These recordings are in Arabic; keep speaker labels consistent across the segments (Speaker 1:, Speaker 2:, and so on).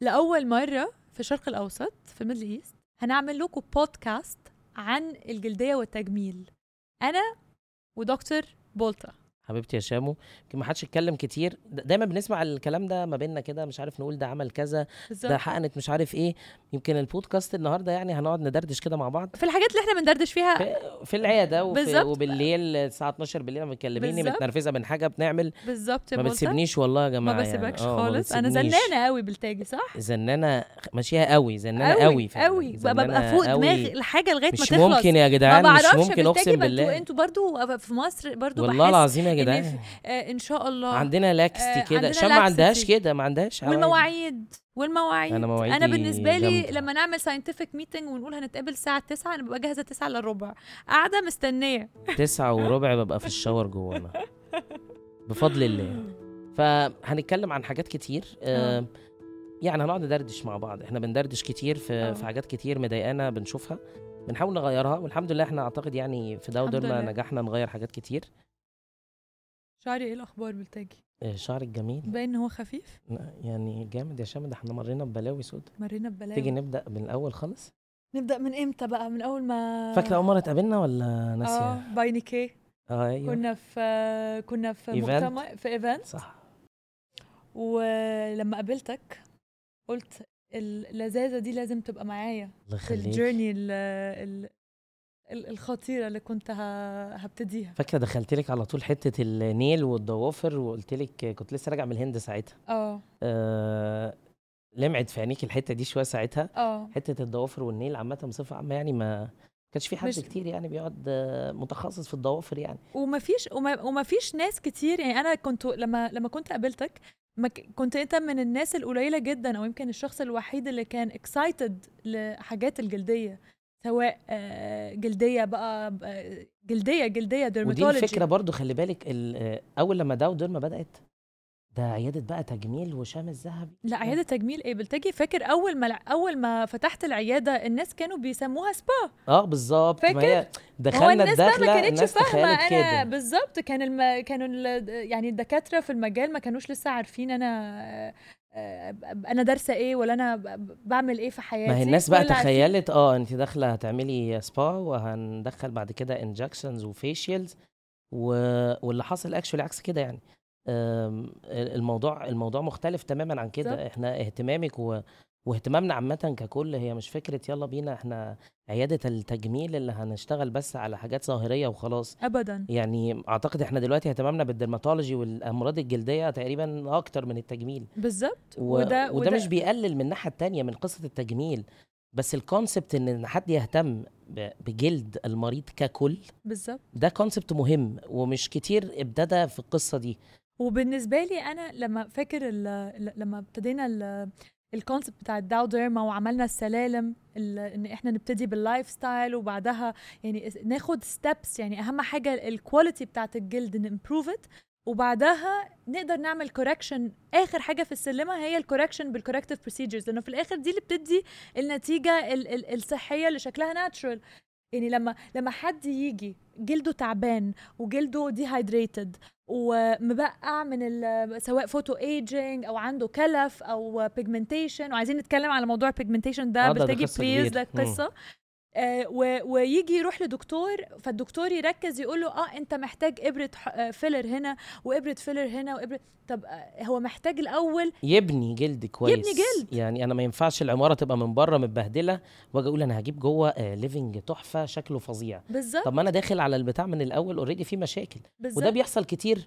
Speaker 1: لاول مره في الشرق الاوسط في ميدل ايست هنعمل لكم بودكاست عن الجلديه والتجميل انا ودكتور بولتا
Speaker 2: حبيبتي يا شامو يمكن ما حدش يتكلم كتير دا- دايما بنسمع الكلام ده ما بيننا كده مش عارف نقول ده عمل كذا ده
Speaker 1: بالظبط
Speaker 2: حقنت مش عارف ايه يمكن البودكاست النهارده يعني هنقعد ندردش كده مع بعض
Speaker 1: في الحاجات اللي احنا بندردش فيها
Speaker 2: في العياده وفي
Speaker 1: بالظبط.
Speaker 2: وبالليل الساعه 12 بالليل لما بتكلميني
Speaker 1: بالظبط.
Speaker 2: متنرفزه من حاجه بنعمل
Speaker 1: بالظبط يا
Speaker 2: ما
Speaker 1: بولتا
Speaker 2: بتسيبنيش والله يا جماعه
Speaker 1: ما بسيبكش
Speaker 2: يعني. آه، ما
Speaker 1: خالص انا
Speaker 2: بتسيبنيش.
Speaker 1: زنانه قوي بالتاجي صح
Speaker 2: زنانه ماشيها قوي زنانه
Speaker 1: قوي
Speaker 2: قوي فعلاً.
Speaker 1: قوي ببقى-
Speaker 2: زنانة
Speaker 1: ببقى فوق
Speaker 2: قوي.
Speaker 1: دماغي الحاجه لغايه ما
Speaker 2: مش
Speaker 1: تخلص
Speaker 2: ممكن يا
Speaker 1: ما
Speaker 2: جدعان مش
Speaker 1: بعرفش
Speaker 2: ممكن
Speaker 1: بالتاجي،
Speaker 2: اقسم
Speaker 1: ما انتوا-
Speaker 2: بالله
Speaker 1: انتوا برضو في مصر برضو
Speaker 2: والله
Speaker 1: بحس
Speaker 2: العظيم يا
Speaker 1: إن
Speaker 2: جدعان
Speaker 1: آه ان شاء الله
Speaker 2: عندنا لاكستي
Speaker 1: آه،
Speaker 2: كده
Speaker 1: عندنا
Speaker 2: شام ما عندهاش
Speaker 1: لاكستي.
Speaker 2: كده ما عندهاش عوايد.
Speaker 1: والمواعيد والمواعيد
Speaker 2: أنا مواعيدي
Speaker 1: انا بالنسبه لي
Speaker 2: جامدة.
Speaker 1: لما نعمل ساينتفك ميتنج ونقول هنتقابل الساعه 9 انا ببقى جاهزه 9 الا ربع قاعده مستنيه
Speaker 2: تسعة وربع ببقى في الشاور جوه أنا. بفضل الله فهنتكلم عن حاجات كتير آه،
Speaker 1: آه.
Speaker 2: يعني هنقعد ندردش مع بعض احنا بندردش كتير في
Speaker 1: آه.
Speaker 2: في حاجات كتير مضايقانا بنشوفها بنحاول نغيرها والحمد لله احنا اعتقد يعني في ده
Speaker 1: الحمد
Speaker 2: ودورنا
Speaker 1: لله.
Speaker 2: نجحنا نغير حاجات كتير
Speaker 1: شعري ايه الاخبار بالتاجي
Speaker 2: آه، شعرك جميل
Speaker 1: باين ان هو خفيف
Speaker 2: لا، يعني جامد يا شامل ده احنا مرينا ببلاوي سود
Speaker 1: مرينا ببلاوي
Speaker 2: تيجي نبدا من الاول خالص
Speaker 1: نبدا من امتى بقى من اول ما
Speaker 2: فاكره اول مره اتقابلنا ولا ناسيه
Speaker 1: اه باينيكي
Speaker 2: اه ايوه
Speaker 1: كنا في كنا في
Speaker 2: Event.
Speaker 1: مجتمع في ايفنت
Speaker 2: صح
Speaker 1: ولما قابلتك قلت اللذاذه دي لازم تبقى معايا
Speaker 2: الله
Speaker 1: في
Speaker 2: يخليك
Speaker 1: الجيرني ال- ال- ال- الخطيره اللي كنت ه- هبتديها
Speaker 2: فاكره دخلت لك على طول حته النيل والضوافر وقلت لك كنت لسه راجعه من الهند ساعتها
Speaker 1: اه
Speaker 2: آه لمعت في عينيك الحته دي شويه ساعتها
Speaker 1: اه
Speaker 2: حته الضوافر والنيل عامه بصفه عامه يعني ما كانش في حد
Speaker 1: مش-
Speaker 2: كتير يعني بيقعد آه، متخصص في الضوافر يعني
Speaker 1: ومفيش وما ومفيش ناس كتير يعني انا كنت لما لما كنت قابلتك ما ك- كنت انت من الناس القليله جدا او يمكن الشخص الوحيد اللي كان اكسايتد لحاجات الجلديه سواء آه، جلديه بقى بقى- جلديه جلديه
Speaker 2: ودي
Speaker 1: ديرماتولوجي
Speaker 2: الفكره برضو خلي بالك ال- آه، اول لما داو ديرما بدات ده عياده بقى تجميل وشام الذهبي
Speaker 1: لا عياده تجميل ايه بلتجي فاكر اول ما اول ما فتحت العياده الناس كانوا بيسموها سبا
Speaker 2: اه بالظبط ما هي
Speaker 1: هو
Speaker 2: دخلنا
Speaker 1: الناس بقى
Speaker 2: الدخله
Speaker 1: ما كانتش
Speaker 2: الناس
Speaker 1: فاهمه
Speaker 2: تخيلت
Speaker 1: انا
Speaker 2: كده
Speaker 1: بالظبط كان الم... كانوا ال... يعني الدكاتره في المجال ما كانوش لسه عارفين انا آه، انا دارسه ايه ولا انا ب- بعمل ايه في حياتي
Speaker 2: ما هي الناس بقى
Speaker 1: ولا عارفين-
Speaker 2: تخيلت اه انت داخله هتعملي سبا وهندخل بعد كده انجكشنز وفيشيالز و... واللي حصل اكشولي عكس كده يعني أم، الموضوع الموضوع مختلف تماما عن كده
Speaker 1: بالظبط.
Speaker 2: احنا اهتمامك و... واهتمامنا عامة ككل هي مش فكرة يلا بينا احنا عيادة التجميل اللي هنشتغل بس على حاجات ظاهرية وخلاص
Speaker 1: ابدا
Speaker 2: يعني اعتقد احنا دلوقتي اهتمامنا بالدرماتولوجي والامراض الجلدية تقريبا اكتر من التجميل
Speaker 1: بالظبط
Speaker 2: و... وده, وده مش بيقلل من الناحيه التانية من قصه التجميل بس الكونسبت ان إن حد يهتم ب- بجلد المريض ككل
Speaker 1: بالظبط
Speaker 2: ده كونسبت مهم ومش كتير ابتدى في القصه دي
Speaker 1: وبالنسبه لي انا لما فاكر ال... ل- لما ابتدينا ال... الكونسبت بتاع الداو ديرما وعملنا السلالم ال... ان احنا نبتدي باللايف ستايل وبعدها يعني اس- ناخد ستيبس يعني اهم حاجه الكواليتي بتاعت الجلد نمبروف ات وبعدها نقدر نعمل كوركشن اخر حاجه في السلمه هي الكوركشن بالكوركتيف بروسيجرز لانه في الاخر دي اللي بتدي النتيجه ال- ال- الصحيه اللي شكلها ناتشرال يعني لما لما حد يجي جلده تعبان وجلده ديهايدريتد ومبقع من ال- سواء فوتو ايجينج او عنده كلف او بيجمنتيشن وعايزين نتكلم على موضوع بيجمنتيشن
Speaker 2: آه،
Speaker 1: ده
Speaker 2: ده- ده
Speaker 1: بتجي
Speaker 2: قصة
Speaker 1: بليز
Speaker 2: كبيرة.
Speaker 1: ده
Speaker 2: مم.
Speaker 1: قصه آه و- ويجي يروح لدكتور فالدكتور يركز يقول له اه انت محتاج ابره ح- آه، فيلر هنا وابره فيلر هنا وابره طب آه، هو محتاج الاول
Speaker 2: يبني جلد كويس
Speaker 1: جلد.
Speaker 2: يعني انا ما ينفعش العماره تبقى من بره متبهدله واجي اقول انا هجيب جوه ليفنج تحفه شكله فظيع
Speaker 1: بالظبط
Speaker 2: طب ما انا داخل على البتاع من الاول اوريدي في مشاكل وده
Speaker 1: بالظبط
Speaker 2: بيحصل كتير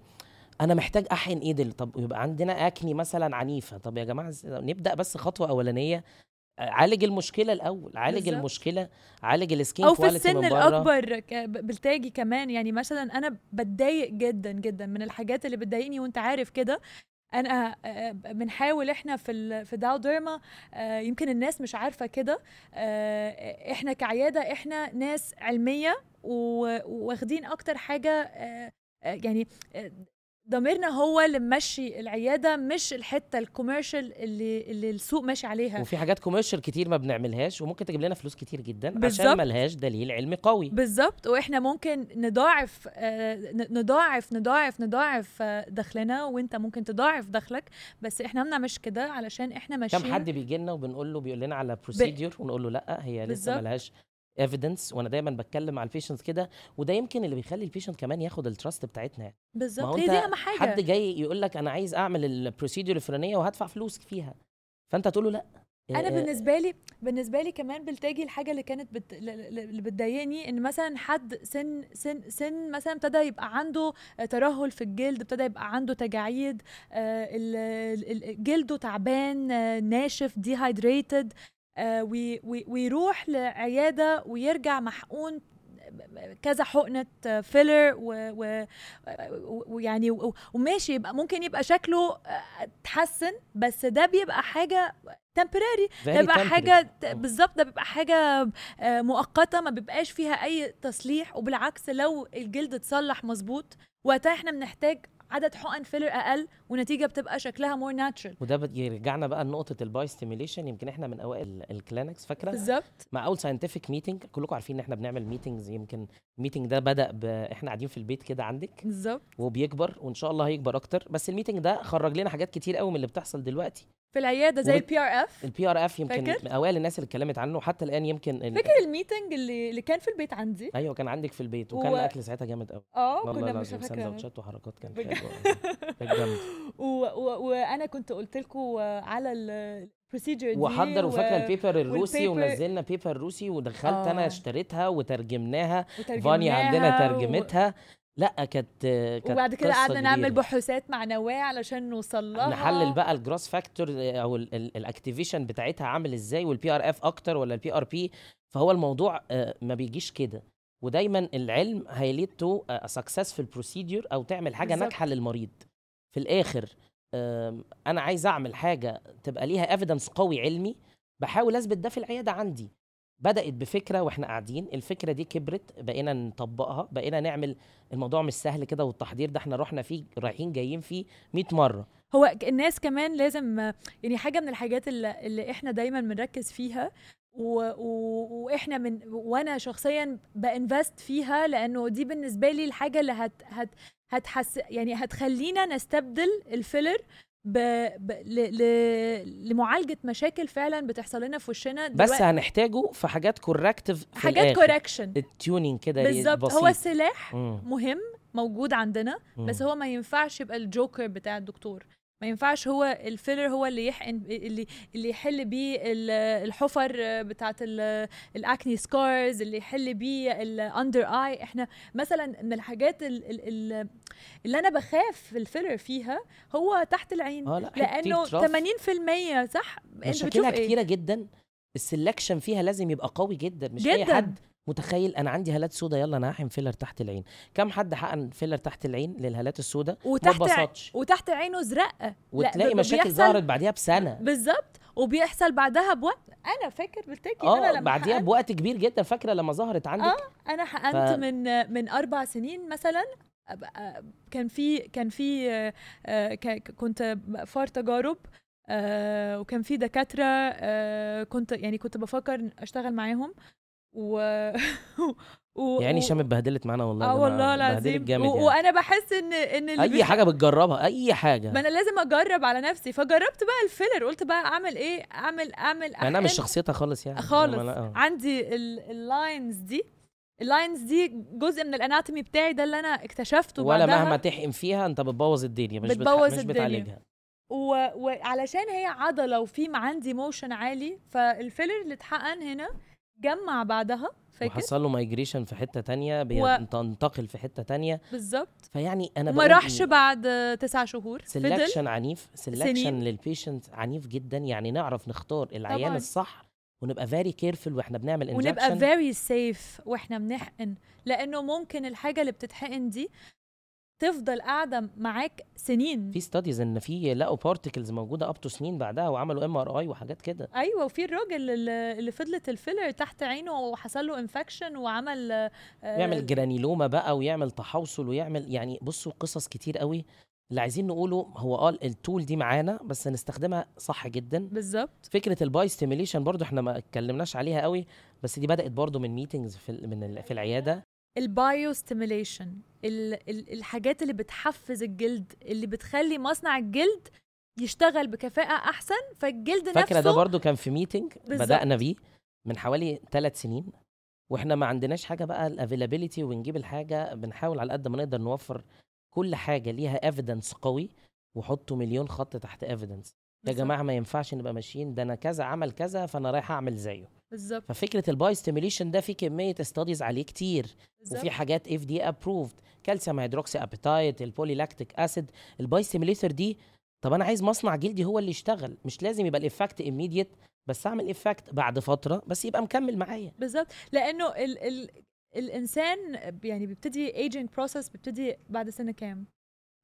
Speaker 2: انا محتاج احقن ايه دل طب يبقى عندنا اكني مثلا عنيفه طب يا جماعه إز- نبدا بس خطوه اولانيه آه، عالج المشكله الاول عالج
Speaker 1: بالظبط.
Speaker 2: المشكله عالج السكين
Speaker 1: او في
Speaker 2: كواليتي
Speaker 1: السن
Speaker 2: من بره.
Speaker 1: الاكبر ك- ب- بالتاجي كمان يعني مثلا انا بتضايق جدا جدا من الحاجات اللي بتضايقني وانت عارف كده انا آه، بنحاول احنا في ال- في داو ديرما آه، يمكن الناس مش عارفه كده آه، احنا كعياده احنا ناس علميه و- وواخدين اكتر حاجه آه، آه، يعني آه، ضميرنا هو اللي ممشي العياده مش الحته الكوميرشال اللي اللي السوق ماشي عليها
Speaker 2: وفي حاجات كوميرشال كتير ما بنعملهاش وممكن تجيب لنا فلوس كتير جدا
Speaker 1: بالظبط.
Speaker 2: عشان ملهاش دليل علمي قوي
Speaker 1: بالظبط واحنا ممكن نضاعف آه، ن- نضاعف نضاعف نضاعف آه، دخلنا وانت ممكن تضاعف دخلك بس احنا ما بنعملش كده علشان احنا ماشيين
Speaker 2: كم حد بيجي لنا وبنقول له بيقول لنا على بروسيديور ونقول له لا هي لسه
Speaker 1: بالظبط.
Speaker 2: ملهاش ايفيدنس وانا دايما بتكلم على البيشنت كده وده يمكن اللي بيخلي البيشنت كمان ياخد التراست بتاعتنا ما هو
Speaker 1: بالظبط هي
Speaker 2: انت
Speaker 1: دي اهم حاجه
Speaker 2: حد جاي يقول لك انا عايز اعمل البروسيديور الفلانيه وهدفع فلوس فيها فانت تقول له لا
Speaker 1: انا
Speaker 2: آه،
Speaker 1: بالنسبه لي بالنسبه لي كمان بلتاجي الحاجه اللي كانت بت... ل- ل- اللي بتضايقني ان مثلا حد سن سن سن مثلا ابتدى يبقى عنده ترهل في الجلد ابتدى يبقى عنده تجاعيد آه، ال- ال- ال- جلده تعبان آه، ناشف ديهايدريتد ويروح لعياده ويرجع محقون كذا آه، حقنه فيلر ويعني و- وماشي يبقى ممكن يبقى شكله آه، اتحسن بس ده بيبقى حاجه temporary
Speaker 2: very
Speaker 1: ده بيبقى
Speaker 2: temporary.
Speaker 1: حاجه ت-
Speaker 2: آه.
Speaker 1: بالظبط ده بيبقى حاجه آه، مؤقته ما بيبقاش فيها اي تصليح وبالعكس لو الجلد اتصلح مظبوط وقتها احنا بنحتاج عدد حقن فيلر اقل ونتيجه بتبقى شكلها مور ناتشرال
Speaker 2: وده بيرجعنا بقى لنقطه الباي ستيميليشن يمكن احنا من اوائل ال- الكلينكس فاكره
Speaker 1: بالظبط
Speaker 2: مع اول ساينتفك ميتنج كلكم عارفين ان احنا بنعمل ميتنجز يمكن الميتنج ده بدا ب... احنا قاعدين في البيت كده عندك
Speaker 1: بالظبط
Speaker 2: وبيكبر وان شاء الله هيكبر اكتر بس الميتنج ده خرج لنا حاجات كتير قوي من اللي بتحصل دلوقتي
Speaker 1: في العياده زي
Speaker 2: وب-
Speaker 1: البي ار اف
Speaker 2: البي ار اف يمكن
Speaker 1: فاكر؟
Speaker 2: من اوائل الناس اللي اتكلمت عنه حتى الان يمكن ال...
Speaker 1: فاكر الميتنج اللي اللي كان في البيت عندي
Speaker 2: ايوه كان عندك في البيت وكان
Speaker 1: هو-
Speaker 2: الاكل ساعتها جامد قوي
Speaker 1: اه
Speaker 2: والله
Speaker 1: كنا مش
Speaker 2: العظيم
Speaker 1: فاكره
Speaker 2: سندوتشات وحركات كانت
Speaker 1: بجد.
Speaker 2: حلوه كانت جامده
Speaker 1: و- و- وانا كنت قلت لكم على البروسيجر دي
Speaker 2: وحضر
Speaker 1: و-
Speaker 2: وفاكره البيبر الروسي
Speaker 1: والpaper-
Speaker 2: ونزلنا بيبر روسي ودخلت
Speaker 1: آه.
Speaker 2: انا اشتريتها وترجمناها فانيا
Speaker 1: وترجمناها
Speaker 2: عندنا
Speaker 1: و-
Speaker 2: ترجمتها لا كانت كانت
Speaker 1: وبعد كده
Speaker 2: قصة
Speaker 1: قعدنا نعمل
Speaker 2: كبيرة.
Speaker 1: بحوثات مع نواه علشان نوصل لها
Speaker 2: نحلل بقى الجروس فاكتور او الاكتيفيشن بتاعتها عامل ازاي والبي ار اف اكتر ولا البي ار بي فهو الموضوع آه، ما بيجيش كده ودايما العلم هيليد تو آه، سكسسفل بروسيدور او تعمل حاجه
Speaker 1: بالظبط.
Speaker 2: ناجحه للمريض في الاخر آم، انا عايز اعمل حاجه تبقى ليها ايفيدنس قوي علمي بحاول اثبت ده في العياده عندي بدات بفكره واحنا قاعدين الفكره دي كبرت بقينا نطبقها بقينا نعمل الموضوع مش سهل كده والتحضير ده احنا رحنا فيه رايحين جايين فيه 100 مره
Speaker 1: هو ك- الناس كمان لازم آه، يعني حاجه من الحاجات اللي, اللي احنا دايما بنركز فيها و... و... واحنا من وانا شخصيا بانفست فيها لانه دي بالنسبه لي الحاجه اللي هت... هت... هتحس يعني هتخلينا نستبدل الفيلر ب... ب... ل... ل... لمعالجه مشاكل فعلا بتحصل لنا في وشنا
Speaker 2: بس
Speaker 1: دلوقتي.
Speaker 2: هنحتاجه في حاجات كوركتيف في
Speaker 1: حاجات
Speaker 2: الآخر.
Speaker 1: كوركشن
Speaker 2: التيونينج كده
Speaker 1: بالظبط
Speaker 2: بسيط.
Speaker 1: هو سلاح
Speaker 2: مم.
Speaker 1: مهم موجود عندنا
Speaker 2: مم.
Speaker 1: بس هو ما ينفعش يبقى الجوكر بتاع الدكتور ما ينفعش هو الفيلر هو اللي يحقن اللي اللي يحل بيه ال- الحفر بتاعت ال- الاكني سكارز اللي يحل بيه الاندر اي احنا مثلا من الحاجات ال- ال- ال- اللي انا بخاف في الفيلر فيها هو تحت العين
Speaker 2: اه لا
Speaker 1: لانه 80% صح انت بتشوف
Speaker 2: مشاكلها
Speaker 1: ايه
Speaker 2: كتيره جدا السلكشن فيها لازم يبقى قوي جدا مش اي
Speaker 1: جداً.
Speaker 2: حد متخيل انا عندي هالات سودا يلا انا هحقن فيلر تحت العين كم حد حقن فيلر تحت العين للهالات السودا ما
Speaker 1: وتحت ع-
Speaker 2: اتبسطش
Speaker 1: وتحت عينه زرقاء
Speaker 2: وتلاقي
Speaker 1: ب-
Speaker 2: مشاكل
Speaker 1: بيحصل-
Speaker 2: ظهرت بعديها بسنه
Speaker 1: بالظبط وبيحصل بعدها بوقت انا فاكر بالتاكيد انا
Speaker 2: اه
Speaker 1: لما
Speaker 2: بعديها
Speaker 1: حقنت-
Speaker 2: بوقت كبير جدا فاكره لما ظهرت عندك
Speaker 1: آه، انا حقنت
Speaker 2: ف-
Speaker 1: ف... من من اربع سنين مثلا أب- أ- كان في كان في آه، آه، ك- كنت فار تجارب آه، وكان في دكاتره آه، كنت يعني كنت بفكر اشتغل معاهم و, و...
Speaker 2: يعني شام اتبهدلت معانا والله
Speaker 1: اه
Speaker 2: ده
Speaker 1: والله
Speaker 2: أنا اتبهدلت
Speaker 1: العظيم
Speaker 2: جامد
Speaker 1: و...
Speaker 2: يعني.
Speaker 1: وانا بحس ان ان اللي
Speaker 2: اي
Speaker 1: بيخ-
Speaker 2: حاجه بتجربها اي حاجه
Speaker 1: ما انا لازم اجرب على نفسي فجربت بقى الفيلر قلت بقى اعمل ايه اعمل اعمل
Speaker 2: انا مش
Speaker 1: أحقن.
Speaker 2: شخصيتها خالص يعني
Speaker 1: خالص
Speaker 2: ما لا، آه.
Speaker 1: عندي ال- اللاينز دي اللاينز دي جزء من الاناتومي بتاعي ده اللي انا اكتشفته
Speaker 2: ولا
Speaker 1: بعدها
Speaker 2: مهما تحقن فيها انت بتبوظ الدنيا مش
Speaker 1: بتبوظ
Speaker 2: بتبوظ مش
Speaker 1: الدنيا.
Speaker 2: بتعالجها
Speaker 1: و- وعلشان هي عضله وفي م- عندي موشن عالي فالفيلر اللي اتحقن هنا جمع بعدها فاكر
Speaker 2: وحصل له مايجريشن في حته تانية بينتقل في حته تانية
Speaker 1: بالظبط
Speaker 2: فيعني انا
Speaker 1: ما راحش بعد تسع شهور فضل
Speaker 2: سلكشن عنيف سلكشن
Speaker 1: سنين.
Speaker 2: للبيشنت عنيف جدا يعني نعرف نختار العيان
Speaker 1: طبعاً.
Speaker 2: الصح ونبقى فيري كيرفل واحنا بنعمل
Speaker 1: ونبقى
Speaker 2: انجكشن
Speaker 1: فيري سيف واحنا بنحقن لانه ممكن الحاجه اللي بتتحقن دي تفضل قاعده معاك سنين
Speaker 2: في ستاديز ان في لقوا بارتكلز موجوده اب تو سنين بعدها وعملوا ام ار اي وحاجات كده
Speaker 1: ايوه وفي الراجل اللي اللي فضلت الفيلر تحت عينه وحصل له انفكشن وعمل آه،
Speaker 2: يعمل جرانيلوما بقى ويعمل تحوصل ويعمل يعني بصوا قصص كتير قوي اللي عايزين نقوله هو اه التول دي معانا بس نستخدمها صح جدا
Speaker 1: بالظبط
Speaker 2: فكره الباي ستيميليشن برضو احنا ما اتكلمناش عليها قوي بس دي بدات برضو من ميتنجز في ال- من ال- في العياده
Speaker 1: البايو ستيميليشن ال- ال- الحاجات اللي بتحفز الجلد اللي بتخلي مصنع الجلد يشتغل بكفاءة أحسن فالجلد
Speaker 2: فاكره ده
Speaker 1: نفسه
Speaker 2: برضو كان في ميتنج
Speaker 1: بالظبط.
Speaker 2: بدانا بيه من حوالي ثلاث سنين واحنا ما عندناش حاجه بقى الافيلابيلتي ونجيب الحاجه بنحاول على قد ما نقدر نوفر كل حاجه ليها ايفيدنس قوي وحطوا مليون خط تحت ايفيدنس يا
Speaker 1: بالظبط.
Speaker 2: جماعه ما ينفعش نبقى ماشيين ده انا كذا عمل كذا فانا رايح اعمل زيه
Speaker 1: بالظبط
Speaker 2: ففكره الباي ستيميليشن ده في كميه استاديز عليه كتير وفي
Speaker 1: بالظبط.
Speaker 2: حاجات اف دي ابروفد كالسيوم هيدروكسي ابيتايت البوليلاكتيك اسيد الباي ستيميليتر دي طب انا عايز مصنع جلدي هو اللي يشتغل مش لازم يبقى الافكت immediate بس اعمل افكت بعد فتره بس يبقى مكمل معايا
Speaker 1: بالظبط لانه ال ال الانسان يعني بيبتدي ايجينج بروسس بيبتدي بعد سنه كام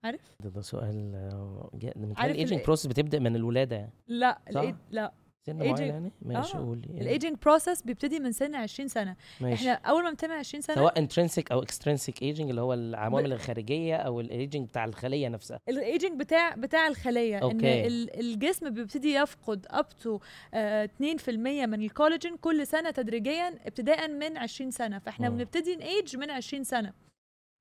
Speaker 1: عارف
Speaker 2: ده, ده سؤال آه، جا- من
Speaker 1: عارف ال-
Speaker 2: الايجنج بروسس بتبدا من الولاده يعني
Speaker 1: لا الإي-
Speaker 2: صح.
Speaker 1: لا
Speaker 2: سن
Speaker 1: aging-
Speaker 2: معين يعني ماشي
Speaker 1: آه،
Speaker 2: قول إيه؟
Speaker 1: الايجينج بروسس بيبتدي من سن 20 سنه
Speaker 2: ماشي
Speaker 1: احنا اول ما بنتم 20 سنه
Speaker 2: سواء انترنسيك او اكسترنسيك ايجنج اللي هو العوامل الخارجيه او الايجنج بتاع الخليه نفسها
Speaker 1: الايجينج بتاع بتاع الخليه ان
Speaker 2: أوكي.
Speaker 1: ال- الجسم بيبتدي يفقد آه، اب تو 2% من الكولاجين كل سنه تدريجيا ابتداء من 20 سنه فاحنا
Speaker 2: مم.
Speaker 1: بنبتدي نايج من 20 سنه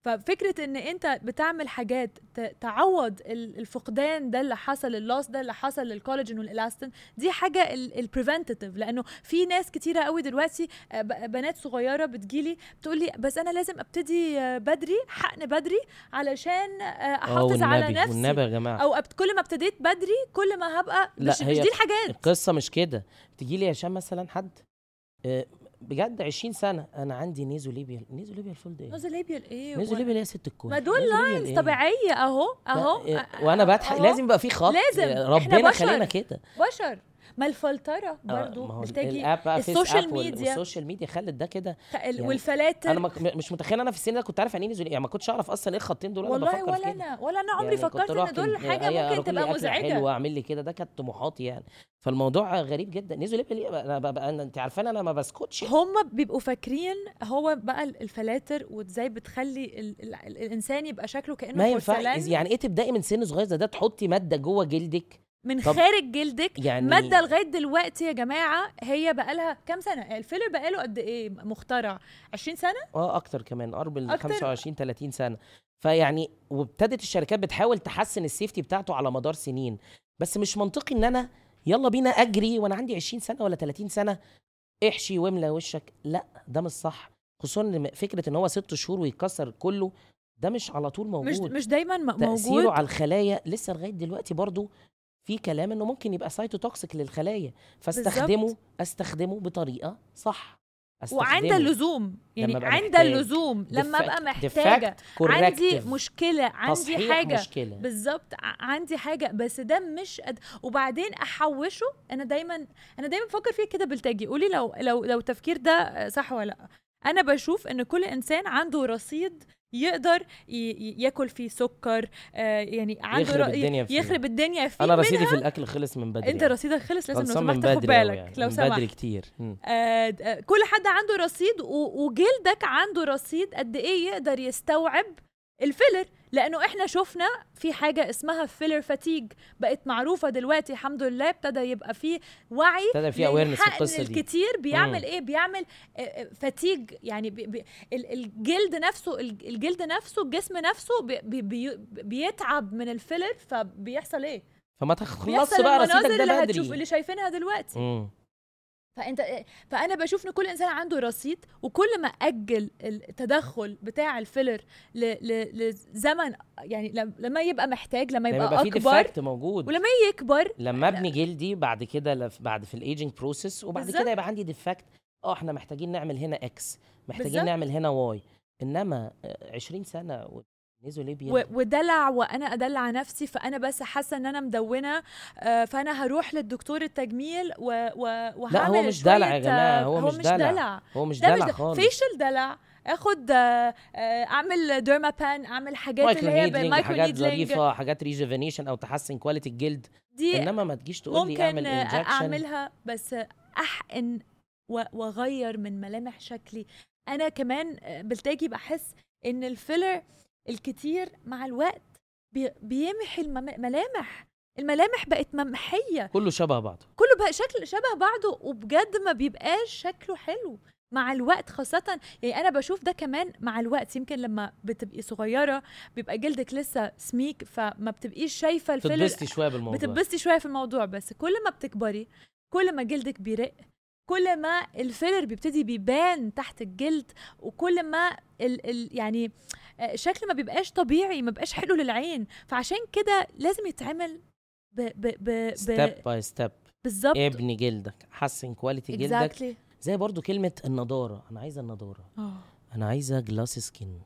Speaker 1: ففكره ان انت بتعمل حاجات ت- تعوض ال- الفقدان ده اللي حصل اللوس ده اللي حصل للكولاجين والالاستين دي حاجه البريفنتيف لانه في ناس كتيره قوي دلوقتي آه، ب- بنات صغيره بتجيلي بتقول لي بس انا لازم ابتدي آه، بدري حقن بدري علشان آه،
Speaker 2: آه،
Speaker 1: احافظ على
Speaker 2: والنبي-
Speaker 1: نفسي
Speaker 2: والنبي يا جماعه
Speaker 1: او أبت... كل ما ابتديت بدري كل ما هبقى
Speaker 2: لا،
Speaker 1: مش, مش
Speaker 2: هي
Speaker 1: دي الحاجات
Speaker 2: القصه مش كده تيجي لي يا هشام مثلا حد آه، بجد 20 سنه انا عندي نيزوليبيال نيزوليبيال فولد ايه
Speaker 1: نوزوليبيال ايه
Speaker 2: نيزوليبيال يا ست إيه؟ الكل
Speaker 1: ما دول لاينز طبيعيه اهو اهو
Speaker 2: وانا إيه، آه، بضحك
Speaker 1: أهو.
Speaker 2: لازم يبقى في خط
Speaker 1: لازم.
Speaker 2: آه،
Speaker 1: إحنا
Speaker 2: ربنا
Speaker 1: بشر.
Speaker 2: خلينا كده
Speaker 1: بشر ما الفلتره
Speaker 2: آه،
Speaker 1: برضو
Speaker 2: ما هو
Speaker 1: بتجي
Speaker 2: الاب بقى فيس
Speaker 1: السوشيال
Speaker 2: آب وال-
Speaker 1: ميديا.
Speaker 2: والسوشيال ميديا خلت ده كده
Speaker 1: خ- ال-
Speaker 2: يعني
Speaker 1: والفلاتر
Speaker 2: انا ما ك- مش متخيل انا في السن ده كنت عارف يعني ايه نيزوليبيال يعني ما كنتش اعرف اصلا ايه الخطين دول انا
Speaker 1: والله
Speaker 2: بفكر في
Speaker 1: ولا
Speaker 2: كده
Speaker 1: انا ولا انا عمري
Speaker 2: يعني كنت
Speaker 1: فكرت
Speaker 2: أروح
Speaker 1: ان دول
Speaker 2: كن- أي
Speaker 1: حاجه
Speaker 2: أروح
Speaker 1: ممكن
Speaker 2: لي
Speaker 1: تبقى
Speaker 2: أكلة
Speaker 1: مزعجه
Speaker 2: حلوه اعمل لي كده ده كانت طموحاتي يعني فالموضوع غريب جدا نزل ليه انا بقى أنا- انت عارفان انا ما بسكتش
Speaker 1: هم بيبقوا فاكرين هو بقى ال- الفلاتر وازاي بتخلي ال ال ال الانسان يبقى شكله كانه
Speaker 2: ما ينفع
Speaker 1: porcelain
Speaker 2: إز- يعني ايه تبداي من سن صغير زي ده تحطي ماده جوه جلدك
Speaker 1: من
Speaker 2: طب-
Speaker 1: خارج جلدك
Speaker 2: يعني
Speaker 1: ماده لغايه دلوقتي يا جماعه هي بقالها كام سنه الفيلر بقاله قد ايه مخترع 20 سنه
Speaker 2: اه اكتر كمان قرب ال
Speaker 1: أكتر.
Speaker 2: 25 30 سنه فيعني وابتدت الشركات بتحاول تحسن السيفتي بتاعته على مدار سنين بس مش منطقي ان انا يلا بينا اجري وانا عندي 20 سنه ولا 30 سنه احشي واملى وشك لا ده مش صح خصوصا إن فكره ان هو ست شهور ويتكسر كله ده مش على طول موجود
Speaker 1: مش مش دايما م-
Speaker 2: تأثيره
Speaker 1: موجود
Speaker 2: على الخلايا لسه لغاية دلوقتي برضو في كلام انه ممكن يبقى سايتوتوكسيك للخلايا فاستخدمه
Speaker 1: بالظبط.
Speaker 2: استخدمه بطريقه صح
Speaker 1: وعند اللزوم يعني
Speaker 2: أبقى
Speaker 1: عند
Speaker 2: محتاج.
Speaker 1: اللزوم لما
Speaker 2: Defect-
Speaker 1: ابقى
Speaker 2: defect
Speaker 1: محتاجه عندي
Speaker 2: corrective.
Speaker 1: مشكله عندي
Speaker 2: تصحيح
Speaker 1: حاجه
Speaker 2: مشكله
Speaker 1: بالظبط ع- عندي حاجه بس ده مش قد... وبعدين احوشه انا دايما انا دايما بفكر فيه كده بلتجي قولي لو لو لو التفكير ده آه، صح ولا لا انا بشوف ان كل انسان عنده رصيد يقدر ي... ي- ياكل فيه سكر آه يعني عنده
Speaker 2: يخرب
Speaker 1: ي-
Speaker 2: الدنيا فيه.
Speaker 1: يخرب الدنيا فيه
Speaker 2: انا
Speaker 1: من-
Speaker 2: رصيدي في الاكل خلص من بدري
Speaker 1: انت رصيدك خلص لازم لو
Speaker 2: خلصان من
Speaker 1: سمحت تاخد
Speaker 2: بدري أوي
Speaker 1: بالك
Speaker 2: يعني،
Speaker 1: لو
Speaker 2: من بدري
Speaker 1: سمحت
Speaker 2: كتير مم.
Speaker 1: آه، د- آه، كل حد عنده رصيد و- وجلدك عنده رصيد قد ايه يقدر يستوعب الفيلر لانه احنا شفنا في حاجه اسمها فيلر فاتيج بقت معروفه دلوقتي الحمد لله ابتدى يبقى فيه وعي
Speaker 2: ابتدى في اويرنس
Speaker 1: للحقن
Speaker 2: القصه دي
Speaker 1: الكتير بيعمل
Speaker 2: مم.
Speaker 1: ايه بيعمل فاتيج يعني بي بي ال- الجلد نفسه ال- الجلد نفسه الجسم نفسه بي بي بي بيتعب من الفيلر فبيحصل ايه
Speaker 2: فما تخلص
Speaker 1: بيحصل
Speaker 2: بقى
Speaker 1: المناظر
Speaker 2: رصيدك
Speaker 1: اللي
Speaker 2: ده
Speaker 1: هتشوف اللي
Speaker 2: بدري
Speaker 1: شايفينها دلوقتي
Speaker 2: مم.
Speaker 1: فانت فانا بشوف ان كل انسان عنده رصيد وكل ما اجل التدخل بتاع الفيلر ل... ل... لزمن يعني لم- لما يبقى محتاج لما
Speaker 2: لما
Speaker 1: يبقى,
Speaker 2: يبقى في
Speaker 1: اكبر
Speaker 2: ديفكت موجود
Speaker 1: ولما يكبر
Speaker 2: لما ابني جلدي بعد كده لف- بعد في الايجنج بروسيس وبعد
Speaker 1: بالظبط.
Speaker 2: كده يبقى عندي ديفكت اه احنا محتاجين نعمل هنا اكس محتاجين
Speaker 1: بالظبط.
Speaker 2: نعمل هنا واي انما آه، 20 سنه نيزوليبيا
Speaker 1: و... ودلع وانا ادلع نفسي فانا بس حاسه ان انا مدونه آه، فانا هروح للدكتور التجميل و... و... وهعمل
Speaker 2: لا هو مش
Speaker 1: شوية،
Speaker 2: دلع يا جماعه
Speaker 1: آه،
Speaker 2: هو, مش دلع, هو مش
Speaker 1: ده مش
Speaker 2: دلع
Speaker 1: ده
Speaker 2: خالص
Speaker 1: فيشل دلع اخد آه، آه، اعمل ديرما بان اعمل حاجات
Speaker 2: مايكرو
Speaker 1: اللي هي
Speaker 2: نيدلينج
Speaker 1: بالمايكرو
Speaker 2: حاجات
Speaker 1: نيدلينج
Speaker 2: ظريفه حاجات ريجوفينيشن او تحسن كواليتي الجلد
Speaker 1: دي
Speaker 2: انما ما تجيش تقول لي
Speaker 1: ممكن
Speaker 2: اعمل
Speaker 1: آه،
Speaker 2: انجكشن
Speaker 1: اعملها بس احقن و- واغير من ملامح شكلي انا كمان آه، بالتاجي بحس ان الفيلر الكتير مع الوقت بي- بيمحي المم- الملامح الملامح بقت ممحيه
Speaker 2: كله شبه بعضه
Speaker 1: كله بقى شكل شبه بعضه وبجد ما بيبقاش شكله حلو مع الوقت خاصة يعني أنا بشوف ده كمان مع الوقت يمكن لما بتبقي صغيرة بيبقى جلدك لسه سميك فما بتبقيش شايفة الفيلر
Speaker 2: تتبسطي شويه بالموضوع
Speaker 1: بتتبسطي شويه في الموضوع بس كل ما بتكبري كل ما جلدك بيرق كل ما الفيلر بيبتدي بيبان تحت الجلد وكل ما ال ال يعني آه، شكل ما بيبقاش طبيعي ما بيبقاش حلو للعين فعشان كده لازم يتعمل ب ب ب
Speaker 2: ستيب
Speaker 1: ب
Speaker 2: باي ستيب
Speaker 1: بالظبط
Speaker 2: ابني جلدك حسن كواليتي جلدك
Speaker 1: exactly.
Speaker 2: زي برضو كلمه النضاره انا عايزه النضاره
Speaker 1: آه.
Speaker 2: انا عايزه جلاس سكين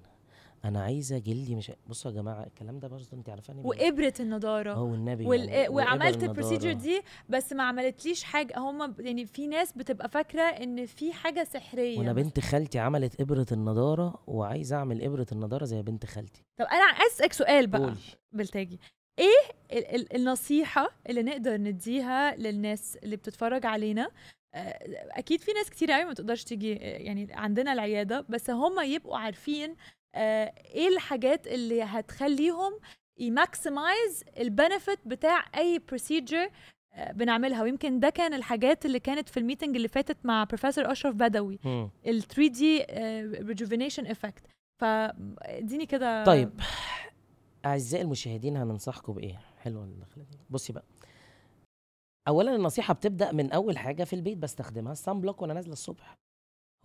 Speaker 2: انا عايزه جلدي مش بصوا يا جماعه الكلام ده برضه انت عارفاني بال-
Speaker 1: وابره النضاره
Speaker 2: اه والنبي
Speaker 1: وال...
Speaker 2: يعني، وإبر
Speaker 1: وعملت
Speaker 2: النضارة.
Speaker 1: البروسيجر دي بس ما عملتليش حاجه هم يعني في ناس بتبقى فاكره ان في حاجه سحريه
Speaker 2: وانا بنت خالتي عملت ابره النضاره وعايز اعمل ابره النضاره زي بنت خالتي
Speaker 1: طب انا عايز اسالك سؤال بقى
Speaker 2: قولي
Speaker 1: بالتاجي ايه ال- ال- النصيحه اللي نقدر نديها للناس اللي بتتفرج علينا آه، اكيد في ناس كتير قوي ما تقدرش تيجي آه، يعني عندنا العياده بس هم يبقوا عارفين آه، ايه الحاجات اللي هتخليهم يماكسمايز البنفيت بتاع اي بروسيجر بنعملها ويمكن ده كان الحاجات اللي كانت في الميتنج اللي فاتت مع بروفيسور اشرف بدوي
Speaker 2: مم.
Speaker 1: ال 3 دي ريجوفينيشن افكت فاديني كده
Speaker 2: طيب اعزائي المشاهدين هننصحكم بايه حلوه الدخله دي بصي بقى اولا النصيحه بتبدا من اول حاجه في البيت بستخدمها الصن بلوك وانا نازله الصبح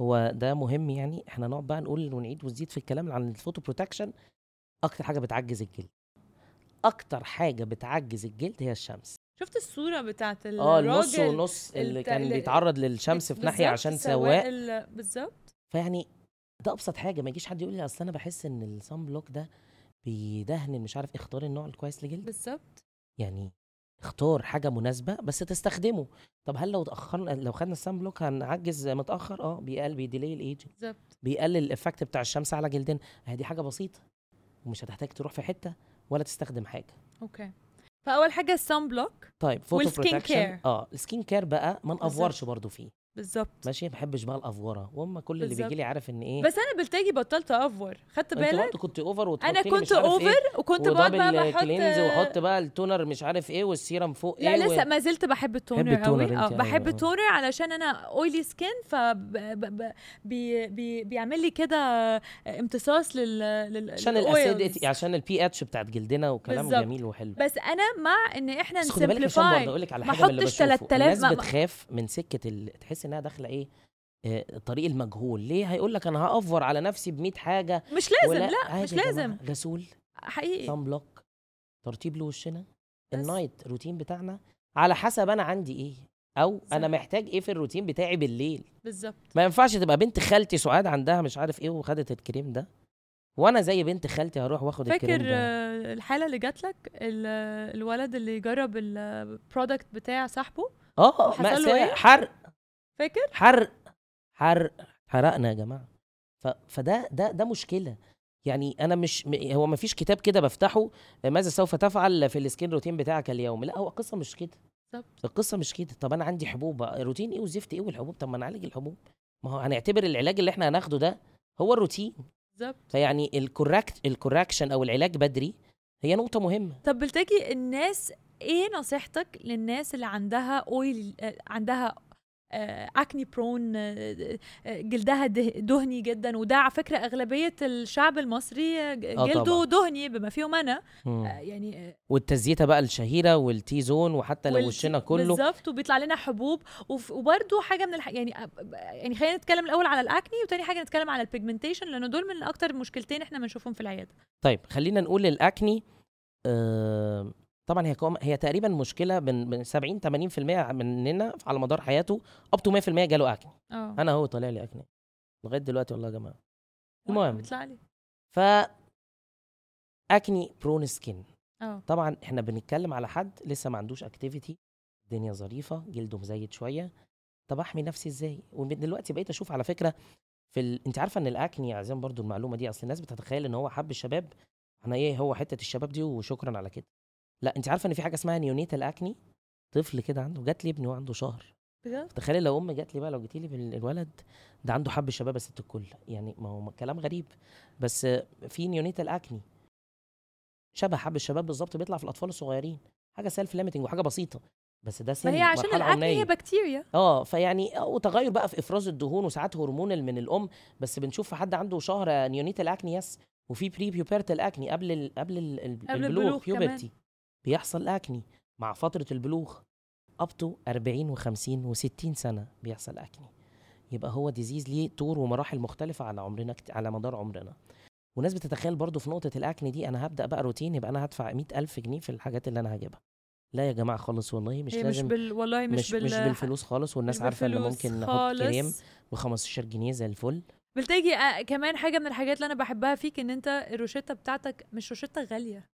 Speaker 2: هو ده مهم يعني احنا نقعد بقى نقول ونعيد ونزيد في الكلام عن الفوتو بروتكشن اكتر حاجه بتعجز الجلد اكتر حاجه بتعجز الجلد هي الشمس
Speaker 1: شفت الصوره بتاعت الراجل
Speaker 2: اه النص ونص اللي
Speaker 1: الت-
Speaker 2: كان
Speaker 1: ال-
Speaker 2: بيتعرض للشمس في ناحيه
Speaker 1: بالظبط،
Speaker 2: عشان سواق
Speaker 1: ال- بالظبط
Speaker 2: فيعني ده ابسط حاجه ما يجيش حد يقول لي اصل انا بحس ان الصن بلوك ده بيدهن مش عارف اختار النوع الكويس لجلدك
Speaker 1: بالظبط
Speaker 2: يعني اختار حاجه مناسبه بس تستخدمه طب هل لو اتاخرنا لو خدنا الصن بلوك هنعجز متاخر اه بيقل بيديلي الايجنج
Speaker 1: بالظبط
Speaker 2: بيقلل الايفكت بتاع الشمس على جلدنا هي دي حاجه بسيطه ومش هتحتاج تروح في حته ولا تستخدم حاجه
Speaker 1: اوكي فاول حاجه السان بلوك
Speaker 2: طيب فوتو
Speaker 1: والسكين
Speaker 2: بروتكشن
Speaker 1: كير.
Speaker 2: اه السكين كير بقى ما
Speaker 1: بالظبط.
Speaker 2: نافورش برضو فيه
Speaker 1: بالظبط
Speaker 2: ماشي ما بحبش بقى الافوره وهم كل اللي
Speaker 1: بالظبط.
Speaker 2: بيجي لي عارف ان ايه
Speaker 1: بس انا بالتاجي بطلت افور خدت
Speaker 2: انت
Speaker 1: بالك
Speaker 2: برضه كنت اوفر
Speaker 1: انا كنت
Speaker 2: إيه؟
Speaker 1: اوفر وكنت بقعد بقى
Speaker 2: ودبل كلينز
Speaker 1: بحط
Speaker 2: وحط بقى التونر مش عارف ايه والسيرم فوق
Speaker 1: لا
Speaker 2: ايه و-
Speaker 1: لسه ما زلت بحب التونر
Speaker 2: بتحب
Speaker 1: قوي
Speaker 2: التونر انت،
Speaker 1: اه
Speaker 2: ايوه،
Speaker 1: بحب
Speaker 2: اه.
Speaker 1: التونر علشان انا اويلي سكين ف ب- ب- ب- بي بي بيعمل لي كده امتصاص لل لل
Speaker 2: عشان يعني.
Speaker 1: لل
Speaker 2: الاسيديتي
Speaker 1: oils.
Speaker 2: عشان البي اتش بتاعت جلدنا وكلام
Speaker 1: بالظبط.
Speaker 2: جميل وحلو
Speaker 1: بس انا مع ان احنا
Speaker 2: بس خدي بالك عشان برضه
Speaker 1: نسمبليفاي
Speaker 2: اقول لك على
Speaker 1: ما
Speaker 2: حاجه من اللي
Speaker 1: احطش
Speaker 2: بشوفه
Speaker 1: 3000
Speaker 2: الناس
Speaker 1: ما- ما-
Speaker 2: بتخاف من سكه ال... تحس انها داخله ايه آه، طريق المجهول ليه هيقول لك انا هافور على نفسي ب 100 حاجه
Speaker 1: مش لازم
Speaker 2: ولا
Speaker 1: لا
Speaker 2: عادي
Speaker 1: مش
Speaker 2: يا جماعة،
Speaker 1: لازم
Speaker 2: غسول
Speaker 1: حقيقي
Speaker 2: صن بلوك ترطيب لوشنا
Speaker 1: بس.
Speaker 2: النايت روتين بتاعنا على حسب انا عندي ايه او انا
Speaker 1: صح.
Speaker 2: محتاج ايه في الروتين بتاعي بالليل
Speaker 1: بالظبط
Speaker 2: ما ينفعش تبقى بنت خالتي سعاد عندها مش عارف ايه وخدت الكريم ده وانا زي بنت خالتي هروح واخد الكريم
Speaker 1: فاكر
Speaker 2: ده
Speaker 1: آه، الحاله اللي جات لك ال- آه، الولد اللي جرب البرودكت بتاع صاحبه
Speaker 2: اه
Speaker 1: حصل له
Speaker 2: مأساة
Speaker 1: إيه؟
Speaker 2: حرق
Speaker 1: فاكر
Speaker 2: حرق حرق حرقنا يا جماعه ف... فده ده ده مشكله يعني انا مش م- هو ما فيش كتاب كده بفتحه ماذا سوف تفعل في السكين روتين بتاعك اليوم لا هو القصه مش كده
Speaker 1: بالظبط
Speaker 2: القصه مش كده طب انا عندي حبوب بقى، روتين ايه وزفت ايه والحبوب طب ما نعالج الحبوب ما هو هنعتبر العلاج اللي احنا هناخده ده هو الروتين
Speaker 1: بالظبط
Speaker 2: فيعني الكوركت الكوركشن او العلاج بدري هي نقطه مهمه
Speaker 1: طب بلتجي الناس ايه نصيحتك للناس اللي عندها اويل عندها آه، اكني برون آه، آه، جلدها ده- دهني جدا وده على فكره اغلبيه الشعب المصري آه،
Speaker 2: آه طبعاً.
Speaker 1: جلده دهني بما فيهم انا آه،
Speaker 2: مم.
Speaker 1: يعني آه،
Speaker 2: والتزييته بقى الشهيره والتي زون وحتى لو
Speaker 1: والت-
Speaker 2: وشنا كله
Speaker 1: بالظبط وبيطلع لنا حبوب وف... وبرده حاجه من الح... يعني أب- يعني خلينا نتكلم الاول على الاكني وتاني حاجه نتكلم على البيجمنتيشن لانه دول من اكتر مشكلتين احنا بنشوفهم في العياده
Speaker 2: طيب خلينا نقول الاكني آه طبعا هي كوم- هي تقريبا مشكله من من 70 80% مننا على مدار حياته اب تو 100% جاله اكني
Speaker 1: اه
Speaker 2: انا هو طالع لي اكني لغايه دلوقتي والله يا جماعه المهم
Speaker 1: بيطلع لي
Speaker 2: ف اكني برون سكين
Speaker 1: اه
Speaker 2: طبعا احنا بنتكلم على حد لسه ما عندوش اكتيفيتي الدنيا ظريفه جلده مزيت شويه طب احمي نفسي ازاي ودلوقتي بقيت اشوف على فكره في ال... انت عارفه ان الاكني يا عزام برضو المعلومه دي اصل الناس بتتخيل ان هو حب الشباب انا ايه هو حته الشباب دي وشكرا على كده لا انت عارفه ان في حاجه اسمها نيونيتال اكني طفل كده عنده جات لي ابني وعنده شهر
Speaker 1: بجد
Speaker 2: تخيل لو ام جات لي بقى لو جيتي لي بالولد ده عنده حب الشباب يا ست الكل يعني ما هو كلام غريب بس في نيونيتال اكني شبه حب الشباب بالظبط بيطلع في الاطفال الصغيرين حاجه سيلف ليميتنج وحاجه بسيطه بس ده سن
Speaker 1: ما هي عشان
Speaker 2: مرحلة
Speaker 1: الاكل
Speaker 2: عمرية.
Speaker 1: هي بكتيريا
Speaker 2: اه فيعني آه، وتغير بقى في افراز الدهون وساعات هرمونال من الام بس بنشوف في حد عنده شهر نيونيتال اكني يس وفي بري بيوبرتال اكني قبل ال قبل ال قبل
Speaker 1: البلوغ
Speaker 2: البلوغ
Speaker 1: كمان.
Speaker 2: بيوبرتي بيحصل اكني مع فتره البلوغ اب تو 40 و50 و60 سنه بيحصل اكني يبقى هو ديزيز ليه طور ومراحل مختلفه على عمرنا كت- على مدار عمرنا وناس بتتخيل برضو في نقطه الاكني دي انا هبدا بقى روتين يبقى انا هدفع 100000 جنيه في الحاجات اللي انا هجيبها لا يا جماعه خالص والله مش
Speaker 1: هي
Speaker 2: لازم
Speaker 1: مش بال والله مش,
Speaker 2: مش
Speaker 1: بال
Speaker 2: مش بالفلوس خالص والناس
Speaker 1: مش
Speaker 2: عارفه ان
Speaker 1: بالفلوس
Speaker 2: ممكن نحط
Speaker 1: خالص.
Speaker 2: كريم ب 15 جنيه زي الفل
Speaker 1: بلتجي آه، كمان حاجه من الحاجات اللي انا بحبها فيك ان انت الروشته بتاعتك مش روشته غاليه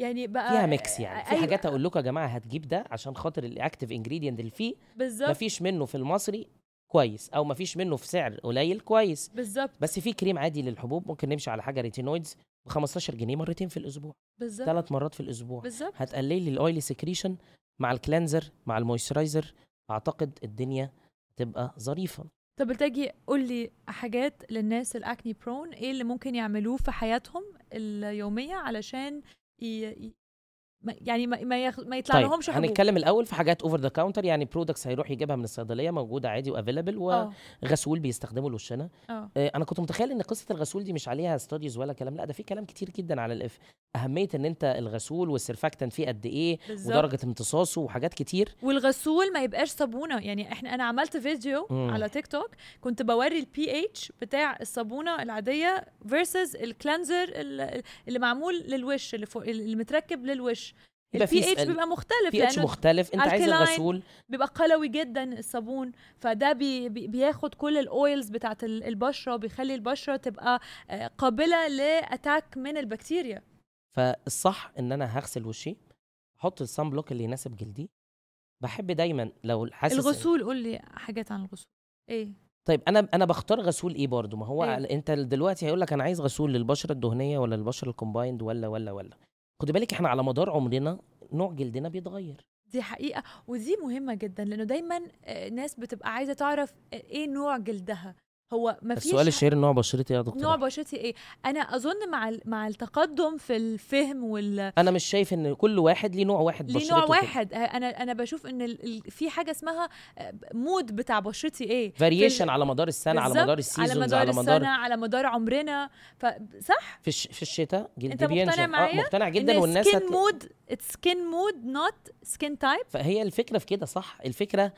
Speaker 1: يعني بقى
Speaker 2: فيها ميكس يعني في
Speaker 1: أيوة،
Speaker 2: حاجات اقول لكم يا جماعه هتجيب ده عشان خاطر الاكتيف انجريدينت اللي فيه
Speaker 1: بالظبط
Speaker 2: مفيش منه في المصري كويس او مفيش منه في سعر قليل كويس
Speaker 1: بالظبط
Speaker 2: بس في كريم عادي للحبوب ممكن نمشي على حاجه ريتينويدز ب 15 جنيه مرتين في الاسبوع
Speaker 1: بالظبط
Speaker 2: ثلاث مرات في الاسبوع
Speaker 1: بالظبط
Speaker 2: هتقلل لي الاويلي سكريشن مع الكلانزر مع المويسترايزر اعتقد الدنيا تبقى ظريفه
Speaker 1: طب بلتجي قول لي حاجات للناس الاكني برون ايه اللي ممكن يعملوه في حياتهم اليوميه علشان ي... ي- ما- يعني ما ما, يخ... ما يطلع لهمش حبوب
Speaker 2: طيب، هنتكلم الاول في حاجات اوفر ذا كاونتر يعني برودكتس هيروح يجيبها من الصيدليه موجوده عادي وافيلبل
Speaker 1: اه
Speaker 2: وغسول بيستخدموا الوشنا
Speaker 1: اه
Speaker 2: آه، انا كنت متخيل ان قصه الغسول دي مش عليها ستاديز ولا كلام لا ده في كلام كتير جدا على الاف اهميه ان انت الغسول والسرفاكتن فيه قد ايه
Speaker 1: بالظبط
Speaker 2: ودرجه امتصاصه وحاجات كتير
Speaker 1: والغسول ما يبقاش صابونه يعني احنا انا عملت فيديو
Speaker 2: مم.
Speaker 1: على تيك توك كنت بوري البي اتش بتاع الصابونه العاديه فيرسز الكلانزر اللي معمول للوش اللي, فوق اللي متركب للوش
Speaker 2: يبقى في
Speaker 1: البي اتش بيبقى مختلف
Speaker 2: بي اتش
Speaker 1: لانه
Speaker 2: مختلف انت عايز
Speaker 1: alkaline.
Speaker 2: الغسول
Speaker 1: بيبقى قلوي جدا الصابون فده بي بي- بياخد كل الاويلز بتاعت ال- البشره وبيخلي البشره تبقى آه، قابله لاتاك من البكتيريا
Speaker 2: فالصح ان انا هغسل وشي احط الصن بلوك اللي يناسب جلدي بحب دايما لو حاسس
Speaker 1: الغسول قول لي حاجات عن الغسول ايه
Speaker 2: طيب انا انا بختار غسول ايه برضو ما هو
Speaker 1: إيه؟
Speaker 2: على- انت دلوقتي هيقول لك انا عايز غسول للبشره الدهنيه ولا البشره الكومبايند ولا ولا ولا خد بالك احنا على مدار عمرنا نوع جلدنا بيتغير
Speaker 1: دي حقيقة ودي مهمة جدا لأنه دايما آه، ناس بتبقى عايزة تعرف آه، إيه نوع جلدها هو ما فيش
Speaker 2: السؤال الشهير نوع بشرتي يا دكتور
Speaker 1: نوع بشرتي إيه أنا أظن مع ال- مع التقدم في الفهم وال
Speaker 2: انا مش شايف ان كل واحد ليه نوع واحد
Speaker 1: ليه
Speaker 2: بشرته
Speaker 1: نوع واحد آه، أنا أنا بشوف إن ال- ال- في حاجة اسمها آه، مود بتاع بشرتي إيه في
Speaker 2: فاريشن
Speaker 1: ال-
Speaker 2: على مدار السنه على
Speaker 1: بالظبط،
Speaker 2: مدار السيزونز
Speaker 1: على مدار
Speaker 2: على
Speaker 1: السنة
Speaker 2: مدار
Speaker 1: على مدار عمرنا فصح
Speaker 2: في الش... في الشتاء
Speaker 1: أنت
Speaker 2: جلدي
Speaker 1: مقتنع
Speaker 2: بينشف آه،
Speaker 1: معايا؟
Speaker 2: مقتنع
Speaker 1: جدا
Speaker 2: جدا
Speaker 1: إن
Speaker 2: والناس
Speaker 1: سكين مود سكين مود نوت سكين تايب
Speaker 2: فهي الفكره في كده صح الفكره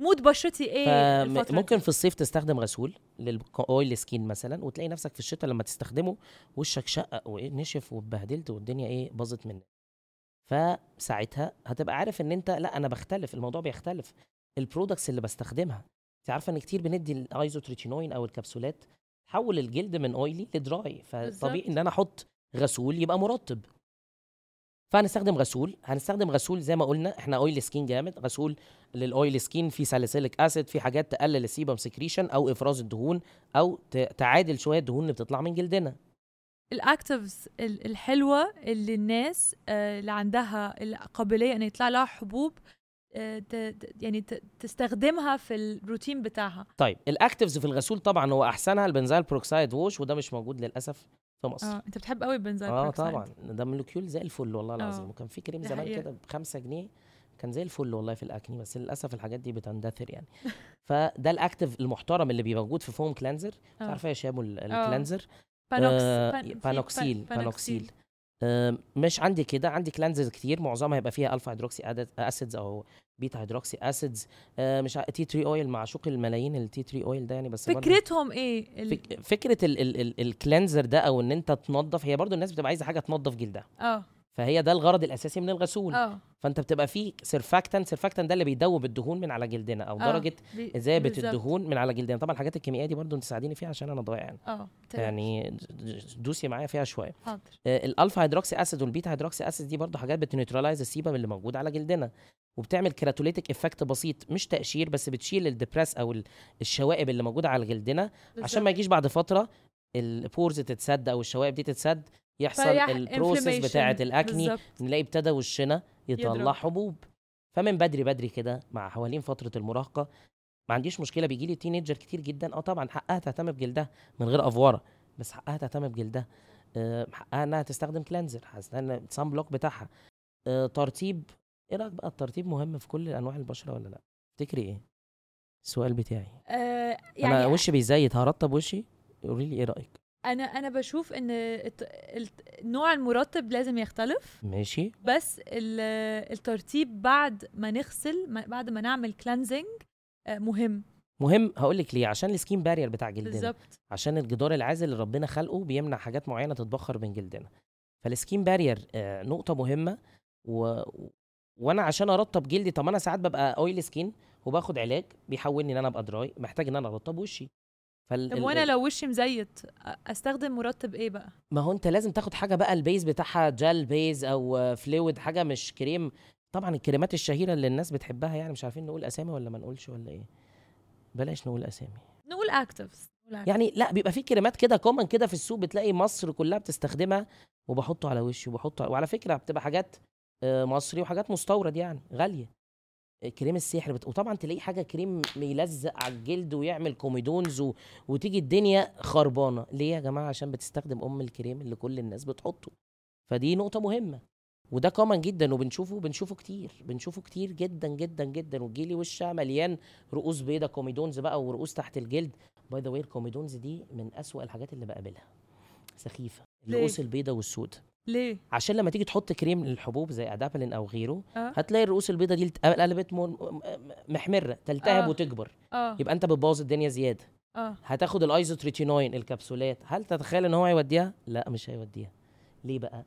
Speaker 1: مود بشرتي ايه
Speaker 2: فم-
Speaker 1: الفترة
Speaker 2: ممكن في الصيف تستخدم غسول للاويل سكين مثلا وتلاقي نفسك في الشتاء لما تستخدمه وشك شقق ونشف واتبهدلت والدنيا ايه باظت منك فساعتها هتبقى عارف ان انت لا انا بختلف الموضوع بيختلف البرودكتس اللي بستخدمها انت عارفه ان كتير بندي الايزوتريتينوين او الكبسولات تحول الجلد من اويلي لدراي فطبيعي ان انا احط غسول يبقى مرطب فهنستخدم غسول هنستخدم غسول زي ما قلنا احنا اويل سكين جامد غسول للاويل سكين فيه ساليسيليك اسيد في حاجات تقلل السيبم سكريشن او افراز الدهون او ت- تعادل شويه الدهون اللي بتطلع من جلدنا
Speaker 1: الاكتيفز ال- الحلوه اللي الناس آه، اللي عندها القابليه ان يطلع لها حبوب آه، ت- ت- يعني ت- تستخدمها في الروتين بتاعها
Speaker 2: طيب الاكتيفز في الغسول طبعا هو احسنها البنزال بروكسايد ووش وده مش موجود للاسف في مصر
Speaker 1: اه انت بتحب قوي البنزين
Speaker 2: اه طبعا ده مولكيول زي الفل والله
Speaker 1: آه.
Speaker 2: العظيم وكان في كريم
Speaker 1: دي
Speaker 2: زمان
Speaker 1: حقيقة.
Speaker 2: كده ب 5 جنيه كان زي الفل والله في الاكني بس للاسف الحاجات دي بتندثر يعني فده الاكتيف المحترم اللي بيبقى موجود في فوم كلانزر مش
Speaker 1: آه.
Speaker 2: عارفه يا شابو ال-
Speaker 1: آه.
Speaker 2: الكلانزر
Speaker 1: بانوكس
Speaker 2: آه،
Speaker 1: بان- في-
Speaker 2: بانوكسيل
Speaker 1: بان-
Speaker 2: بانوكسيل آم، آه، مش عندي كده عندي كلانزز كتير معظمها هيبقى فيها الفا هيدروكسي اسيدز او بيتا هيدروكسي اسيدز آه، مش تي تري اويل معشوق الملايين التي تري اويل ده يعني بس برضه-
Speaker 1: فكرتهم ايه ال-
Speaker 2: فك- فكره ال- ال- ال- الكلانزر ده او ان انت تنظف هي برضو الناس بتبقى عايزه حاجه تنظف جلدها
Speaker 1: اه
Speaker 2: فهي ده الغرض الاساسي من الغسول
Speaker 1: اه
Speaker 2: فانت بتبقى فيه سيرفاكتان سيرفاكتان ده اللي بيدوب الدهون من على جلدنا او
Speaker 1: آه،
Speaker 2: درجه
Speaker 1: بي-
Speaker 2: اذابه
Speaker 1: بالظبط.
Speaker 2: الدهون من على جلدنا طبعا الحاجات الكيميائيه دي برضو انت تساعديني فيها عشان انا ضايع يعني
Speaker 1: اه تمام.
Speaker 2: يعني د- دوسي معايا فيها شويه
Speaker 1: حاضر
Speaker 2: آه، الالفا هيدروكسي اسيد والبيتا هيدروكسي اسيد دي برضو حاجات بتنيوتراليز السيبم اللي موجود على جلدنا وبتعمل كراتوليتك افكت بسيط مش تقشير بس بتشيل الدبريس او ال- الشوائب اللي موجوده على جلدنا عشان ما
Speaker 1: بالظبط.
Speaker 2: يجيش بعد فتره البورز تتسد او الشوائب دي تتسد يحصل
Speaker 1: فيح-
Speaker 2: البروسيس
Speaker 1: inflammation.
Speaker 2: بتاعه الاكني
Speaker 1: بالظبط.
Speaker 2: نلاقي ابتدى وشنا يطلع
Speaker 1: يضرب.
Speaker 2: حبوب فمن بدري بدري كده مع حوالين فتره المراهقه ما عنديش مشكله بيجي آه لي تينيجر كتير جدا اه طبعا حقها تهتم بجلدها من غير افوره بس حقها تهتم بجلدها آه، حقها انها تستخدم كلانزر هستنى الصن بلوك بتاعها آه، ترطيب ايه رايك بقى الترطيب مهم في كل انواع البشره ولا لا تفتكري ايه السؤال بتاعي
Speaker 1: آه
Speaker 2: يعني انا
Speaker 1: يعني
Speaker 2: وشي بيزيت هرطب وشي قولي لي ايه رايك
Speaker 1: انا انا بشوف ان الت- الت- نوع المرطب لازم يختلف
Speaker 2: ماشي
Speaker 1: بس ال- الترطيب بعد ما نغسل ما- بعد ما نعمل كلانزنج مهم
Speaker 2: مهم هقول لك ليه عشان السكين بارير بتاع جلدنا
Speaker 1: بالظبط
Speaker 2: عشان الجدار العازل اللي ربنا خلقه بيمنع حاجات معينه تتبخر من جلدنا فالسكين بارير آه، نقطه مهمه و... وانا عشان ارطب جلدي طب انا ساعات ببقى اويل سكين وباخد علاج بيحولني ان انا ابقى دراي محتاج ان انا ارطب وشي فال...
Speaker 1: طب
Speaker 2: ال-
Speaker 1: وانا
Speaker 2: ال-
Speaker 1: لو وشي مزيت أ- استخدم مرطب ايه بقى
Speaker 2: ما هو انت لازم تاخد حاجه بقى البيز بتاعها جل بيز او فلويد حاجه مش كريم طبعا الكريمات الشهيره اللي الناس بتحبها يعني مش عارفين نقول اسامي ولا ما نقولش ولا ايه بلاش نقول اسامي
Speaker 1: نقول اكتفز
Speaker 2: يعني لا بيبقى في كريمات كده كومن كده في السوق بتلاقي مصر كلها بتستخدمها وبحطه على وشي وبحطه على... وعلى فكره بتبقى حاجات آه، مصري وحاجات مستورد يعني غاليه آه، كريم السحر بت... وطبعا تلاقي حاجه كريم يلزق على الجلد ويعمل كوميدونز و... وتيجي الدنيا خربانه ليه يا جماعه عشان بتستخدم ام الكريم اللي كل الناس بتحطه فدي نقطه مهمه وده كومن جدا وبنشوفه بنشوفه كتير بنشوفه كتير جدا جدا جدا وجيلي وشها مليان رؤوس بيضه كوميدونز بقى ورؤوس تحت الجلد باي ذا واي الكوميدونز دي من أسوأ الحاجات اللي بقابلها سخيفه
Speaker 1: ليه؟
Speaker 2: الرؤوس البيضه والسوداء
Speaker 1: ليه
Speaker 2: عشان لما تيجي تحط كريم للحبوب زي ادابلين او غيره
Speaker 1: اه
Speaker 2: هتلاقي الرؤوس البيضه دي الت- قلبت مر- م- م- محمره تلتهب
Speaker 1: آه.
Speaker 2: وتكبر
Speaker 1: اه
Speaker 2: يبقى انت بتبوظ الدنيا زياده
Speaker 1: اه
Speaker 2: هتاخد الايزوتريتينوين الكبسولات هل تتخيل ان هو هيوديها لا مش هيوديها ليه بقى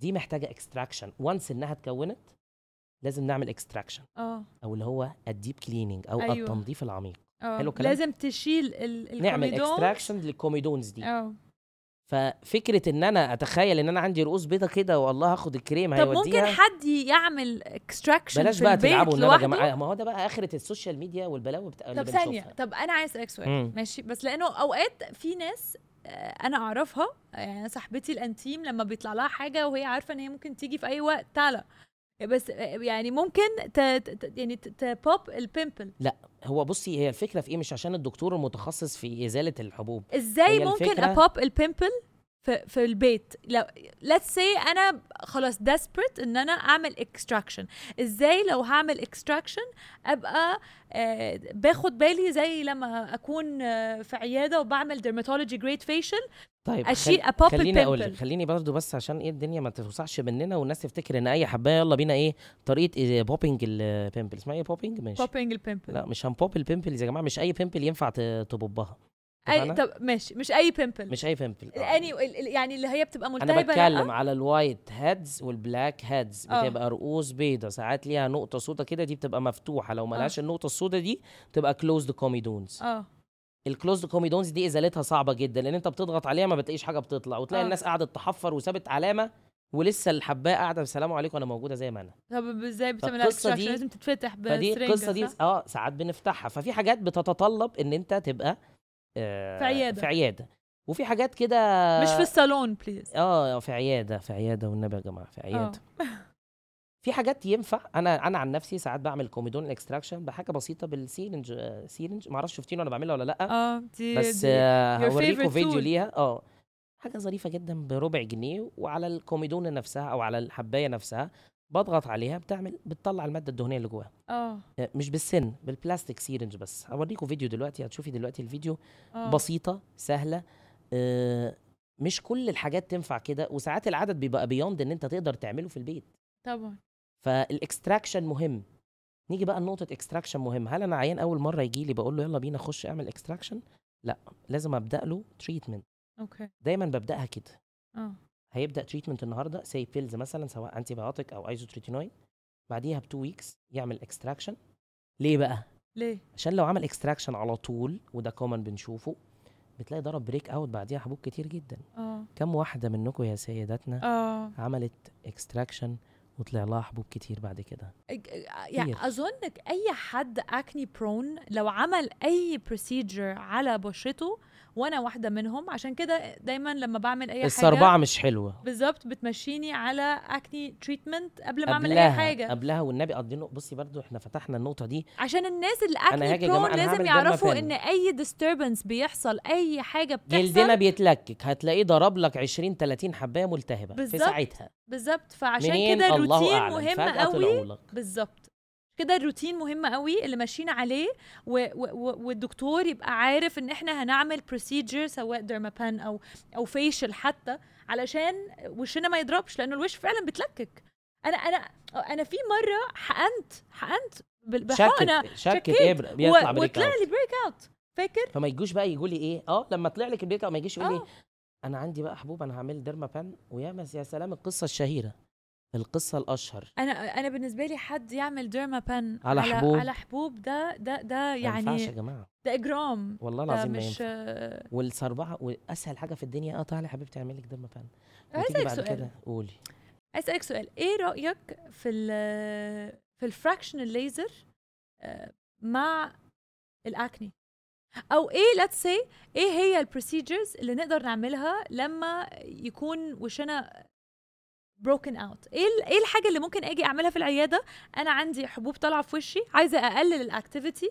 Speaker 2: دي محتاجه اكستراكشن وانس انها اتكونت لازم نعمل اكستراكشن
Speaker 1: اه
Speaker 2: او اللي هو الديب كليننج او
Speaker 1: أيوة.
Speaker 2: أيوة. التنظيف العميق
Speaker 1: اه
Speaker 2: حلو الكلام؟
Speaker 1: لازم تشيل ال ال-
Speaker 2: نعمل
Speaker 1: الكوميدون.
Speaker 2: اكستراكشن للكوميدونز دي
Speaker 1: اه
Speaker 2: ففكره ان انا اتخيل ان انا عندي رؤوس بيضه كده والله هاخد الكريم
Speaker 1: طب ممكن
Speaker 2: هيوديها
Speaker 1: حد يعمل اكستراكشن
Speaker 2: بلاش
Speaker 1: في
Speaker 2: بقى
Speaker 1: البيت
Speaker 2: تلعبوا ان انا يا
Speaker 1: لوحده؟
Speaker 2: جماعه ما هو ده بقى اخره السوشيال ميديا والبلاوي بتاع اللي
Speaker 1: طب ثانية
Speaker 2: بنشوفها
Speaker 1: طب أنا عايز أسألك
Speaker 2: مم.
Speaker 1: سؤال ماشي بس لأنه أوقات في ناس آه، أنا أعرفها يعني أنا صاحبتي الأنتيم لما بيطلع لها حاجة وهي عارفة إن هي ممكن تيجي في أي وقت تعالى بس آه، يعني ممكن ت... ت... ت- يعني تبوب البيمبل
Speaker 2: هو بصي هي الفكره في ايه مش عشان الدكتور المتخصص في ازاله الحبوب
Speaker 1: إزاي
Speaker 2: هي
Speaker 1: ممكن
Speaker 2: الفكرة-
Speaker 1: أبوب البيمبل في, في البيت لو ليتس سي انا خلاص ديسبريت ان انا اعمل اكستراكشن ازاي لو هعمل اكستراكشن ابقى آه باخد بالي زي لما اكون آه في عياده وبعمل درماتولوجي جريد فيشل
Speaker 2: طيب
Speaker 1: اشيل
Speaker 2: خل...
Speaker 1: ابوب
Speaker 2: خليني اقول لك
Speaker 1: البيمبل
Speaker 2: خليني برضو بس عشان ايه الدنيا ما تتوسعش مننا والناس تفتكر ان اي حبايه يلا بينا ايه طريقه إيه بوبينج البيمبل اسمها ايه بوبينج ماشي
Speaker 1: بوبينج البيمبل
Speaker 2: لا مش هنبوب البيمبلز يا جماعه مش اي بيمبل ينفع ت- تبوبها
Speaker 1: اي
Speaker 2: اتفقنا؟
Speaker 1: طب ماشي مش اي بيمبل
Speaker 2: مش اي بيمبل آه.
Speaker 1: يعني يعني اللي هي بتبقى
Speaker 2: انا
Speaker 1: ملتهبه لا؟
Speaker 2: بتكلم على الوايت هيدز والبلاك هيدز
Speaker 1: آه.
Speaker 2: بتبقى رؤوس بيضة ساعات ليها نقطه سودا كده دي بتبقى مفتوحه لو ملهاش النقطه السودا دي تبقى كلوزد كوميدونز
Speaker 1: اه
Speaker 2: الكلوزد كوميدونز دي ازالتها صعبه جدا لان انت بتضغط عليها ما بتلاقيش حاجه بتطلع وتلاقي
Speaker 1: آه.
Speaker 2: الناس قعدت تحفر وسابت علامه ولسه الحبايه قاعده بسلام عليكم انا موجوده زي ما انا
Speaker 1: طب ازاي بتعمل
Speaker 2: فالقصة
Speaker 1: اكستراكشن
Speaker 2: دي-
Speaker 1: لازم تتفتح
Speaker 2: فدي
Speaker 1: بسرنجة
Speaker 2: القصه دي
Speaker 1: صح؟
Speaker 2: اه ساعات بنفتحها ففي حاجات بتتطلب ان انت تبقى آه
Speaker 1: في عيادة.
Speaker 2: في عياده وفي حاجات كده
Speaker 1: مش في الصالون آه. بليز
Speaker 2: اه في عياده في عياده والنبي يا جماعه في عياده في حاجات ينفع انا انا عن نفسي ساعات بعمل كوميدون اكستراكشن بحاجه بسيطه بالسيرنج آه، سيرنج ما اعرفش شفتينه انا بعملها ولا لا
Speaker 1: اه دي
Speaker 2: بس
Speaker 1: دي-
Speaker 2: آه،
Speaker 1: your
Speaker 2: هوريكم
Speaker 1: favorite
Speaker 2: فيديو
Speaker 1: tool.
Speaker 2: ليها اه حاجه ظريفه جدا بربع جنيه وعلى الكوميدون نفسها او على الحبايه نفسها بضغط عليها بتعمل بتطلع الماده الدهنيه اللي جواها
Speaker 1: اه
Speaker 2: آه، مش بالسن بالبلاستيك سيرنج بس هوريكم فيديو دلوقتي هتشوفي دلوقتي الفيديو
Speaker 1: اه
Speaker 2: بسيطه سهله آه، مش كل الحاجات تنفع كده وساعات العدد بيبقى بيوند ان انت تقدر تعمله في البيت
Speaker 1: طبعا
Speaker 2: فالاكستراكشن مهم نيجي بقى لنقطه اكستراكشن مهم هل انا عيان اول مره يجي لي بقول له يلا بينا خش اعمل اكستراكشن لا لازم ابدا له تريتمنت
Speaker 1: اوكي
Speaker 2: دايما ببداها كده
Speaker 1: اه
Speaker 2: هيبدا تريتمنت النهارده سي بيلز مثلا سواء انتي بايوتيك او ايزوتريتينوين بعديها بتو ويكس يعمل اكستراكشن ليه بقى
Speaker 1: ليه
Speaker 2: عشان لو عمل اكستراكشن على طول وده كومن بنشوفه بتلاقي ضرب بريك اوت بعديها حبوب كتير جدا
Speaker 1: اه
Speaker 2: كم واحده منكم يا سيداتنا
Speaker 1: اه
Speaker 2: عملت اكستراكشن وطلع لها حبوب كتير بعد كده
Speaker 1: يعني
Speaker 2: كتير.
Speaker 1: اظن اي حد اكني برون لو عمل اي بروسيجر على بشرته وانا واحده منهم عشان كده دايما لما بعمل اي حاجه
Speaker 2: السربعه مش حلوه
Speaker 1: بالظبط بتمشيني على اكني تريتمنت قبل ما اعمل اي
Speaker 2: قبلها
Speaker 1: حاجه
Speaker 2: قبلها والنبي قضينا بصي برضو احنا فتحنا النقطه دي
Speaker 1: عشان الناس اللي
Speaker 2: أنا
Speaker 1: اكني
Speaker 2: هاجي يا جماعة،
Speaker 1: برون
Speaker 2: أنا
Speaker 1: لازم
Speaker 2: هعمل
Speaker 1: يعرفوا
Speaker 2: ديرما
Speaker 1: ان اي disturbance بيحصل اي حاجه
Speaker 2: جلدنا
Speaker 1: بتحصل
Speaker 2: بيتلكك هتلاقيه ضرب لك 20 30 حبايه ملتهبه في
Speaker 1: بالظبط.
Speaker 2: ساعتها
Speaker 1: بالظبط فعشان
Speaker 2: منين
Speaker 1: كده
Speaker 2: الله
Speaker 1: الروتين
Speaker 2: اعلم
Speaker 1: مهم
Speaker 2: فجاه
Speaker 1: قوي
Speaker 2: طلعوا لك
Speaker 1: بالظبط كده الروتين مهم قوي اللي ماشيين عليه و- و- و- والدكتور يبقى عارف ان احنا هنعمل بروسيجر سواء ديرمابان او او فيشل حتى علشان وشنا ما يضربش لانه الوش فعلا بيتلكك انا انا انا في مره حقنت حقنت بال- بحقنه
Speaker 2: شكت شكت
Speaker 1: شكيت
Speaker 2: ابره بيطلع
Speaker 1: و-
Speaker 2: بريك
Speaker 1: وطلع
Speaker 2: أوت.
Speaker 1: لي بريك اوت فاكر
Speaker 2: فما يجوش بقى يقول لي ايه اه لما طلع لك البريك أوت ما يجيش يقول لي
Speaker 1: اه
Speaker 2: انا عندي بقى حبوب انا هعمل ديرما بان ويا مس يا سلام القصه الشهيره القصه الاشهر
Speaker 1: انا انا بالنسبه لي حد يعمل ديرمابان
Speaker 2: على حبوب.
Speaker 1: على حبوب ده ده ده
Speaker 2: يعني ما ينفعش يا
Speaker 1: يعني
Speaker 2: جماعه
Speaker 1: ده اجرام
Speaker 2: والله
Speaker 1: ده
Speaker 2: العظيم ما
Speaker 1: مش آه.
Speaker 2: ينفع والسربعه واسهل حاجه في الدنيا اه تعالي يا حبيبتي اعمل لك ديرما بان وتيجي
Speaker 1: عايزك
Speaker 2: بعد
Speaker 1: سؤال
Speaker 2: كده قولي
Speaker 1: اسالك سؤال ايه رايك في ال في الفراكشنال ليزر آه، مع الاكني او ايه ليتس سي ايه هي البروسيجرز اللي نقدر نعملها لما يكون وشنا broken out ايه ال- ايه الحاجه اللي ممكن اجي اعملها في العياده انا عندي حبوب طالعه في وشي عايزه اقلل الاكتيفيتي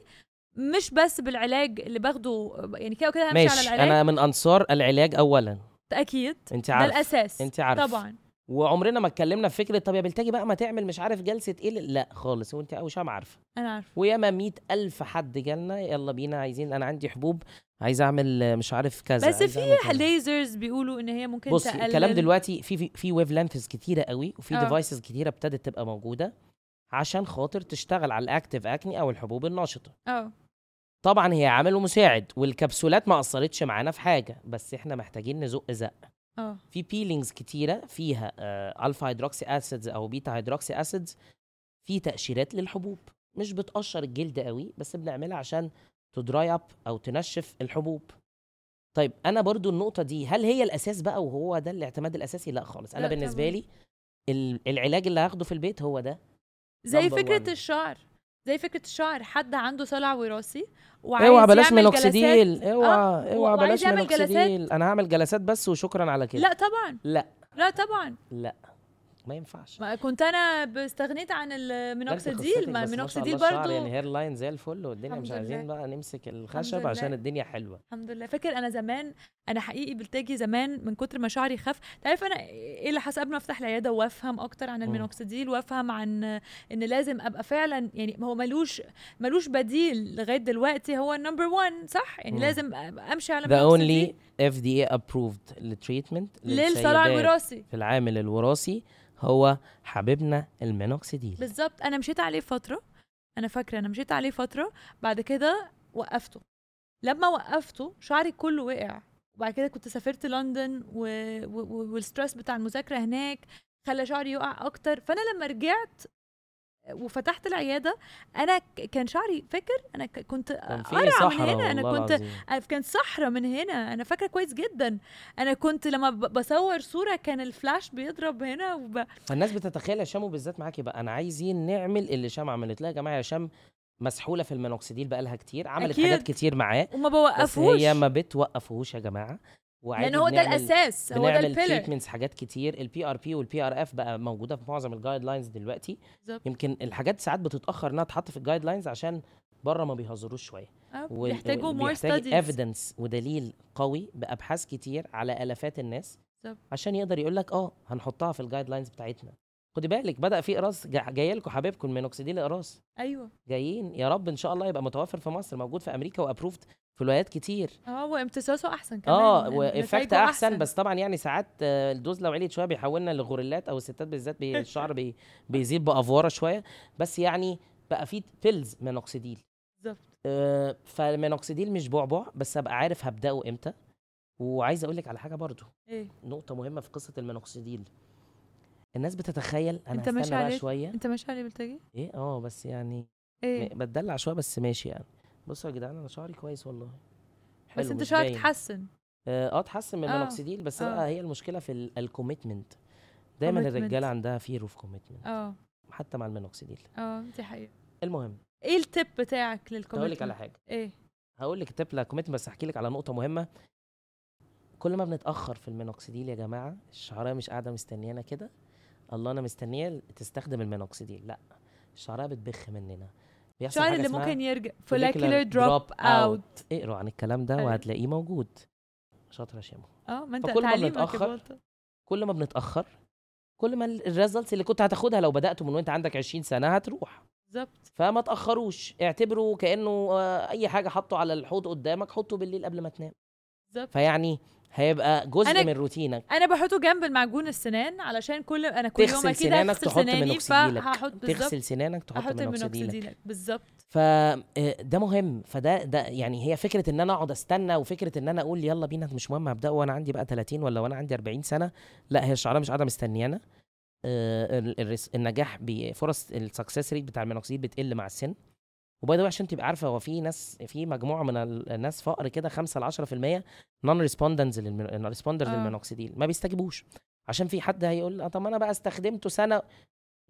Speaker 1: مش بس بالعلاج اللي باخده يعني كده وكده همشي على
Speaker 2: ماشي
Speaker 1: العلاج أنا...
Speaker 2: انا من انصار العلاج اولا
Speaker 1: اكيد
Speaker 2: انت
Speaker 1: ده
Speaker 2: عارف
Speaker 1: الاساس
Speaker 2: انت عارف
Speaker 1: طبعا
Speaker 2: وعمرنا ما اتكلمنا في فكره طب يا بلتجي بقى ما تعمل مش عارف جلسه ايه لا خالص وانت اوشا ما عارفه
Speaker 1: انا عارفه
Speaker 2: وياما مئة ألف حد جالنا يلا بينا عايزين أنا عندي حبوب عايز أعمل آه، مش عارف كذا
Speaker 1: بس
Speaker 2: عايز
Speaker 1: في
Speaker 2: أعمل كذا.
Speaker 1: ليزرز بيقولوا ان هي ممكن
Speaker 2: بصي
Speaker 1: تقلل
Speaker 2: الكلام دلوقتي في في, في ويف لينثز كتيرة قوي وفي
Speaker 1: آه.
Speaker 2: ديفايسز كتيرة ابتدت تبقى موجودة عشان خاطر تشتغل على الأكتيف أكني أو الحبوب النشطة
Speaker 1: اه
Speaker 2: طبعا هي عامل ومساعد والكبسولات ما أثرتش معانا في حاجة بس إحنا محتاجين نزق زق
Speaker 1: اه
Speaker 2: في بيلينجز كتيرة فيها آه، الفا هيدروكسي اسيدز او بيتا هيدروكسي اسيدز في تقشيرات للحبوب مش بتقشر الجلد قوي بس بنعملها عشان تدراي اب او تنشف الحبوب طيب انا برضو النقطة دي هل هي الاساس بقى وهو ده الاعتماد الاساسي لا خالص انا
Speaker 1: لا
Speaker 2: بالنسبة
Speaker 1: طبعاً.
Speaker 2: لي ال- العلاج اللي هاخده في البيت هو ده
Speaker 1: زي
Speaker 2: Number
Speaker 1: فكره
Speaker 2: one.
Speaker 1: الشعر زي فكره الشعر حد عنده صلع وراثي وعايز
Speaker 2: اوعى أيوة، بلاش
Speaker 1: يعمل جلسات
Speaker 2: مينوكسيديل اوعى
Speaker 1: آه،
Speaker 2: اوعى
Speaker 1: وعايز
Speaker 2: بلاش
Speaker 1: يعمل جلسات.
Speaker 2: مينوكسيديل انا هعمل جلسات بس وشكرا على كده
Speaker 1: لا طبعا
Speaker 2: لا
Speaker 1: لا طبعا
Speaker 2: ما ينفعش
Speaker 1: ما كنت انا ب- استغنيت عن المينوكسيديل ما المينوكسيديل برضو
Speaker 2: يعني هير لاين زي الفل والدنيا
Speaker 1: الحمد
Speaker 2: مش عايزين
Speaker 1: لله.
Speaker 2: بقى نمسك الخشب
Speaker 1: لله.
Speaker 2: عشان الدنيا حلوه
Speaker 1: الحمد لله فاكر انا زمان انا حقيقي بلتجي زمان من كتر ما شعري خف تعرف انا ايه اللي حصل قبل ما افتح العياده وافهم اكتر عن
Speaker 2: مم.
Speaker 1: المينوكسيديل وافهم عن ان لازم ابقى فعلا يعني هو ملوش ملوش بديل لغايه دلوقتي هو النمبر 1 صح يعني
Speaker 2: مم.
Speaker 1: لازم أبقى امشي على
Speaker 2: ذا
Speaker 1: مينوكسيديل
Speaker 2: اونلي اف دي اي ابروفد للتريتمنت
Speaker 1: للصلع الوراثي
Speaker 2: في العامل الوراثي هو حبيبنا المينوكسيديل
Speaker 1: بالظبط انا مشيت عليه فتره انا فاكره انا مشيت عليه فتره بعد كده وقفته لما وقفته شعري كله وقع وبعد كده كنت سافرت لندن و... و... و- والستريس بتاع المذاكره هناك خلى شعري يقع اكتر فانا لما رجعت وفتحت العياده انا ك- كان شعري فاكر انا ك- كنت
Speaker 2: كان في
Speaker 1: قرع من
Speaker 2: صحراء
Speaker 1: هنا انا
Speaker 2: والله
Speaker 1: كنت
Speaker 2: العظيم.
Speaker 1: أنا- كانت صحرا من هنا انا فاكره كويس جدا انا كنت لما ب- بصور صوره كان الفلاش بيضرب هنا وب...
Speaker 2: فالناس بتتخيل يا شام وبالذات معاكي بقى انا عايزين نعمل اللي شام عملت لا يا جماعه يا شام مسحوله في المينوكسيديل بقالها كتير عملت
Speaker 1: أكيد.
Speaker 2: حاجات كتير معاه
Speaker 1: وما
Speaker 2: بس
Speaker 1: بوقفوش
Speaker 2: هي ما بتوقفوهوش يا جماعه وعادي
Speaker 1: لان يعني هو ده
Speaker 2: بنعمل-
Speaker 1: الاساس هو ده
Speaker 2: بنعمل
Speaker 1: البيلر
Speaker 2: تريتمنتس حاجات كتير البي ار بي والبي ار اف بقى موجوده في معظم الجايد لاينز دلوقتي
Speaker 1: بالظبط
Speaker 2: يمكن الحاجات ساعات بتتاخر انها تتحط في الجايد لاينز عشان بره ما بيهزروش شويه
Speaker 1: آه،
Speaker 2: وال-
Speaker 1: بيحتاجوا
Speaker 2: وال-
Speaker 1: مور
Speaker 2: بيحتاج
Speaker 1: ستاديز
Speaker 2: evidence ودليل قوي بابحاث كتير على الافات الناس
Speaker 1: بالظبط.
Speaker 2: عشان يقدر يقول لك اه هنحطها في الجايد لاينز بتاعتنا خدي بالك بدا في اقراص جا- جايه لكم حبايبكم المينوكسيديل اقراص
Speaker 1: ايوه
Speaker 2: جايين يا رب ان شء الله يبقى متوفر في مصر موجود في امريكا وابروفد في ولايات كتير
Speaker 1: اه وامتصاصه احسن كمان يعني
Speaker 2: اه
Speaker 1: إن-
Speaker 2: وافكت
Speaker 1: نتايجه
Speaker 2: احسن, احسن بس طبعا يعني ساعات آه، الدوز لو عليت شويه بيحولنا لغوريلات او الستات بالذات بي الشعر بي بيزيد بافوره شويه بس يعني بقى في بيلز مينوكسيديل
Speaker 1: بالظبط
Speaker 2: آه، فالمينوكسيديل مش بعبع بس ابقى عارف هبداه امتى وعايز اقول لك على حاجه برضو
Speaker 1: ايه
Speaker 2: نقطه مهمه في قصه المينوكسيديل الناس بتتخيل انا
Speaker 1: أنت ماشي
Speaker 2: هستنى بقى
Speaker 1: عليه؟
Speaker 2: شويه
Speaker 1: انت ماشي عليه بلتجي
Speaker 2: ايه اه بس يعني
Speaker 1: ايه
Speaker 2: م- بتدلع شويه بس ماشي يعني بصوا يا جدعان انا شعري كويس والله
Speaker 1: بس
Speaker 2: حلو،
Speaker 1: انت
Speaker 2: مش
Speaker 1: شعرك
Speaker 2: باين.
Speaker 1: اتحسن
Speaker 2: اه آه، اتحسن من
Speaker 1: آه،
Speaker 2: المينوكسيديل بس
Speaker 1: آه.
Speaker 2: بقى هي المشكله في الكوميتمنت دايما
Speaker 1: Commitment.
Speaker 2: الرجاله عندها فير اوف كوميتمنت
Speaker 1: اه
Speaker 2: حتى مع المينوكسيديل
Speaker 1: اه دي حقيقه
Speaker 2: المهم
Speaker 1: ايه التip بتاعك للكومنت
Speaker 2: هقول لك على حاجه
Speaker 1: ايه
Speaker 2: هقول لك التبل كوميتمنت بس هحكي لك على نقطه مهمه كل ما بنتاخر في المينوكسيديل يا جماعه الشعريه مش قاعده مستنيانا كده الله انا مستنيه تستخدم المينوكسيديل لا الشعريه بتبخ مننا بيحصل
Speaker 1: الشعر
Speaker 2: حاجة
Speaker 1: اللي
Speaker 2: اسمها
Speaker 1: ممكن يرجع follicular
Speaker 2: follicular
Speaker 1: drop
Speaker 2: drop
Speaker 1: out
Speaker 2: اقروا عن الكلام ده
Speaker 1: أيوة.
Speaker 2: وهتلاقيه موجود شاطره يا شيماء
Speaker 1: اه ما انت
Speaker 2: فكل ما
Speaker 1: تعليمك
Speaker 2: بنتأخر،
Speaker 1: يا بطل.
Speaker 2: كل ما بنتاخر كل ما الريزلتس اللي كنت هتاخدها لو بدات من وانت عندك 20 سنه هتروح
Speaker 1: بالظبط
Speaker 2: فما تاخروش اعتبره كانه آه، اي حاجه حطه على الحوض قدامك حطه بالليل قبل ما تنام
Speaker 1: بالظبط
Speaker 2: فيعني هيبقى جزء
Speaker 1: أنا-
Speaker 2: من روتينك
Speaker 1: انا بحطه جنب المعجون السنان علشان كل انا كل يوم
Speaker 2: تغسل
Speaker 1: اكيد
Speaker 2: سنانك،
Speaker 1: هغسل
Speaker 2: تحط
Speaker 1: سناني
Speaker 2: مينوكسيديلك.
Speaker 1: فهحط بالظبط
Speaker 2: تغسل سنانك تحط
Speaker 1: احط
Speaker 2: مينوكسيديل
Speaker 1: المينوكسيديل بالظبط
Speaker 2: فده آه، مهم فده ده يعني هي فكره ان انا اقعد استنى وفكره ان انا اقول يلا بينا مش مهم هبدا وانا عندي بقى 30 ولا وانا عندي 40 سنه لا هي الشعراء مش قاعده مستنيانا آه، ال- الرس- النجاح بي- فرص السكسس ريت بتاع المينوكسيد بتقل مع السن وباي ذا عشان تبقى عارفه هو في ناس في مجموعه من ال- الناس فقر كده 5 ل 10% نون ريسبوندنز ريسبوندرز
Speaker 1: آه.
Speaker 2: للمينوكسيديل ما بيستجيبوش عشان في حد هيقول آه، طب ما انا بقى استخدمته سنه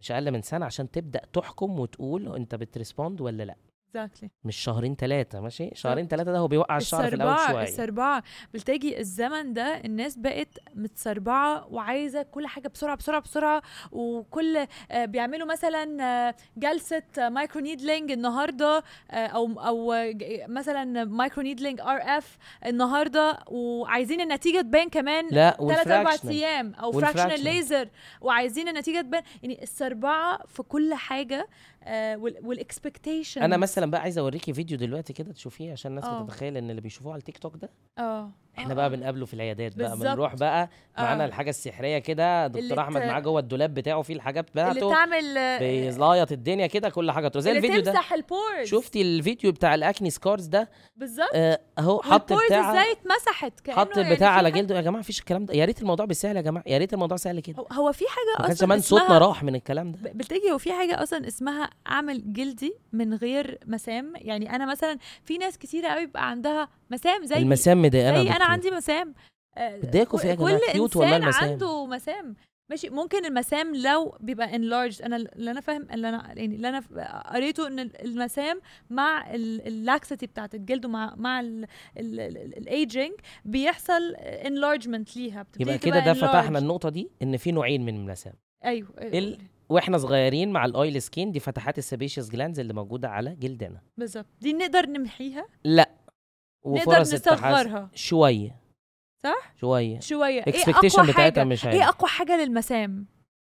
Speaker 2: مش اقل من سنه عشان تبدا تحكم وتقول انت بتريسبوند ولا لا
Speaker 1: اكزاكتلي
Speaker 2: مش شهرين ثلاثة ماشي شهرين ثلاثة ده هو بيوقع الشعر في الأول
Speaker 1: السربعه
Speaker 2: شوية
Speaker 1: السربعه بتلاقي الزمن ده الناس بقت متسربعه وعايزه كل حاجه بسرعه بسرعه بسرعه وكل آه، بيعملوا مثلا آه، جلسه مايكرو نيدلينج النهارده آه، او او آه، ج- مثلا مايكرو نيدلينج ار اف النهارده وعايزين النتيجه تبان كمان
Speaker 2: لا
Speaker 1: ثلاث اربع
Speaker 2: والفراكشنال
Speaker 1: ايام او
Speaker 2: والfractional.
Speaker 1: فراكشنال ليزر وعايزين النتيجه تبان يعني السربعه في كل حاجه آه، وال- والاكسبكتيشن
Speaker 2: أنا مثلا بقى عايز أوريكي فيديو دلوقتي كده تشوفيه عشان الناس
Speaker 1: آه.
Speaker 2: تتخيل إن اللي بيشوفوه على التيك توك ده
Speaker 1: اه
Speaker 2: إحنا
Speaker 1: آه،
Speaker 2: بقى
Speaker 1: آه.
Speaker 2: بنقابله في العيادات بقى
Speaker 1: بالظبط. آه.
Speaker 2: بنروح بقى معانا الحاجة السحرية كده
Speaker 1: اللي ت-
Speaker 2: دكتور أحمد معاه جوه الدولاب بتاعه فيه الحاجات
Speaker 1: اللي
Speaker 2: بتاعته
Speaker 1: تعمل آه،
Speaker 2: بيزلايط الدنيا كده كل حاجة زي
Speaker 1: اللي
Speaker 2: الفيديو ده
Speaker 1: تمسح البورز
Speaker 2: شفتي الفيديو بتاع الأكني سكارز ده
Speaker 1: بالظبط
Speaker 2: آه، أهو حط
Speaker 1: والبورز
Speaker 2: بتاع
Speaker 1: ازاي اتمسحت كأنه
Speaker 2: حط
Speaker 1: يعني
Speaker 2: بتاع
Speaker 1: في
Speaker 2: على
Speaker 1: حاجة-
Speaker 2: جلده يا جماعة مفيش الكلام ده يا ريت الموضوع بيسهل يا جماعة يا ريت الموضوع سهل كده
Speaker 1: هو- هو في حاجه
Speaker 2: ما
Speaker 1: اصلا
Speaker 2: كانش زمان
Speaker 1: آه، اسمها-
Speaker 2: صوتنا راح من الكلام ده
Speaker 1: ب- بتلاقي هو في حاجه اصلا اسمها اعمل جلدي من غير مسام يعني انا مثلا في ناس كتيره قوي بيبقى عندها مسام زي
Speaker 2: المسام ده
Speaker 1: زي
Speaker 2: أنا
Speaker 1: انا
Speaker 2: دكتور.
Speaker 1: عندي مسام آه،
Speaker 2: بتضايقوا في إيه يا
Speaker 1: كل
Speaker 2: جماعة؟ كيوت والله
Speaker 1: إنسان
Speaker 2: المسام.
Speaker 1: عنده مسام ماشي ممكن المسام لو بيبقى enlarged انا اللي انا فاهم اللي انا يعني اللي انا ف- قريته ان ال- المسام مع اللاكسيتي بتاعت الجلد ومع مع الايجنج بيحصل enlargement ليها بتبتدي تبقى
Speaker 2: يبقى كده ده فتحنا
Speaker 1: enlarged.
Speaker 2: النقطه دي ان في نوعين من المسام
Speaker 1: ايوه
Speaker 2: ال- واحنا صغيرين مع الاويل سكين دي فتحات السبيشيس جلاندز اللي موجوده على جلدنا
Speaker 1: بالظبط دي نقدر نمحيها نقدر
Speaker 2: وفرص التحسن
Speaker 1: نصغرها
Speaker 2: شويه
Speaker 1: صح؟
Speaker 2: شويه
Speaker 1: شويه ايه
Speaker 2: الاكسبكتيشن
Speaker 1: اقوى
Speaker 2: بتاعتها
Speaker 1: حاجه
Speaker 2: مش
Speaker 1: ايه
Speaker 2: عالي
Speaker 1: اقوى حاجه للمسام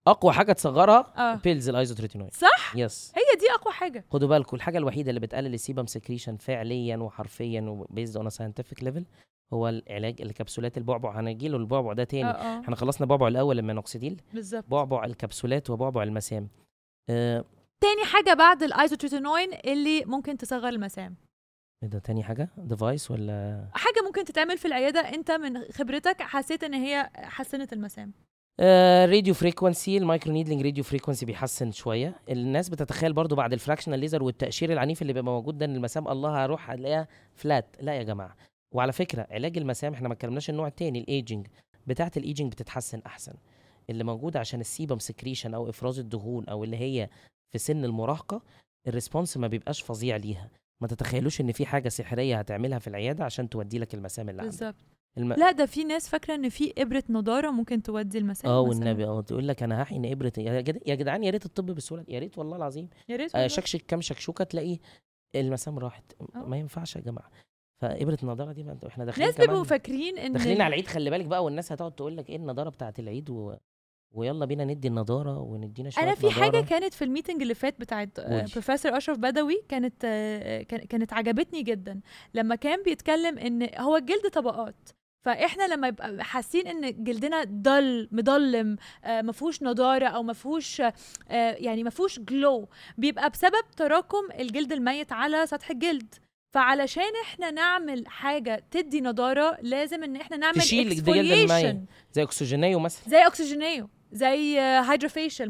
Speaker 2: اقوى حاجه تصغرها
Speaker 1: اه
Speaker 2: بيلز الايزوتريتينويد
Speaker 1: صح
Speaker 2: يس
Speaker 1: هي دي اقوى حاجه
Speaker 2: خدوا بالكم الحاجه الوحيده اللي بتقلل السيبم سكريشن فعليا وحرفيا وبيزد اون ساينتفك ليفل هو العلاج الكبسولات البعبع هنجيله البعبع ده
Speaker 1: اه
Speaker 2: تاني
Speaker 1: اه
Speaker 2: احنا خلصنا بعبع الاول المينوكسيديل
Speaker 1: بالظبط
Speaker 2: بعبع الكبسولات وبعبع المسام آه،
Speaker 1: تاني حاجة بعد الايزوتريتينوين اللي ممكن تصغر المسام
Speaker 2: ايه ده تاني حاجه ديفايس ولا
Speaker 1: حاجة ممكن تتعمل في العيادة انت من خبرتك حسيت ان هي حسنت المسام
Speaker 2: راديو فريكونسي آه، المايكرو نيدلينج راديو فريكونسي بيحسن شويه الناس بتتخيل برضو بعد الفراكشنال ليزر والتقشير العنيف اللي بيبقى موجود ده ان المسام الله هروح هلاقيها فلات لا يا جماعه وعلى فكره علاج المسام احنا ما اتكلمناش النوع التاني الايجنج بتاعه الايجنج بتتحسن احسن اللي موجود عشان السيبم سكريشن او افراز الدهون او اللي هي في سن المراهقه الريسبونس ما بيبقاش فظيع ليها ما تتخيلوش ان في حاجه سحريه هتعملها في العياده عشان تودي لك المسام اللي عندك
Speaker 1: بالظبط
Speaker 2: الم...
Speaker 1: لا ده في ناس فاكرة ان في ابرة نضارة ممكن تودي المسام
Speaker 2: اه
Speaker 1: مثلاً.
Speaker 2: والنبي اه تقول لك انا هحقن ابره يا جد- يا جدعان يا ريت الطب بالسهوله يا ريت والله العظيم
Speaker 1: يا ريت
Speaker 2: آه،
Speaker 1: والله.
Speaker 2: شكشك كام شكشوكه تلاقيه المسام راحت
Speaker 1: آه.
Speaker 2: ما ينفعش يا جماعه فابره النضاره دي ما انت- احنا داخلين
Speaker 1: ناس بيبقوا
Speaker 2: كمان
Speaker 1: فاكرين ان
Speaker 2: داخلين على العيد خلي بالك بقى والناس هتقعد تقول لك ايه النضاره بتاعت العيد و... ويلا بينا ندي النضاره وندينا شويه
Speaker 1: انا في حاجه
Speaker 2: نضارة.
Speaker 1: كانت في الميتنج اللي فات بتاعت آه،
Speaker 2: قولي.
Speaker 1: بروفيسور اشرف بدوي كانت آه، كان- كانت عجبتني جدا لما كان بيتكلم ان هو الجلد طبقات فاحنا لما يبقى حاسين ان جلدنا ضل مضلم آه، مفهوش نضاره او مفهوش آه، يعني مفهوش جلو بيبقى بسبب تراكم الجلد الميت على سطح الجلد فعلشان احنا نعمل حاجه تدي نضاره لازم ان احنا نعمل
Speaker 2: تشيل الجلد الميت.
Speaker 1: exfoliation.
Speaker 2: زي اكسجينيو مثلا
Speaker 1: زي اوكسجينيو زي آه، هيدروفيشل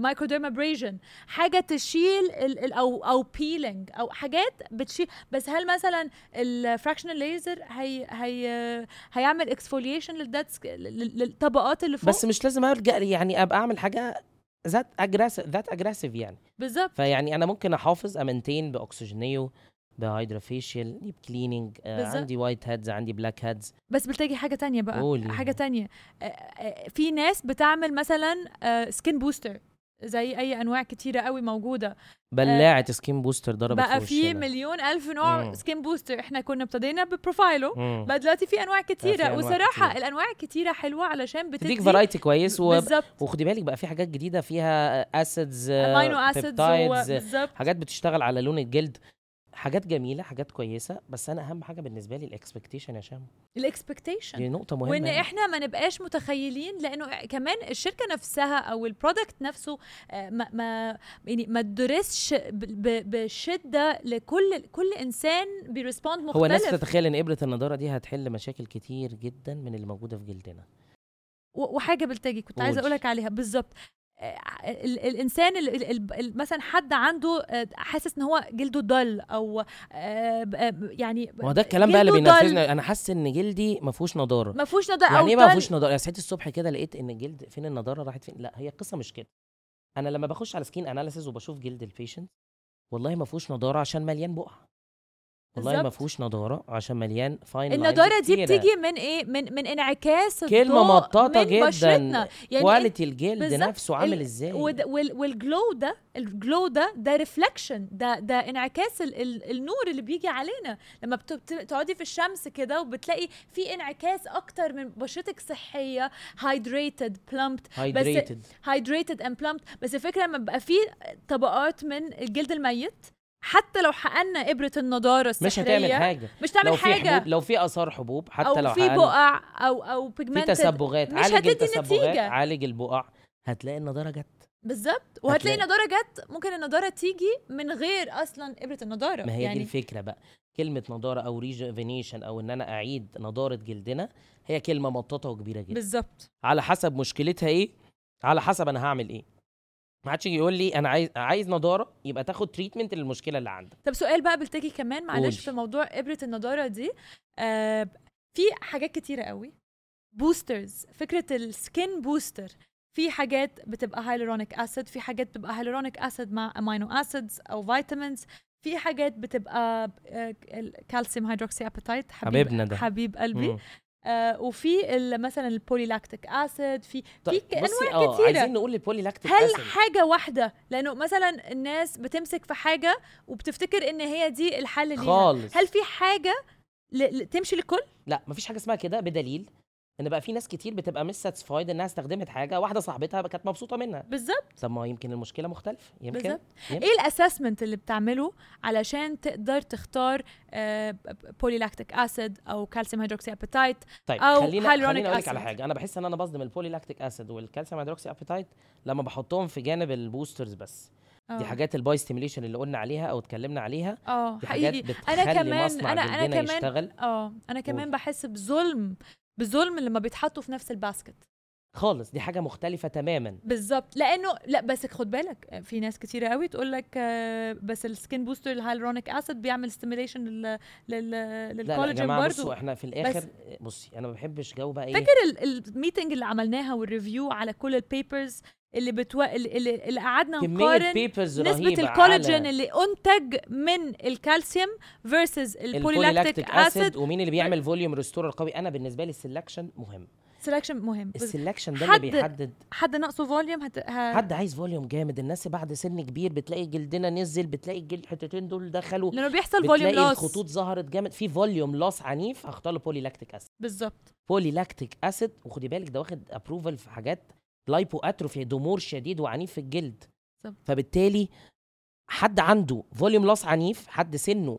Speaker 1: مايكروديرم ابريجن حاجه آه، تشيل ال ال او او بيلينج او حاجات بتشيل بس هل مثلا الفراكشنال ليزر هي هي آه، هيعمل اكسفوليشن للداتس للطبقات اللي فوق
Speaker 2: بس مش لازم ارجع يعني ابقى اعمل حاجه ذات اجريسيف ذات اجريسيف يعني
Speaker 1: بالظبط
Speaker 2: فيعني انا ممكن احافظ امنتين باكسجينيو بهايدروفيشيال ديب كليننج
Speaker 1: بالظبط.
Speaker 2: آه،
Speaker 1: آه،
Speaker 2: عندي وايت هيدز عندي بلاك هيدز
Speaker 1: بس بلتقي حاجه تانية بقى
Speaker 2: قولي.
Speaker 1: حاجه تانية آه، آه، في ناس بتعمل مثلا سكين بوستر زي اي انواع كتيره قوي موجوده
Speaker 2: بلاعه سكين بوستر ضربت
Speaker 1: بقى في
Speaker 2: وشنا.
Speaker 1: مليون الف نوع
Speaker 2: مم.
Speaker 1: سكين بوستر احنا كنا ابتدينا ببروفايله
Speaker 2: مم.
Speaker 1: بقى دلوقتي في انواع كتيره
Speaker 2: أنواع
Speaker 1: وصراحه
Speaker 2: كتير.
Speaker 1: الانواع كتيره حلوه علشان بتدي
Speaker 2: تديك فرايتي كويس و...
Speaker 1: بالظبط
Speaker 2: وخدي بالك بقى في حاجات جديده فيها اسيدز
Speaker 1: امينو اسيدز بالظبط
Speaker 2: آه، حاجات بتشتغل على لون الجلد حاجات جميله حاجات كويسه بس انا اهم حاجه بالنسبه لي الاكسبكتيشن يا شام
Speaker 1: الاكسبكتيشن
Speaker 2: دي نقطه مهمه
Speaker 1: وان
Speaker 2: يعني.
Speaker 1: احنا ما نبقاش متخيلين لانه كمان الشركه نفسها او البرودكت نفسه آه، ما ما يعني ما تدرسش ب- ب- بشده لكل كل انسان بيرسبوند مختلف
Speaker 2: هو الناس تتخيل ان ابره النضاره دي هتحل مشاكل كتير جدا من اللي موجوده في جلدنا
Speaker 1: و- وحاجه بلتجي كنت عايزه
Speaker 2: قولي.
Speaker 1: اقول لك عليها بالظبط آه، ال- الانسان ال- ال- ال- ال- مثلا حد عنده آه، حاسس ان هو جلده ضل او آه، ب- آه، يعني
Speaker 2: ما هو ده الكلام بقى اللي
Speaker 1: جلده ضل.
Speaker 2: بينرفزني انا حاسس ان جلدي ما فيهوش نضاره
Speaker 1: ما فيهوش ندى او
Speaker 2: يعني ايه بقى ما
Speaker 1: ضل.
Speaker 2: فيهوش نضاره يعني صحيت الصبح كده لقيت ان الجلد فين النضاره راحت فين لا هي القصه مش كده انا لما بخش على سكين اناليسيز وبشوف جلد البيشنت والله ما فيهوش نضاره عشان مليان بقع والله ما
Speaker 1: بالظبط.
Speaker 2: فيهوش نضاره عشان مليان فاين
Speaker 1: النضاره دي بتيجي من ايه من من انعكاس
Speaker 2: كلمه
Speaker 1: الضوء
Speaker 2: مطاطه
Speaker 1: من بشرتنا.
Speaker 2: جدا
Speaker 1: يعني
Speaker 2: كواليتي الجلد
Speaker 1: بالظبط.
Speaker 2: نفسه عامل
Speaker 1: ال-
Speaker 2: ازاي
Speaker 1: وده- وال- والجلو ده الجلو ده ده ريفلكشن ده ده انعكاس ال ال النور اللي بيجي علينا لما بت- بت- بتقعدي في الشمس كده وبتلاقي في انعكاس اكتر من بشرتك صحيه هايدريتد بلمبت
Speaker 2: هايدريتد
Speaker 1: هايدريتد اند بلمبت بس الفكره لما بيبقى في طبقات من الجلد الميت حتى لو حققنا ابره النضاره السحريه
Speaker 2: مش هتعمل حاجه
Speaker 1: مش تعمل
Speaker 2: لو في
Speaker 1: حاجه
Speaker 2: حبوب لو في اثار حبوب حتى لو
Speaker 1: او في
Speaker 2: حقن-
Speaker 1: بقع او او
Speaker 2: في
Speaker 1: بيجمنتد
Speaker 2: تسبغات
Speaker 1: مش
Speaker 2: عالج
Speaker 1: هتدي
Speaker 2: التسبغات
Speaker 1: نتيجة.
Speaker 2: عالج البقع هتلاقي النضاره جت
Speaker 1: بالظبط وهتلاقي
Speaker 2: هتلاقي.
Speaker 1: النضاره جت ممكن النضاره تيجي من غير اصلا ابره النضاره
Speaker 2: ما هي يعني
Speaker 1: يعني
Speaker 2: دي الفكره بقى كلمه نضاره او ريجوفينيشن او ان انا اعيد نضاره جلدنا هي كلمه مطاطه وكبيره جدا
Speaker 1: بالظبط
Speaker 2: على حسب مشكلتها ايه على حسب انا هعمل ايه ما حدش يجي يقول لي انا عايز عايز نضاره يبقى تاخد تريتمنت للمشكله اللي عندك
Speaker 1: طب سؤال بقى بلتجي كمان معلش
Speaker 2: قولي.
Speaker 1: في موضوع ابره النضاره دي آه في حاجات كتيره قوي بوسترز فكره السكين بوستر في حاجات بتبقى هايلورونيك اسيد في حاجات بتبقى هايلورونيك اسيد مع امينو اسيدز او فيتامينز في حاجات بتبقى آه، الكالسيوم هيدروكسي ابيتايت حبيب
Speaker 2: حبيبنا ده.
Speaker 1: حبيب قلبي
Speaker 2: مم.
Speaker 1: آه وفي ال- مثلا البوليلاكتيك اسيد في في
Speaker 2: طيب
Speaker 1: ك-
Speaker 2: بصي
Speaker 1: انواع
Speaker 2: اه
Speaker 1: كتيره
Speaker 2: عايزين نقول البولي لاكتيك
Speaker 1: هل
Speaker 2: acid.
Speaker 1: حاجة واحدة لأنه مثلا الناس بتمسك في حاجة وبتفتكر إن هي دي الحل ليها
Speaker 2: خالص
Speaker 1: هل في حاجة ل... ل... تمشي للكل؟
Speaker 2: لا مفيش حاجه اسمها كده بدليل ان بقى في ناس كتير بتبقى مش ساتسفايد انها استخدمت حاجه واحده صاحبتها كانت مبسوطه منها
Speaker 1: بالظبط
Speaker 2: طب ما يمكن المشكله مختلفه يمكن
Speaker 1: بالظبط
Speaker 2: يمكن.
Speaker 1: إيه الأسسمنت اللي بتعمله علشان تقدر تختار بوليلاكتيك أسيد أو كالسيوم هيدروكسي أبيتايت
Speaker 2: طيب
Speaker 1: أو
Speaker 2: خلينا
Speaker 1: hyaluronic
Speaker 2: خلينا اقول لك على
Speaker 1: acid.
Speaker 2: حاجه انا بحس ان انا بصدم البولي لاكتيك اسيد والكالسيوم هيدروكسي ابيتايت لما بحطهم في جانب البوسترز بس
Speaker 1: آه،
Speaker 2: دي حاجات الباي ستيميليشن اللي قلنا عليها او اتكلمنا عليها
Speaker 1: اه
Speaker 2: دي حاجات
Speaker 1: حقيقي
Speaker 2: بتخلي
Speaker 1: أنا كمان
Speaker 2: مصنع
Speaker 1: أنا أنا
Speaker 2: جلدنا
Speaker 1: كمان
Speaker 2: يشتغل
Speaker 1: اه أنا كمان بحس بظلم بظلم لما بيتحطوا في نفس الباسكت
Speaker 2: خالص دي حاجه مختلفه تماما
Speaker 1: بالظبط لانه لا بس خد بالك آه، في ناس كتيره قوي تقول لك آه، بس السكين بوستر الهايلورونيك اسيد بيعمل ستيميليشن لل لل
Speaker 2: لا لا يا
Speaker 1: للكولاجين
Speaker 2: جماعه
Speaker 1: برضه
Speaker 2: بصوا احنا في الاخر بصي انا ما بحبش جو بقى ايه
Speaker 1: فاكر ال- الميتنج اللي عملناها والريفيو على كل البيبرز اللي بتو... اللي, اللي قعدنا
Speaker 2: كميه
Speaker 1: نقارن
Speaker 2: بيبرز
Speaker 1: نسبة
Speaker 2: رهيبه
Speaker 1: الكولاجين
Speaker 2: على
Speaker 1: اللي انتج من الكالسيوم فيرسز البوليلاكتيك
Speaker 2: البوليلاكتيك اسيد
Speaker 1: اسيد
Speaker 2: ومين اللي بيعمل فوليوم ريستور قوي انا بالنسبه لي السلكشن مهم
Speaker 1: سelection مهم بس
Speaker 2: السلكشن ده اللي
Speaker 1: حد-
Speaker 2: بيحدد
Speaker 1: حد ناقصه فوليوم هت... ه...
Speaker 2: حد عايز فوليوم جامد الناس بعد سن كبير بتلاقي جلدنا نزل بتلاقي الجلد الحتتين دول دخلوا
Speaker 1: لانه بيحصل فوليوم
Speaker 2: بتلاقي
Speaker 1: لوس
Speaker 2: الخطوط ظهرت جامد في فوليوم لوس عنيف هختار له بولي لاكتيك اسيد
Speaker 1: بالظبط
Speaker 2: بولي لاكتيك اسيد وخدي بالك ده واخد ابروفال في حاجات لايبو اتروفي ضمور شديد وعنيف في الجلد
Speaker 1: بالظبط.
Speaker 2: فبالتالي حد عنده فوليوم لوس عنيف حد سنه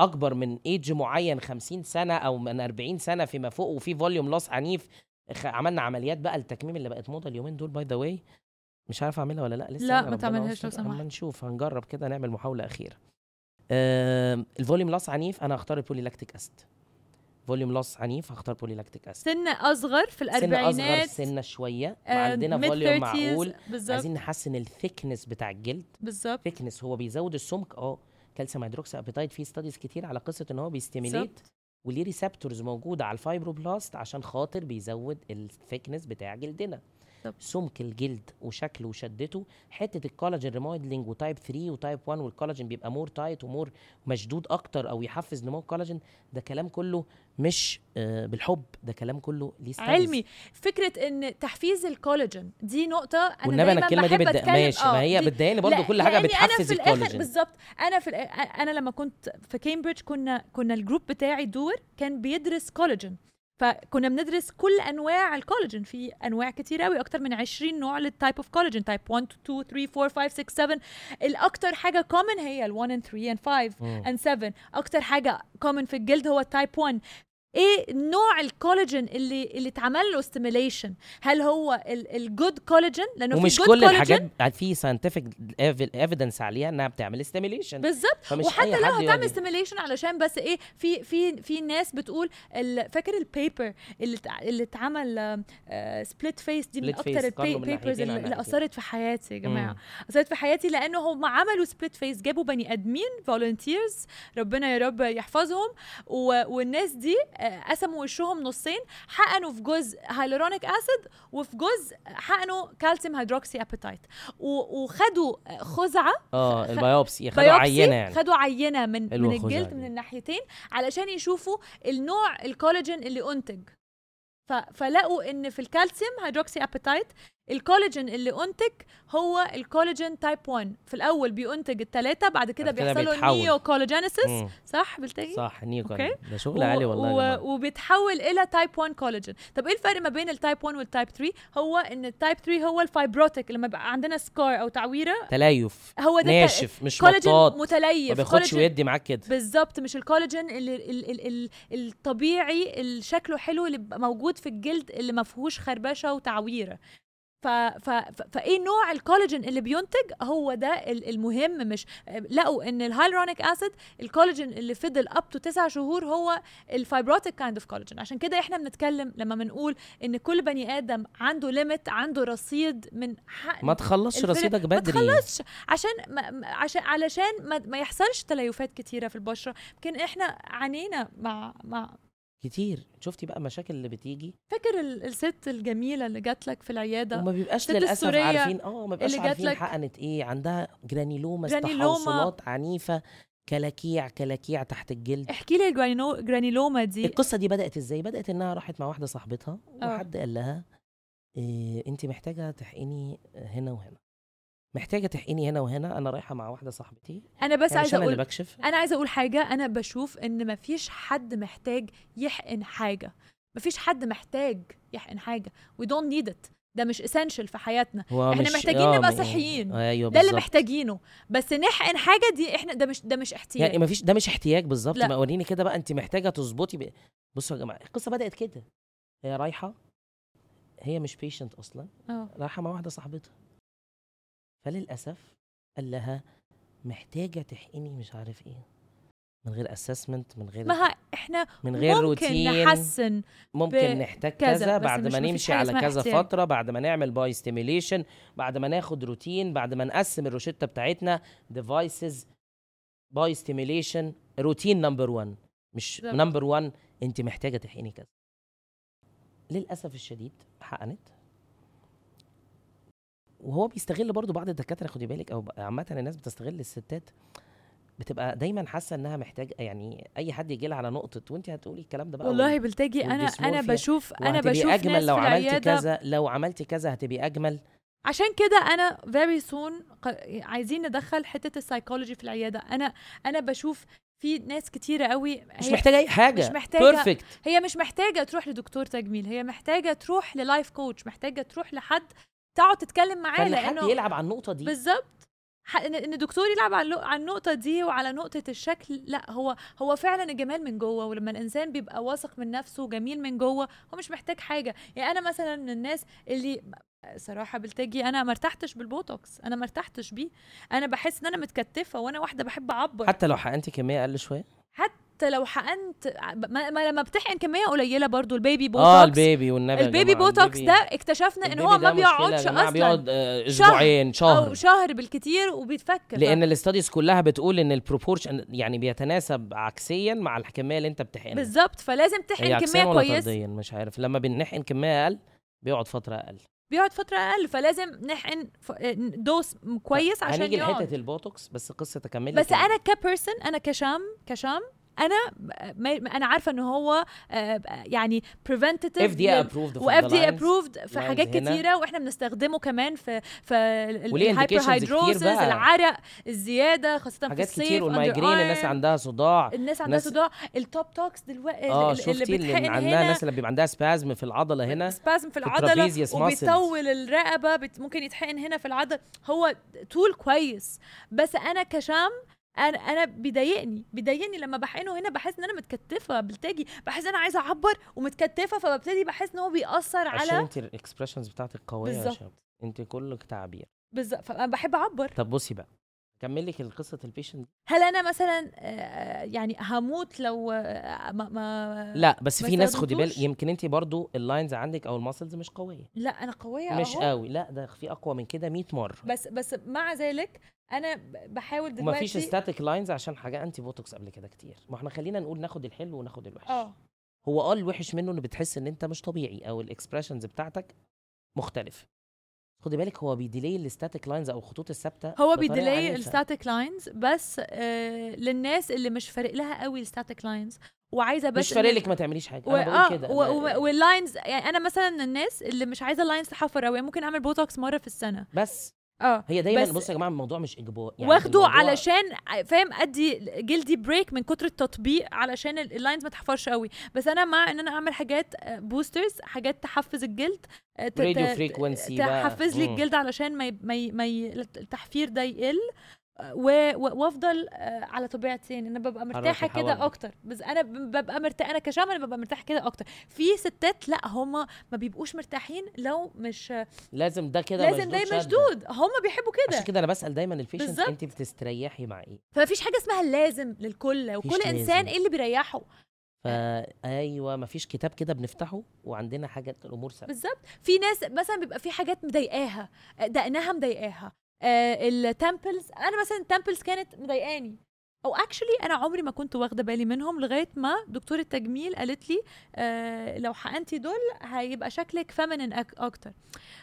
Speaker 2: اكبر من ايدج معين 50 سنه او من 40 سنه فيما فوق وفي فوليوم لوس عنيف خ- عملنا عمليات بقى التكميم اللي بقت موضه اليومين دول باي ذا واي مش عارف اعملها ولا لا لسه
Speaker 1: لا،
Speaker 2: يعني
Speaker 1: ما
Speaker 2: ربنا
Speaker 1: تعملهاش لو
Speaker 2: يستر.
Speaker 1: سمحت.
Speaker 2: اما نشوف هنجرب كده نعمل محاوله اخيره آه الفوليوم لوس عنيف انا هختار البولي لاكتيك اسيد فوليوم لوس عنيف هختار بولي لاكتيك اسيد
Speaker 1: سن اصغر في
Speaker 2: سن اصغر
Speaker 1: الاربعينات
Speaker 2: سنه شويه
Speaker 1: آه،
Speaker 2: وعندنا
Speaker 1: mid
Speaker 2: فوليوم
Speaker 1: 30s
Speaker 2: معقول
Speaker 1: بالظبط
Speaker 2: عايزين نحسن الثيكنس بتاع الجلد
Speaker 1: بالظبط
Speaker 2: ثيكنس هو بيزود السمك اه كالسيوم هيدروكسي ابيتايت في ستاديز كتير على قصه ان هو بيستيميليت
Speaker 1: بالظبط.
Speaker 2: وليه ريسبتورز موجوده على الفايبروبلاست عشان خاطر بيزود الثيكنس بتاع جلدنا
Speaker 1: طب.
Speaker 2: سمك الجلد وشكله وشدته حته الكولاجين ريمايدلينج وتايب 3 وتايب 1 والكولاجين بيبقى مور تايت ومور مشدود اكتر او يحفز نمو الكولاجين ده كلام كله مش آه، بالحب ده كلام كله ليه studies.
Speaker 1: علمي فكره ان تحفيز الكولاجين دي نقطه انا
Speaker 2: والنبي انا
Speaker 1: دايماً
Speaker 2: الكلمه دي
Speaker 1: بحب
Speaker 2: بتضايق
Speaker 1: أتكلم-
Speaker 2: ماشي ما
Speaker 1: آه،
Speaker 2: هي
Speaker 1: دي-
Speaker 2: بتضايقني برضه
Speaker 1: لا،
Speaker 2: كل حاجه
Speaker 1: لأني أنا
Speaker 2: بتحفز
Speaker 1: في الآخر
Speaker 2: الكولاجين
Speaker 1: بالظبط انا في الآ- انا لما كنت في كامبريدج كنا كنا الجروب بتاعي دور كان بيدرس كولاجين فكنا بندرس كل انواع الكولاجين في انواع كتير قوي اكتر من 20 نوع للتايب اوف كولاجين تايب 1 2 3 4 5 6 7 الاكتر حاجه كومن هي ال1 and 3 and 5
Speaker 2: مم.
Speaker 1: and 7 اكتر حاجه كومن في الجلد هو التايب 1 ايه نوع الكولاجين اللي اللي اتعمل له ستيميليشن هل هو الجود كولاجين لانه
Speaker 2: ومش
Speaker 1: في good
Speaker 2: كل
Speaker 1: collagen-
Speaker 2: الحاجات في ساينتفك ايفيدنس عليها انها بتعمل ستيميليشن
Speaker 1: بالظبط
Speaker 2: فمش
Speaker 1: وحتى
Speaker 2: أي
Speaker 1: لو
Speaker 2: حد يقعد
Speaker 1: هتعمل
Speaker 2: يقول-
Speaker 1: ستيميليشن علشان بس ايه في في في ناس بتقول ال- فاكر البيبر اللي اتع- اللي اتعمل سبليت فيس دي من
Speaker 2: Split face،
Speaker 1: اكتر
Speaker 2: قارنوا من
Speaker 1: البيبرز
Speaker 2: ناحيتين
Speaker 1: اللي
Speaker 2: على
Speaker 1: اللي
Speaker 2: ناحيتين.
Speaker 1: اثرت في حياتي يا جماعه
Speaker 2: مم.
Speaker 1: اثرت في حياتي لانه هم عملوا سبليت فيس جابوا بني ادمين فولنتيرز ربنا يا رب يحفظهم و- والناس دي آه، قسموا وشهم نصين حقنوا في جزء هايلورونيك اسيد وفي جزء حقنوا كالسيوم هيدروكسي ابيتايت و- وخدوا آه، خزعه
Speaker 2: اه
Speaker 1: خ-
Speaker 2: البيوبسي خدوا
Speaker 1: بيوبسي
Speaker 2: عينه يعني
Speaker 1: خدوا عينه من
Speaker 2: حلوة
Speaker 1: من
Speaker 2: خدوا
Speaker 1: الجلد
Speaker 2: عينة.
Speaker 1: من الناحيتين علشان يشوفوا النوع الكولاجين اللي انتج ف... فلقوا ان في الكالسيوم هيدروكسي ابيتايت الكولاجين اللي انتج هو الكولاجين تايب 1 في الاول بينتج الثلاثه بعد كده
Speaker 2: بعد كده
Speaker 1: بيحصل له
Speaker 2: بيتحول.
Speaker 1: نيو كولاجينيسيس
Speaker 2: مم.
Speaker 1: صح بالتالي
Speaker 2: صح نيكون
Speaker 1: إيه؟ أوكي.
Speaker 2: ده شغل عالي والله يا جماعة.
Speaker 1: و... وبيتحول الى تايب 1 كولاجين طب ايه الفرق ما بين التايب 1 والتايب 3 هو ان التايب 3 هو الفايبروتيك لما بقى عندنا سكار او تعويره
Speaker 2: تلايف
Speaker 1: هو ده الت-
Speaker 2: ناشف مش
Speaker 1: كولاجين
Speaker 2: مطاط
Speaker 1: متليف
Speaker 2: ما بياخدش
Speaker 1: كولاجين
Speaker 2: ويدي معاك كده
Speaker 1: بالظبط مش الكولاجين اللي ال ال ال الطبيعي اللي شكله حلو اللي بيبقى موجود في الجلد اللي ما فيهوش خربشه وتعويره ف ف ف فايه نوع الكولاجين اللي بينتج هو ده ال- المهم مش لقوا ان الهايلورونيك اسيد الكولاجين اللي فضل اب تو 9 شهور هو الفايبروتيك كايند اوف كولاجين عشان كده احنا بنتكلم لما بنقول ان كل بني ادم عنده ليميت عنده رصيد من حق
Speaker 2: ما تخلصش
Speaker 1: الفرق-
Speaker 2: رصيدك
Speaker 1: ما
Speaker 2: بدري
Speaker 1: تخلصش عشان ما ما- عشان علشان ما, ما يحصلش تليفات كتيره في البشره يمكن احنا عانينا مع مع
Speaker 2: كتير شفتي بقى مشاكل اللي بتيجي
Speaker 1: فاكر ال- الست الجميله اللي جات لك في العياده
Speaker 2: وما بيبقاش
Speaker 1: الست
Speaker 2: للاسف
Speaker 1: السورية
Speaker 2: عارفين اه ما بيبقاش
Speaker 1: اللي جات
Speaker 2: عارفين
Speaker 1: لك-
Speaker 2: حقنت ايه عندها جرانيلوما
Speaker 1: جرانيلوما.
Speaker 2: تحوصلات عنيفه كلاكيع كلاكيع تحت الجلد
Speaker 1: احكي لي الجرانيلو- الجرانيلوما إيه دي
Speaker 2: القصه دي بدات ازاي بدات انها راحت مع واحده صاحبتها
Speaker 1: آه.
Speaker 2: وحد قال لها إيه انت محتاجه تحقني هنا وهنا محتاجه تحقني هنا وهنا انا رايحه مع واحده صاحبتي
Speaker 1: انا بس
Speaker 2: هي مش
Speaker 1: عايزه
Speaker 2: انا اللي
Speaker 1: اقول
Speaker 2: بكشف
Speaker 1: انا عايزه اقول حاجه انا بشوف ان مفيش حد محتاج يحقن حاجه مفيش حد محتاج يحقن حاجه we don't need it ده مش essential في حياتنا
Speaker 2: هو
Speaker 1: إحنا
Speaker 2: مش-
Speaker 1: محتاجين
Speaker 2: آه،
Speaker 1: نبقى
Speaker 2: م-
Speaker 1: صحيين.
Speaker 2: ايوه
Speaker 1: ده اللي
Speaker 2: بالظبط.
Speaker 1: محتاجينه بس نحقن حاجه دي احنا ده مش ده مش احتياج
Speaker 2: يعني ما فيش ده مش احتياج بالظبط
Speaker 1: لا.
Speaker 2: ما وريني كده بقى انت محتاجه تظبطي ب... بصوا يا جماعه القصه بدات كده هي رايحه هي مش بيشنت اصلا
Speaker 1: اه
Speaker 2: رايحه مع واحده صاحبتها فللاسف قال لها محتاجه تحقني مش عارف ايه من غير اسسمنت من غير
Speaker 1: ما ه- احنا
Speaker 2: من غير
Speaker 1: ممكن
Speaker 2: روتين
Speaker 1: نحسن
Speaker 2: ممكن نحتاج
Speaker 1: كذا،
Speaker 2: كذا
Speaker 1: بس
Speaker 2: بعد
Speaker 1: مش-
Speaker 2: ما
Speaker 1: مفيش
Speaker 2: نمشي
Speaker 1: حاجة
Speaker 2: على
Speaker 1: اسمها
Speaker 2: كذا
Speaker 1: احتياج.
Speaker 2: فتره بعد ما نعمل باي ستيميليشن بعد ما ناخد روتين بعد ما نقسم الروشته بتاعتنا ديفايسز باي ستيميليشن روتين نمبر 1 مش
Speaker 1: بالظبط.
Speaker 2: نمبر 1 انت محتاجه تحقني كذا للاسف الشديد حقنت وهو بيستغل برضو بعض الدكاتره خدي بالك او عامه الناس بتستغل الستات بتبقى دايما حاسه انها محتاجه يعني اي حد يجي لها على نقطه وانت هتقولي الكلام ده بقى
Speaker 1: والله بلتجي انا انا
Speaker 2: والديسمورفيا،
Speaker 1: بشوف انا
Speaker 2: وهتبقي
Speaker 1: بشوف
Speaker 2: اجمل
Speaker 1: ناس
Speaker 2: لو
Speaker 1: في
Speaker 2: عملتي
Speaker 1: العياده
Speaker 2: كذا لو عملتي كذا هتبقي اجمل
Speaker 1: عشان كده انا very soon ق- عايزين ندخل حته السايكولوجي في العياده انا انا بشوف في ناس كتيره قوي
Speaker 2: مش
Speaker 1: هي-
Speaker 2: محتاجه اي حاجه
Speaker 1: مش محتاجة-
Speaker 2: بيرفكت
Speaker 1: هي مش محتاجه تروح لدكتور تجميل هي محتاجه تروح للايف كوتش محتاجه تروح لحد تقعد تتكلم معاه
Speaker 2: فان حد
Speaker 1: لانه
Speaker 2: يلعب على النقطه دي
Speaker 1: بالظبط ح- ان إن الدكتور يلعب على اللو- على النقطه دي وعلى نقطه الشكل لا هو هو فعلا الجمال من جوه ولما الانسان بيبقى واثق من نفسه وجميل من جوه هو مش محتاج حاجه يعني انا مثلا من الناس اللي صراحة بلتجي أنا ما ارتحتش بالبوتوكس أنا ما ارتحتش بيه أنا بحس إن أنا متكتفة وأنا واحدة بحب أعبر
Speaker 2: حتى لو حقنتي كميه اقل شويه
Speaker 1: حتى لو حقنت ع- ما, ما لما بتحقن كمية قليلة برضو البيبي بوتوكس
Speaker 2: اه البيبي والنبي يا
Speaker 1: البيبي
Speaker 2: جماعة،
Speaker 1: بوتوكس
Speaker 2: البيبي-
Speaker 1: ده اكتشفنا إن
Speaker 2: البيبي
Speaker 1: هو ما
Speaker 2: ده مشكلة يا
Speaker 1: بيقعدش
Speaker 2: جماعة،
Speaker 1: أصلا
Speaker 2: بيقعد آه،
Speaker 1: شهر
Speaker 2: اسبوعين شهر
Speaker 1: أو شهر بالكتير وبيتفك
Speaker 2: لان الاستاديز كلها بتقول ان البروبورشن يعني بيتناسب عكسيا مع الكميه اللي انت بتحقنها
Speaker 1: بالظبط فلازم
Speaker 2: يعني. هي
Speaker 1: تحقن
Speaker 2: عكسيا
Speaker 1: كميه
Speaker 2: ولا
Speaker 1: كويسه
Speaker 2: طرديا مش عارف لما بنحقن كميه اقل بيقعد فتره اقل
Speaker 1: بيقعد فتره اقل فلازم نحقن ف- دوس كويس عشان
Speaker 2: هنيجي
Speaker 1: يقعد
Speaker 2: لحته البوتوكس بس قصه تكمل
Speaker 1: بس انا كبيرسون انا كشام كشام انا ما ما- انا عارفه ان هو آه، يعني بريفنتيف
Speaker 2: اف دي ابروفد
Speaker 1: و اف دي ابروفد في حاجات
Speaker 2: lines هنا.
Speaker 1: كتيره واحنا بنستخدمه كمان في في
Speaker 2: وليه
Speaker 1: الهايبر
Speaker 2: indications كتير
Speaker 1: هيدروسز
Speaker 2: بقى.
Speaker 1: العرق الزياده خاصه في
Speaker 2: حاجات
Speaker 1: الصيف
Speaker 2: كتير
Speaker 1: under
Speaker 2: والمايجرين الناس
Speaker 1: arm.
Speaker 2: عندها صداع
Speaker 1: الناس عندها
Speaker 2: ناس-
Speaker 1: صداع التوب توكس دلوقتي
Speaker 2: اه شفتي اللي
Speaker 1: بتحقن
Speaker 2: عندها
Speaker 1: هنا
Speaker 2: الناس اللي بيبقى عندها سبازم في العضله هنا
Speaker 1: سبازم في العضله
Speaker 2: الtrapezius muscles.
Speaker 1: وبيطول الرقبه بت ممكن يتحقن هنا في العضله هو طول كويس بس انا كشام انا انا بيضايقني بيضايقني لما بحقنه هنا بحس ان انا متكتفه بالتاجي بحس ان انا عايزه اعبر ومتكتفه فببتدي بحس ان هو بيأثر
Speaker 2: عشان
Speaker 1: على
Speaker 2: انت الاكسبريشنز بتاعتك قويه يا
Speaker 1: بالظبط.
Speaker 2: شباب انت كلك تعابير
Speaker 1: بالظبط فانا بحب اعبر
Speaker 2: طب بصي بقى اكمل لك قصه البيشنت
Speaker 1: هل انا مثلا آه، يعني هموت لو آه، ما, ما
Speaker 2: لا بس
Speaker 1: ما
Speaker 2: في ناس خدي بالك
Speaker 1: استخدمتوش؟
Speaker 2: يمكن انت برضو اللاينز عندك او الماسلز مش قويه
Speaker 1: لا انا قويه
Speaker 2: مش
Speaker 1: أهو.
Speaker 2: قوي لا ده في اقوى من كده 100 مره
Speaker 1: بس بس مع ذلك انا ب- بحاول دلوقتي
Speaker 2: ومفيش ستاتيك لاينز عشان حاجه انتي بوتوكس قبل كده كتير ما احنا خلينا نقول ناخد الحلو وناخد الوحش
Speaker 1: اه
Speaker 2: هو اه الوحش منه ان بتحس ان انت مش طبيعي او الاكسبريشنز بتاعتك مختلف خدي بالك هو بيديلي الستاتيك لاينز او الخطوط الثابته
Speaker 1: هو
Speaker 2: بطريقة
Speaker 1: بيديلي
Speaker 2: عنيفة.
Speaker 1: الستاتيك لاينز بس آه للناس اللي مش فارق لها قوي الستاتيك لاينز وعايزه بس
Speaker 2: مش فارق لك ما تعمليش حاجه
Speaker 1: و...
Speaker 2: انا
Speaker 1: اه
Speaker 2: بقول كده
Speaker 1: و...
Speaker 2: ما-
Speaker 1: و... واللاينز يعني انا مثلا من الناس اللي مش عايزه لاينز تحفر قوي ممكن اعمل بوتوكس مره في السنه
Speaker 2: بس
Speaker 1: اه
Speaker 2: هي دايما
Speaker 1: بس-
Speaker 2: بصوا يا جماعه الموضوع مش اجبار
Speaker 1: يعني واخده
Speaker 2: الموضوع-
Speaker 1: علشان فاهم ادي جلدي بريك من كتر التطبيق علشان ال- اللاينز ما تحفرش قوي بس انا مع ان انا اعمل حاجات بوسترز حاجات تحفز الجلد آه، ت-
Speaker 2: راديو
Speaker 1: ت-
Speaker 2: فريكونسي بقى.
Speaker 1: تحفز لي
Speaker 2: مم.
Speaker 1: الجلد علشان ما ي- ما ي- ما ي- التحفير ده يقل آه، و- و- وافضل آه، على طبيعتي ان انا ببقى مرتاحه
Speaker 2: حركي
Speaker 1: كده
Speaker 2: حواجبك.
Speaker 1: اكتر بس انا ب- ببقى مرتاحه انا كشام انا ببقى مرتاحه كده اكتر في ستات لا هما ما بيبقوش مرتاحين لو مش
Speaker 2: لازم ده كده
Speaker 1: لازم دايما
Speaker 2: شدة.
Speaker 1: مشدود هما بيحبوا كده
Speaker 2: عشان كده انا بسال دايما البيشنت
Speaker 1: بالظبط.
Speaker 2: انت بتستريحي مع ايه
Speaker 1: فمفيش حاجه اسمها لازم للكل وكل
Speaker 2: لازم.
Speaker 1: انسان ايه اللي بيريحه
Speaker 2: فا ايوه مفيش كتاب كده بنفتحه وعندنا حاجه الامور ثابته
Speaker 1: بالظبط في ناس مثلا بيبقى في حاجات مضايقاها دقنها مضايقاها آه التمبلز انا مثلا التمبلز كانت مضايقاني او اكشلي انا عمري ما كنت واخده بالي منهم لغايه ما دكتوره تجميل قالت لي آه لو حقنتي دول هيبقى شكلك فمنن أك- اكتر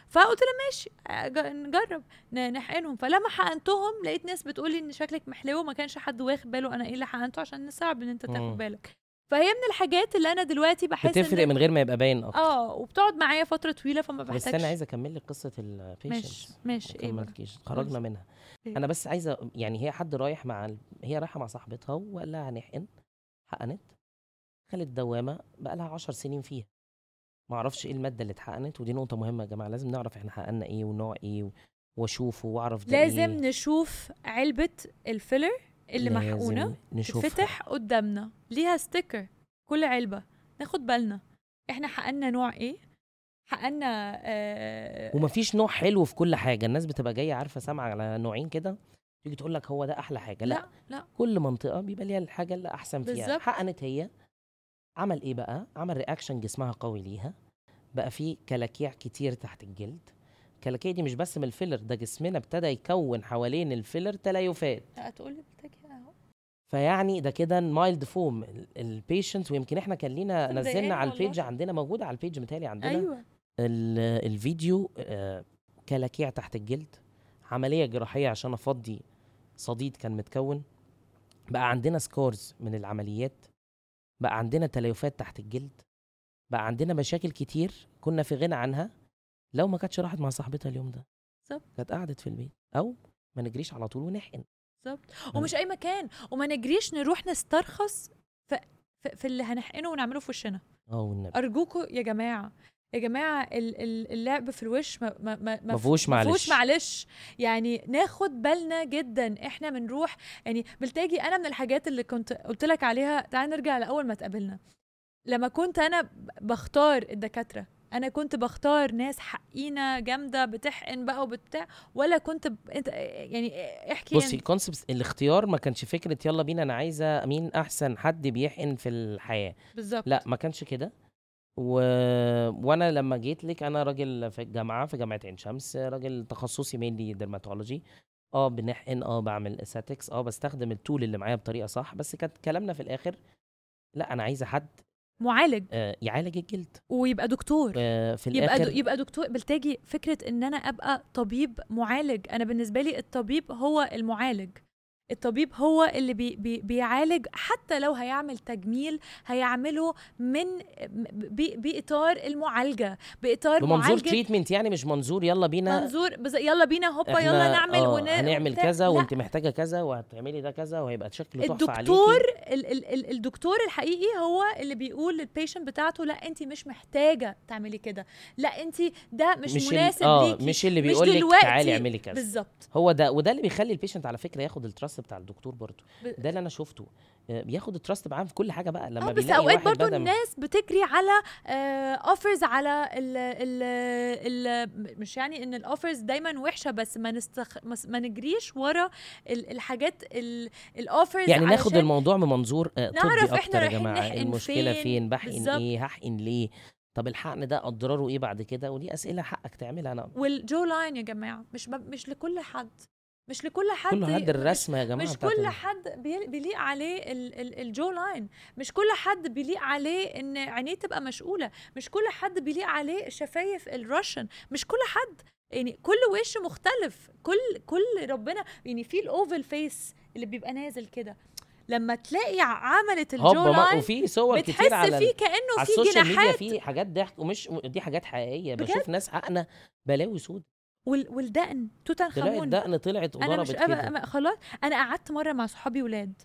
Speaker 1: فقلت لها ماشي آه، جا- نجرب ن- نحقنهم فلما حقنتهم لقيت ناس بتقولي ان شكلك محلو وما كانش حد واخد باله انا ايه اللي حقنته عشان صعب ان انت
Speaker 2: مم.
Speaker 1: تاخد بالك فهي من الحاجات اللي انا دلوقتي بحس إن
Speaker 2: بتفرق من غير ما يبقى باين اكتر
Speaker 1: اه وبتقعد معايا فتره طويله فما
Speaker 2: بس
Speaker 1: بحتاجش
Speaker 2: انا عايز اكمل لك قصه البيشنت
Speaker 1: ماشي ماشي ايه بقى
Speaker 2: كملتيش
Speaker 1: ماشي.
Speaker 2: خرجنا منها
Speaker 1: إيه.
Speaker 2: انا بس عايزه يعني هي حد رايح مع ال- هي رايحه مع صاحبتها وقال لها هنحقن حقنت خلت دوامه بقى لها 10 سنين فيها ما اعرفش ايه الماده اللي اتحقنت ودي نقطه مهمه يا جماعه لازم نعرف احنا حققنا ايه ونوع ايه و- واشوفه واعرف ده
Speaker 1: لازم
Speaker 2: إيه.
Speaker 1: نشوف علبه الفيلر اللي
Speaker 2: لازم
Speaker 1: محقونه
Speaker 2: نشوفها.
Speaker 1: تفتح قدامنا ليها ستيكر كل علبه ناخد بالنا احنا حققنا نوع ايه حققنا آه
Speaker 2: ومفيش نوع حلو في كل حاجه الناس بتبقى جايه عارفه سامعه على نوعين كده تيجي تقول لك هو ده احلى حاجه لا,
Speaker 1: لا لا
Speaker 2: كل منطقه بيبقى ليها الحاجه اللي احسن فيها
Speaker 1: بالظبط.
Speaker 2: حقنت هي عمل ايه بقى عمل رياكشن جسمها قوي ليها بقى في كلاكيع كتير تحت الجلد الكلاكيع دي مش بس من الفيلر ده جسمنا ابتدى يكون حوالين الفيلر تليفات
Speaker 1: لا هتقولي بتاكي اهو
Speaker 2: فيعني ده كده مايلد فوم البيشنت ويمكن احنا كان لينا
Speaker 1: بس مضايقاني
Speaker 2: نزلنا على
Speaker 1: والله.
Speaker 2: البيج عندنا موجوده على البيج متهيألي عندنا
Speaker 1: ايوه
Speaker 2: ال- الفيديو آه، كلاكيع تحت الجلد عملية جراحية عشان أفضي صديد كان متكون بقى عندنا سكورز من العمليات بقى عندنا تليفات تحت الجلد بقى عندنا مشاكل كتير كنا في غنى عنها لو ما كانتش راحت مع صاحبتها اليوم ده
Speaker 1: بالظبط.
Speaker 2: كانت قعدت في البيت أو ما نجريش على طول ونحقن أمم.
Speaker 1: بالظبط ومش اي مكان وما نجريش نروح نسترخص في, في, في اللي هنحقنه ونعمله في وشنا
Speaker 2: اه والنبي
Speaker 1: ارجوكوا يا جماعه يا جماعه ال- ال- اللعب في الوش ما ما ما ما
Speaker 2: مفهوش
Speaker 1: مفهوش
Speaker 2: معلش
Speaker 1: معلش يعني ناخد بالنا جدا احنا بنروح يعني بالتاجي انا من الحاجات اللي كنت قلت لك عليها تعال نرجع لاول ما اتقابلنا لما كنت انا بختار الدكاتره انا كنت بختار ناس حقينه جامده بتحقن بقى وبتاع ولا كنت ب... انت يعني احكي
Speaker 2: بصي
Speaker 1: أنت.
Speaker 2: الكونسبت الاختيار ما كانش فكره يلا بينا انا عايزه مين احسن حد بيحقن في الحياه
Speaker 1: بالظبط
Speaker 2: لا ما كانش كده و... وانا لما جيت لك انا راجل في الجامعه في جامعه عين شمس راجل تخصصي مينلي درماتولوجي اه بنحقن اه بعمل اساتكس اه بستخدم التول اللي معايا بطريقه صح بس كانت كلامنا في الاخر لا انا عايزه حد
Speaker 1: معالج
Speaker 2: آه، يعالج الجلد
Speaker 1: ويبقى دكتور
Speaker 2: آه، في
Speaker 1: يبقى
Speaker 2: الاخر
Speaker 1: دو يبقى دكتور بالتاجي فكره ان انا ابقى طبيب معالج انا بالنسبه لي الطبيب هو المعالج الطبيب هو اللي بي بي بيعالج حتى لو هيعمل تجميل هيعمله من بي باطار المعالجه باطار
Speaker 2: بمنظور
Speaker 1: معالجه
Speaker 2: تريتمنت يعني مش منظور يلا بينا
Speaker 1: منظور بز... يلا بينا هوبا
Speaker 2: احنا
Speaker 1: يلا نعمل
Speaker 2: آه،
Speaker 1: ون...
Speaker 2: هنعمل
Speaker 1: وبتاع.
Speaker 2: كذا
Speaker 1: لا،
Speaker 2: وانت محتاجه كذا وهتعملي ده كذا وهيبقى شكله تحفه عليكي
Speaker 1: الدكتور ال- ال- ال- الدكتور الحقيقي هو اللي بيقول للبيشنت بتاعته لا انت مش محتاجه تعملي كده لا انت ده مش,
Speaker 2: مش ال-
Speaker 1: مناسب
Speaker 2: اه
Speaker 1: ليكي
Speaker 2: مش اللي
Speaker 1: مش
Speaker 2: بيقول لك
Speaker 1: دلوقتي.
Speaker 2: تعالي اعملي كذا
Speaker 1: بالظبط
Speaker 2: هو ده وده اللي بيخلي البيشنت على فكره ياخد التراست بتاع الدكتور برضه
Speaker 1: ب-
Speaker 2: ده اللي انا شفته آه، بياخد التراست معاه في كل حاجه بقى لما
Speaker 1: اه بس
Speaker 2: بيلاقي
Speaker 1: اوقات
Speaker 2: واحد
Speaker 1: برضو
Speaker 2: بدأ من-
Speaker 1: الناس بتجري على اوفرز على ال ال ال مش يعني ان الاوفرز دايما وحشه بس ما نستخ ما س- ما نجريش ورا ال- الحاجات الاوفرز
Speaker 2: يعني ناخد الموضوع من منظور آه، طبي
Speaker 1: نعرف إحنا
Speaker 2: اكتر يا
Speaker 1: رايحين
Speaker 2: جماعه
Speaker 1: نحقن
Speaker 2: المشكله
Speaker 1: فين،
Speaker 2: فين بحقن
Speaker 1: بالظبط.
Speaker 2: ايه هحقن ليه طب الحقن ده اضراره ايه بعد كده ودي اسئله حقك تعملها انا
Speaker 1: والجو لاين يا جماعه مش ب- مش لكل حد مش لكل حد
Speaker 2: كل حد
Speaker 1: مش-
Speaker 2: الرسمه يا جماعه
Speaker 1: مش
Speaker 2: بتاعت
Speaker 1: كل
Speaker 2: ال-
Speaker 1: حد بي- بيليق عليه ال- ال- الجو لاين مش كل حد بيليق عليه ان عينيه تبقى مشقوله مش كل حد بيليق عليه شفايف الراشن مش كل حد يعني كل وش مختلف كل كل ربنا يعني في الاوفل فيس اللي بيبقى نازل كده لما تلاقي ع- عملت الجو
Speaker 2: هوبا ما-
Speaker 1: لاين
Speaker 2: وفي صور
Speaker 1: بتحس
Speaker 2: كتير على ال-
Speaker 1: فيه كانه
Speaker 2: على
Speaker 1: في
Speaker 2: السوشيال ميديا
Speaker 1: جناحات
Speaker 2: في حاجات ضحك ومش دي حاجات حقيقيه
Speaker 1: بجد؟
Speaker 2: بشوف ناس حقنه بلاوي سود
Speaker 1: وال- والدقن توت عنخ
Speaker 2: طلعت
Speaker 1: امون
Speaker 2: دقن طلعت
Speaker 1: انا مش
Speaker 2: وضربت
Speaker 1: أبقى
Speaker 2: كده
Speaker 1: أبقى خلاص انا قعدت مره مع صحابي ولاد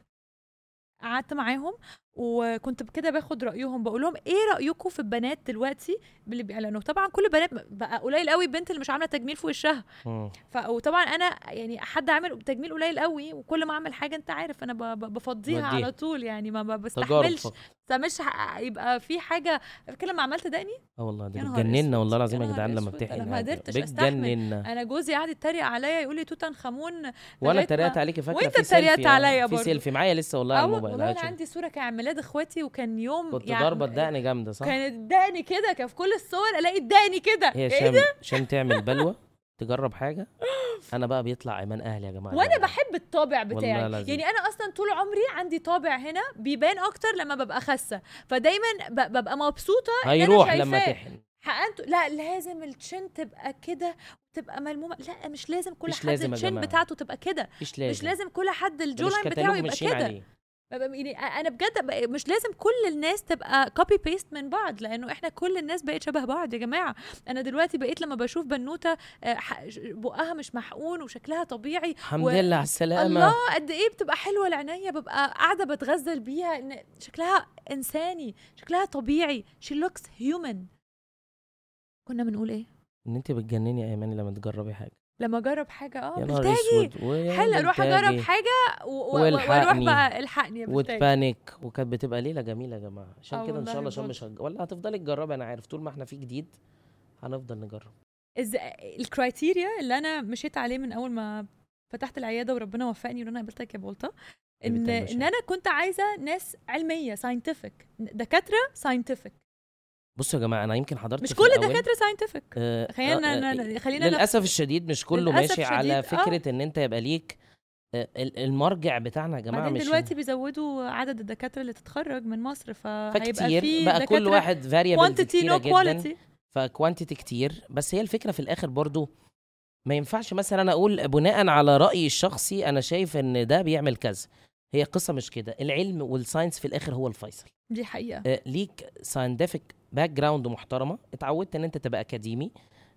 Speaker 1: قعدت معاهم وكنت كده باخد رايهم بقول لهم ايه رايكم في البنات دلوقتي اللي بيعلنوا طبعا كل بنات بقى قليل قوي البنت اللي مش عامله تجميل في وشها
Speaker 2: مم.
Speaker 1: ف... وطبعا انا يعني حد عامل تجميل قليل قوي وكل ما اعمل حاجه انت عارف انا ب... ب- بفضيها
Speaker 2: وديها.
Speaker 1: على طول يعني ما ب-
Speaker 2: تجارب
Speaker 1: بستحملش
Speaker 2: فقط.
Speaker 1: بستعملش ح- يبقى في حاجه فاكر لما عملت دقني
Speaker 2: اه والله ده
Speaker 1: يا نهار
Speaker 2: بتجننا
Speaker 1: أسود،
Speaker 2: والله العظيم
Speaker 1: يا
Speaker 2: يا
Speaker 1: نهار
Speaker 2: جدعان لما يعني
Speaker 1: أسود،
Speaker 2: بتحقن
Speaker 1: أنا ما
Speaker 2: عادي.
Speaker 1: قدرتش أستحمل.
Speaker 2: بتجننا
Speaker 1: انا جوزي قعد يتريق عليا يقول لي توت عنخ آمون
Speaker 2: وانا
Speaker 1: لغاية ما-
Speaker 2: اتريقت عليكي فاكره
Speaker 1: وأنت
Speaker 2: في سيلفي
Speaker 1: اتريقت
Speaker 2: اه،
Speaker 1: عليا
Speaker 2: في
Speaker 1: برضه.
Speaker 2: سيلفي معايا لسه والله
Speaker 1: آه،
Speaker 2: على الموبايل
Speaker 1: والله انا
Speaker 2: هتشوف.
Speaker 1: عندي صوره كان عيد ميلاد اخواتي وكان يوم يعني
Speaker 2: كنت ضاربه الدقن جامده صح؟
Speaker 1: كان الدقني كده كان في كل الصور الاقي الدقني كده
Speaker 2: هي
Speaker 1: ايه
Speaker 2: شام
Speaker 1: ده
Speaker 2: شام تعمل بلوى تجرب حاجه انا بقى بيطلع ايمان اهلي يا جماعه
Speaker 1: وانا بحب الطابع بتاعي
Speaker 2: يعني. والله العظيم.
Speaker 1: يعني انا اصلا طول عمري عندي طابع هنا بيبان اكتر لما ببقى خاسه فدايما ب- ببقى مبسوطه إن يعني أنا
Speaker 2: هيروح لما
Speaker 1: شايفاه.
Speaker 2: تحقن
Speaker 1: حقنته لا لازم التشن تبقى كده وتبقى ملمومه لا مش لازم كل
Speaker 2: مش
Speaker 1: حد
Speaker 2: لازم يا
Speaker 1: التشن
Speaker 2: جماعة.
Speaker 1: بتاعته تبقى كده
Speaker 2: مش
Speaker 1: مش
Speaker 2: لازم
Speaker 1: لازم كل حد
Speaker 2: ده مش
Speaker 1: الجولاين
Speaker 2: كتالوج
Speaker 1: بتاعه يبقى
Speaker 2: ماشيين
Speaker 1: كده
Speaker 2: عليه.
Speaker 1: ببقى- يعني انا بجد بق- مش لازم كل الناس تبقى كوبي بيست من بعض لانه احنا كل الناس بقت شبه بعض يا جماعه انا دلوقتي بقيت لما بشوف بنوته آه، ح- ش- بقها مش محقون وشكلها طبيعي
Speaker 2: الحمد
Speaker 1: و-
Speaker 2: لله على السلامه
Speaker 1: الله قد ايه بتبقى حلوه العناية ببقى قاعده بتغزل بيها ان شكلها انساني شكلها طبيعي she looks human كنا بنقول ايه
Speaker 2: ان انت بتجنني يا ايمان لما تجربي حاجه
Speaker 1: لما اجرب حاجه اه
Speaker 2: يا نهار
Speaker 1: بلتاجي
Speaker 2: اسود ويا
Speaker 1: حلو اروح
Speaker 2: بلتاجي.
Speaker 1: اجرب حاجه و- و- واروح
Speaker 2: والحقني.
Speaker 1: بقى الحقني يا بلتاجي.
Speaker 2: وتبانك وكانت بتبقى ليله جميله يا جماعه
Speaker 1: آه
Speaker 2: عشان كده ان
Speaker 1: والله
Speaker 2: شاء الله شرم
Speaker 1: بجد.
Speaker 2: مش هج... ولا هتفضلي تجربي انا عارف طول ما احنا في جديد هنفضل نجرب
Speaker 1: إز... الكرايتيريا اللي انا مشيت عليه من اول ما فتحت العياده وربنا وفقني ان انا قابلتك يا بولطه ان
Speaker 2: حبيبة قلبي يا
Speaker 1: ان
Speaker 2: شيماء.
Speaker 1: انا كنت عايزه ناس علميه ساينتفك دكاتره ساينتفك
Speaker 2: بصوا يا جماعه انا يمكن حضرت
Speaker 1: مش
Speaker 2: في
Speaker 1: كل
Speaker 2: الأول-
Speaker 1: الدكاتره ساينتفك
Speaker 2: آه،
Speaker 1: خلينا
Speaker 2: آه،
Speaker 1: ن- خلينا نف-
Speaker 2: للاسف الشديد مش كله
Speaker 1: للأسف
Speaker 2: ماشي على
Speaker 1: شديد، آه.
Speaker 2: فكره ان انت يبقى ليك آه، ال- المرجع بتاعنا يا جماعه
Speaker 1: بعدين
Speaker 2: مش
Speaker 1: دلوقتي بيزودوا عدد الدكاتره اللي تتخرج من مصر فهيبقى في
Speaker 2: فكتير بقى كل واحد فاريبل
Speaker 1: كوانتيتي
Speaker 2: كتيره
Speaker 1: نو
Speaker 2: جدا
Speaker 1: كواليتي
Speaker 2: فكوانتيتي كتير بس هي الفكره في الاخر برضو ما ينفعش مثلا انا اقول بناء على رايي الشخصي انا شايف ان ده بيعمل كذا هي قصه مش كده العلم والساينس في الاخر هو الفيصل
Speaker 1: دي حقيقه
Speaker 2: آه، ليك ساينتفك باك جراوند محترمه اتعودت ان انت تبقى اكاديمي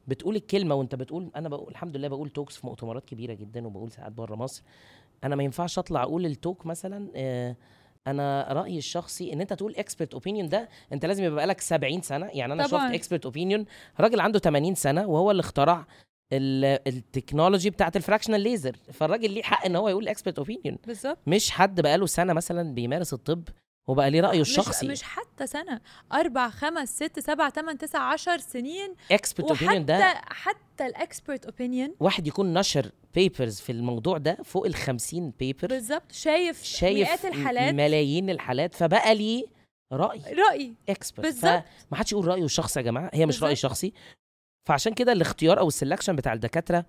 Speaker 2: بتقول الكلمه وانت بتقول انا بقول الحمد لله بقول توكس في مؤتمرات كبيره جدا وبقول ساعات بره مصر انا ما ينفعش اطلع اقول التوك مثلا آه، انا رايي الشخصي ان انت تقول اكسبرت اوبينيون ده انت لازم يبقى لك 70 سنه يعني انا
Speaker 1: طبعاً.
Speaker 2: شفت اكسبرت اوبينيون راجل عنده 80 سنه وهو اللي اخترع ال- التكنولوجي بتاعت الفراكشنال ليزر فالراجل ليه حق ان هو يقول اكسبرت اوبينيون
Speaker 1: بالظبط
Speaker 2: مش حد بقاله سنه مثلا بيمارس الطب وبقى ليه رايه الشخصي
Speaker 1: آه، مش, مش حتى سنه اربع خمس ست سبع ثمان تسع عشر سنين
Speaker 2: اكسبرت اوبينيون ده
Speaker 1: وحتى حتى الاكسبرت اوبينيون
Speaker 2: واحد يكون نشر بيبرز في الموضوع ده فوق ال 50 بيبر
Speaker 1: بالظبط شايف, شايف
Speaker 2: شايف
Speaker 1: مئات الحالات إيه،
Speaker 2: ملايين الحالات فبقى ليه راي
Speaker 1: رأي
Speaker 2: اكسبرت
Speaker 1: بالظبط
Speaker 2: ما حدش يقول رايه الشخصي يا جماعه هي مش راي
Speaker 1: بالظبط.
Speaker 2: شخصي فعشان كده الاختيار او السلكشن بتاع الدكاتره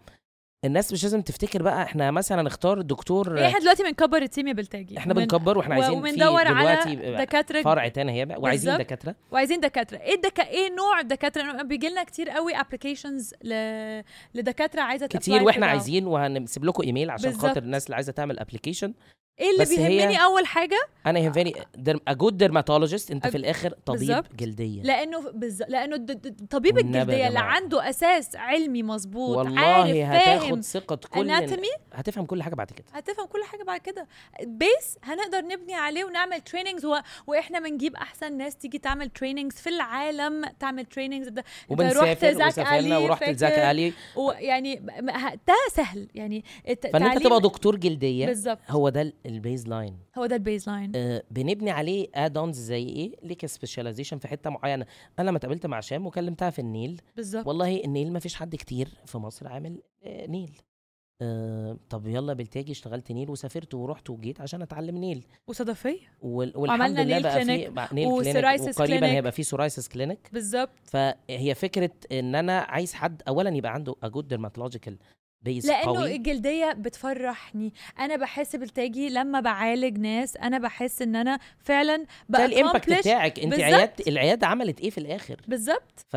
Speaker 2: الناس مش لازم تفتكر بقى احنا مثلا نختار دكتور
Speaker 1: احنا دلوقتي بنكبر التيميا بالتاجي
Speaker 2: احنا بنكبر واحنا عايزين في
Speaker 1: وبندور على
Speaker 2: دلوقتي
Speaker 1: دكاتره
Speaker 2: فرع تاني هي بقى وعايزين
Speaker 1: بالظبط.
Speaker 2: دكاتره
Speaker 1: وعايزين دكاتره ايه الدكا ايه نوع الدكاتره بيجي لنا كتير قوي ابلكيشنز ل... لدكاتره عايزه
Speaker 2: كتير
Speaker 1: تapply
Speaker 2: واحنا
Speaker 1: for دعوة.
Speaker 2: عايزين وهنسيب لكم ايميل عشان
Speaker 1: بالظبط.
Speaker 2: خاطر الناس اللي عايزه تعمل ابلكيشن
Speaker 1: ايه اللي
Speaker 2: بس هي-
Speaker 1: بيهمني اول حاجه
Speaker 2: انا يهمني اجود ديرماتولوجيست انت
Speaker 1: أج-
Speaker 2: في الاخر طبيب
Speaker 1: بالظبط.
Speaker 2: جلديه
Speaker 1: لانه بز... لانه الد... الد- الطبيب
Speaker 2: والنبي يا
Speaker 1: الجلديه اللي
Speaker 2: جماعة.
Speaker 1: عنده اساس علمي مظبوط عارف
Speaker 2: والله
Speaker 1: فاهم
Speaker 2: هتاخد ثقه كل
Speaker 1: اناتومي
Speaker 2: هتفهم كل حاجه بعد كده
Speaker 1: هتفهم كل حاجه بعد كده بيس هنقدر نبني عليه ونعمل تريننجز و... واحنا بنجيب احسن ناس تيجي تعمل تريننجز في العالم تعمل تريننجز ده رحت
Speaker 2: وبنسافر
Speaker 1: زاك
Speaker 2: وسافرنا
Speaker 1: ألي،
Speaker 2: ورحت
Speaker 1: فاكر؟
Speaker 2: لزاك علي
Speaker 1: ويعني م- ه- ده سهل يعني الت...
Speaker 2: فان انت
Speaker 1: تعليم-
Speaker 2: تبقى دكتور جلديه
Speaker 1: بالظبط
Speaker 2: هو ده ال- البيز لاين
Speaker 1: هو ده البيز لاين
Speaker 2: آه، بنبني عليه ادونز زي ايه ليك سبيشاليزيشن في حته معينه انا لما اتقابلت مع شام وكلمتها في النيل
Speaker 1: بالظبط
Speaker 2: والله النيل ما فيش حد كتير في مصر عامل آه، نيل آه، طب يلا بالتاجي اشتغلت نيل وسافرت ورحت وجيت عشان اتعلم نيل
Speaker 1: وصدفيه
Speaker 2: وال- والحمد
Speaker 1: وعملنا
Speaker 2: لله
Speaker 1: نيل
Speaker 2: بقى في
Speaker 1: كلينيك
Speaker 2: بقى نيل
Speaker 1: وسورايسيس
Speaker 2: كلينيك وقريبا
Speaker 1: كلينيك.
Speaker 2: هيبقى في سورايسيس كلينيك
Speaker 1: بالظبط
Speaker 2: فهي فكره ان انا عايز حد اولا يبقى عنده اجود ديرماتولوجيكال بيز
Speaker 1: لانه
Speaker 2: قوي
Speaker 1: الجلديه بتفرحني انا بحس بالتاجي لما بعالج ناس انا بحس ان انا فعلا
Speaker 2: ده الامباكت
Speaker 1: accomplish-
Speaker 2: بتاعك انت
Speaker 1: بالظبط.
Speaker 2: عيادة العياده عملت ايه في الاخر
Speaker 1: بالظبط
Speaker 2: ف...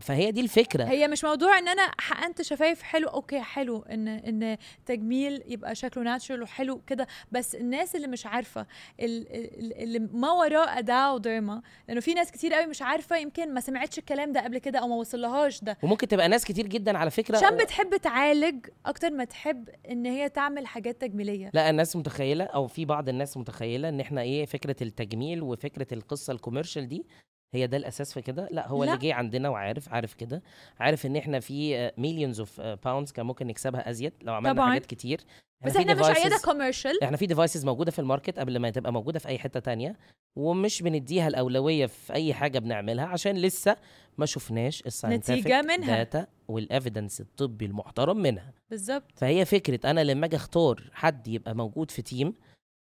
Speaker 2: فهي دي الفكره
Speaker 1: هي مش موضوع ان انا حقنت شفايف حلو اوكي حلو ان ان تجميل يبقى شكله ناتشرال وحلو كده بس الناس اللي مش عارفه ال- ال- اللي ما وراء ده وديرما لانه في ناس كتير قوي مش عارفه يمكن ما سمعتش الكلام ده قبل كده او ما وصلهاش ده
Speaker 2: وممكن تبقى ناس كتير جدا على فكره
Speaker 1: عشان بتحب تعالج اكتر ما تحب ان هي تعمل حاجات تجميليه
Speaker 2: لا الناس متخيله او في بعض الناس متخيله ان احنا ايه فكره التجميل وفكره القصه الكوميرشال دي هي ده الاساس في كده لا هو
Speaker 1: لا.
Speaker 2: اللي جه عندنا وعارف عارف كده عارف ان احنا في مليونز اوف باوندز كان ممكن نكسبها ازيد لو عملنا
Speaker 1: طبعاً.
Speaker 2: حاجات كتير
Speaker 1: بس
Speaker 2: في
Speaker 1: احنا مش
Speaker 2: devices
Speaker 1: عياده كوميرشال
Speaker 2: احنا في ديفايسز موجوده في الماركت قبل ما تبقى موجوده في اي حته تانية ومش بنديها الاولويه في اي حاجه بنعملها عشان لسه ما شفناش الساينتفك
Speaker 1: نتيجة منها.
Speaker 2: داتا والافيدنس الطبي المحترم منها
Speaker 1: بالظبط
Speaker 2: فهي فكره انا لما اجي اختار حد يبقى موجود في تيم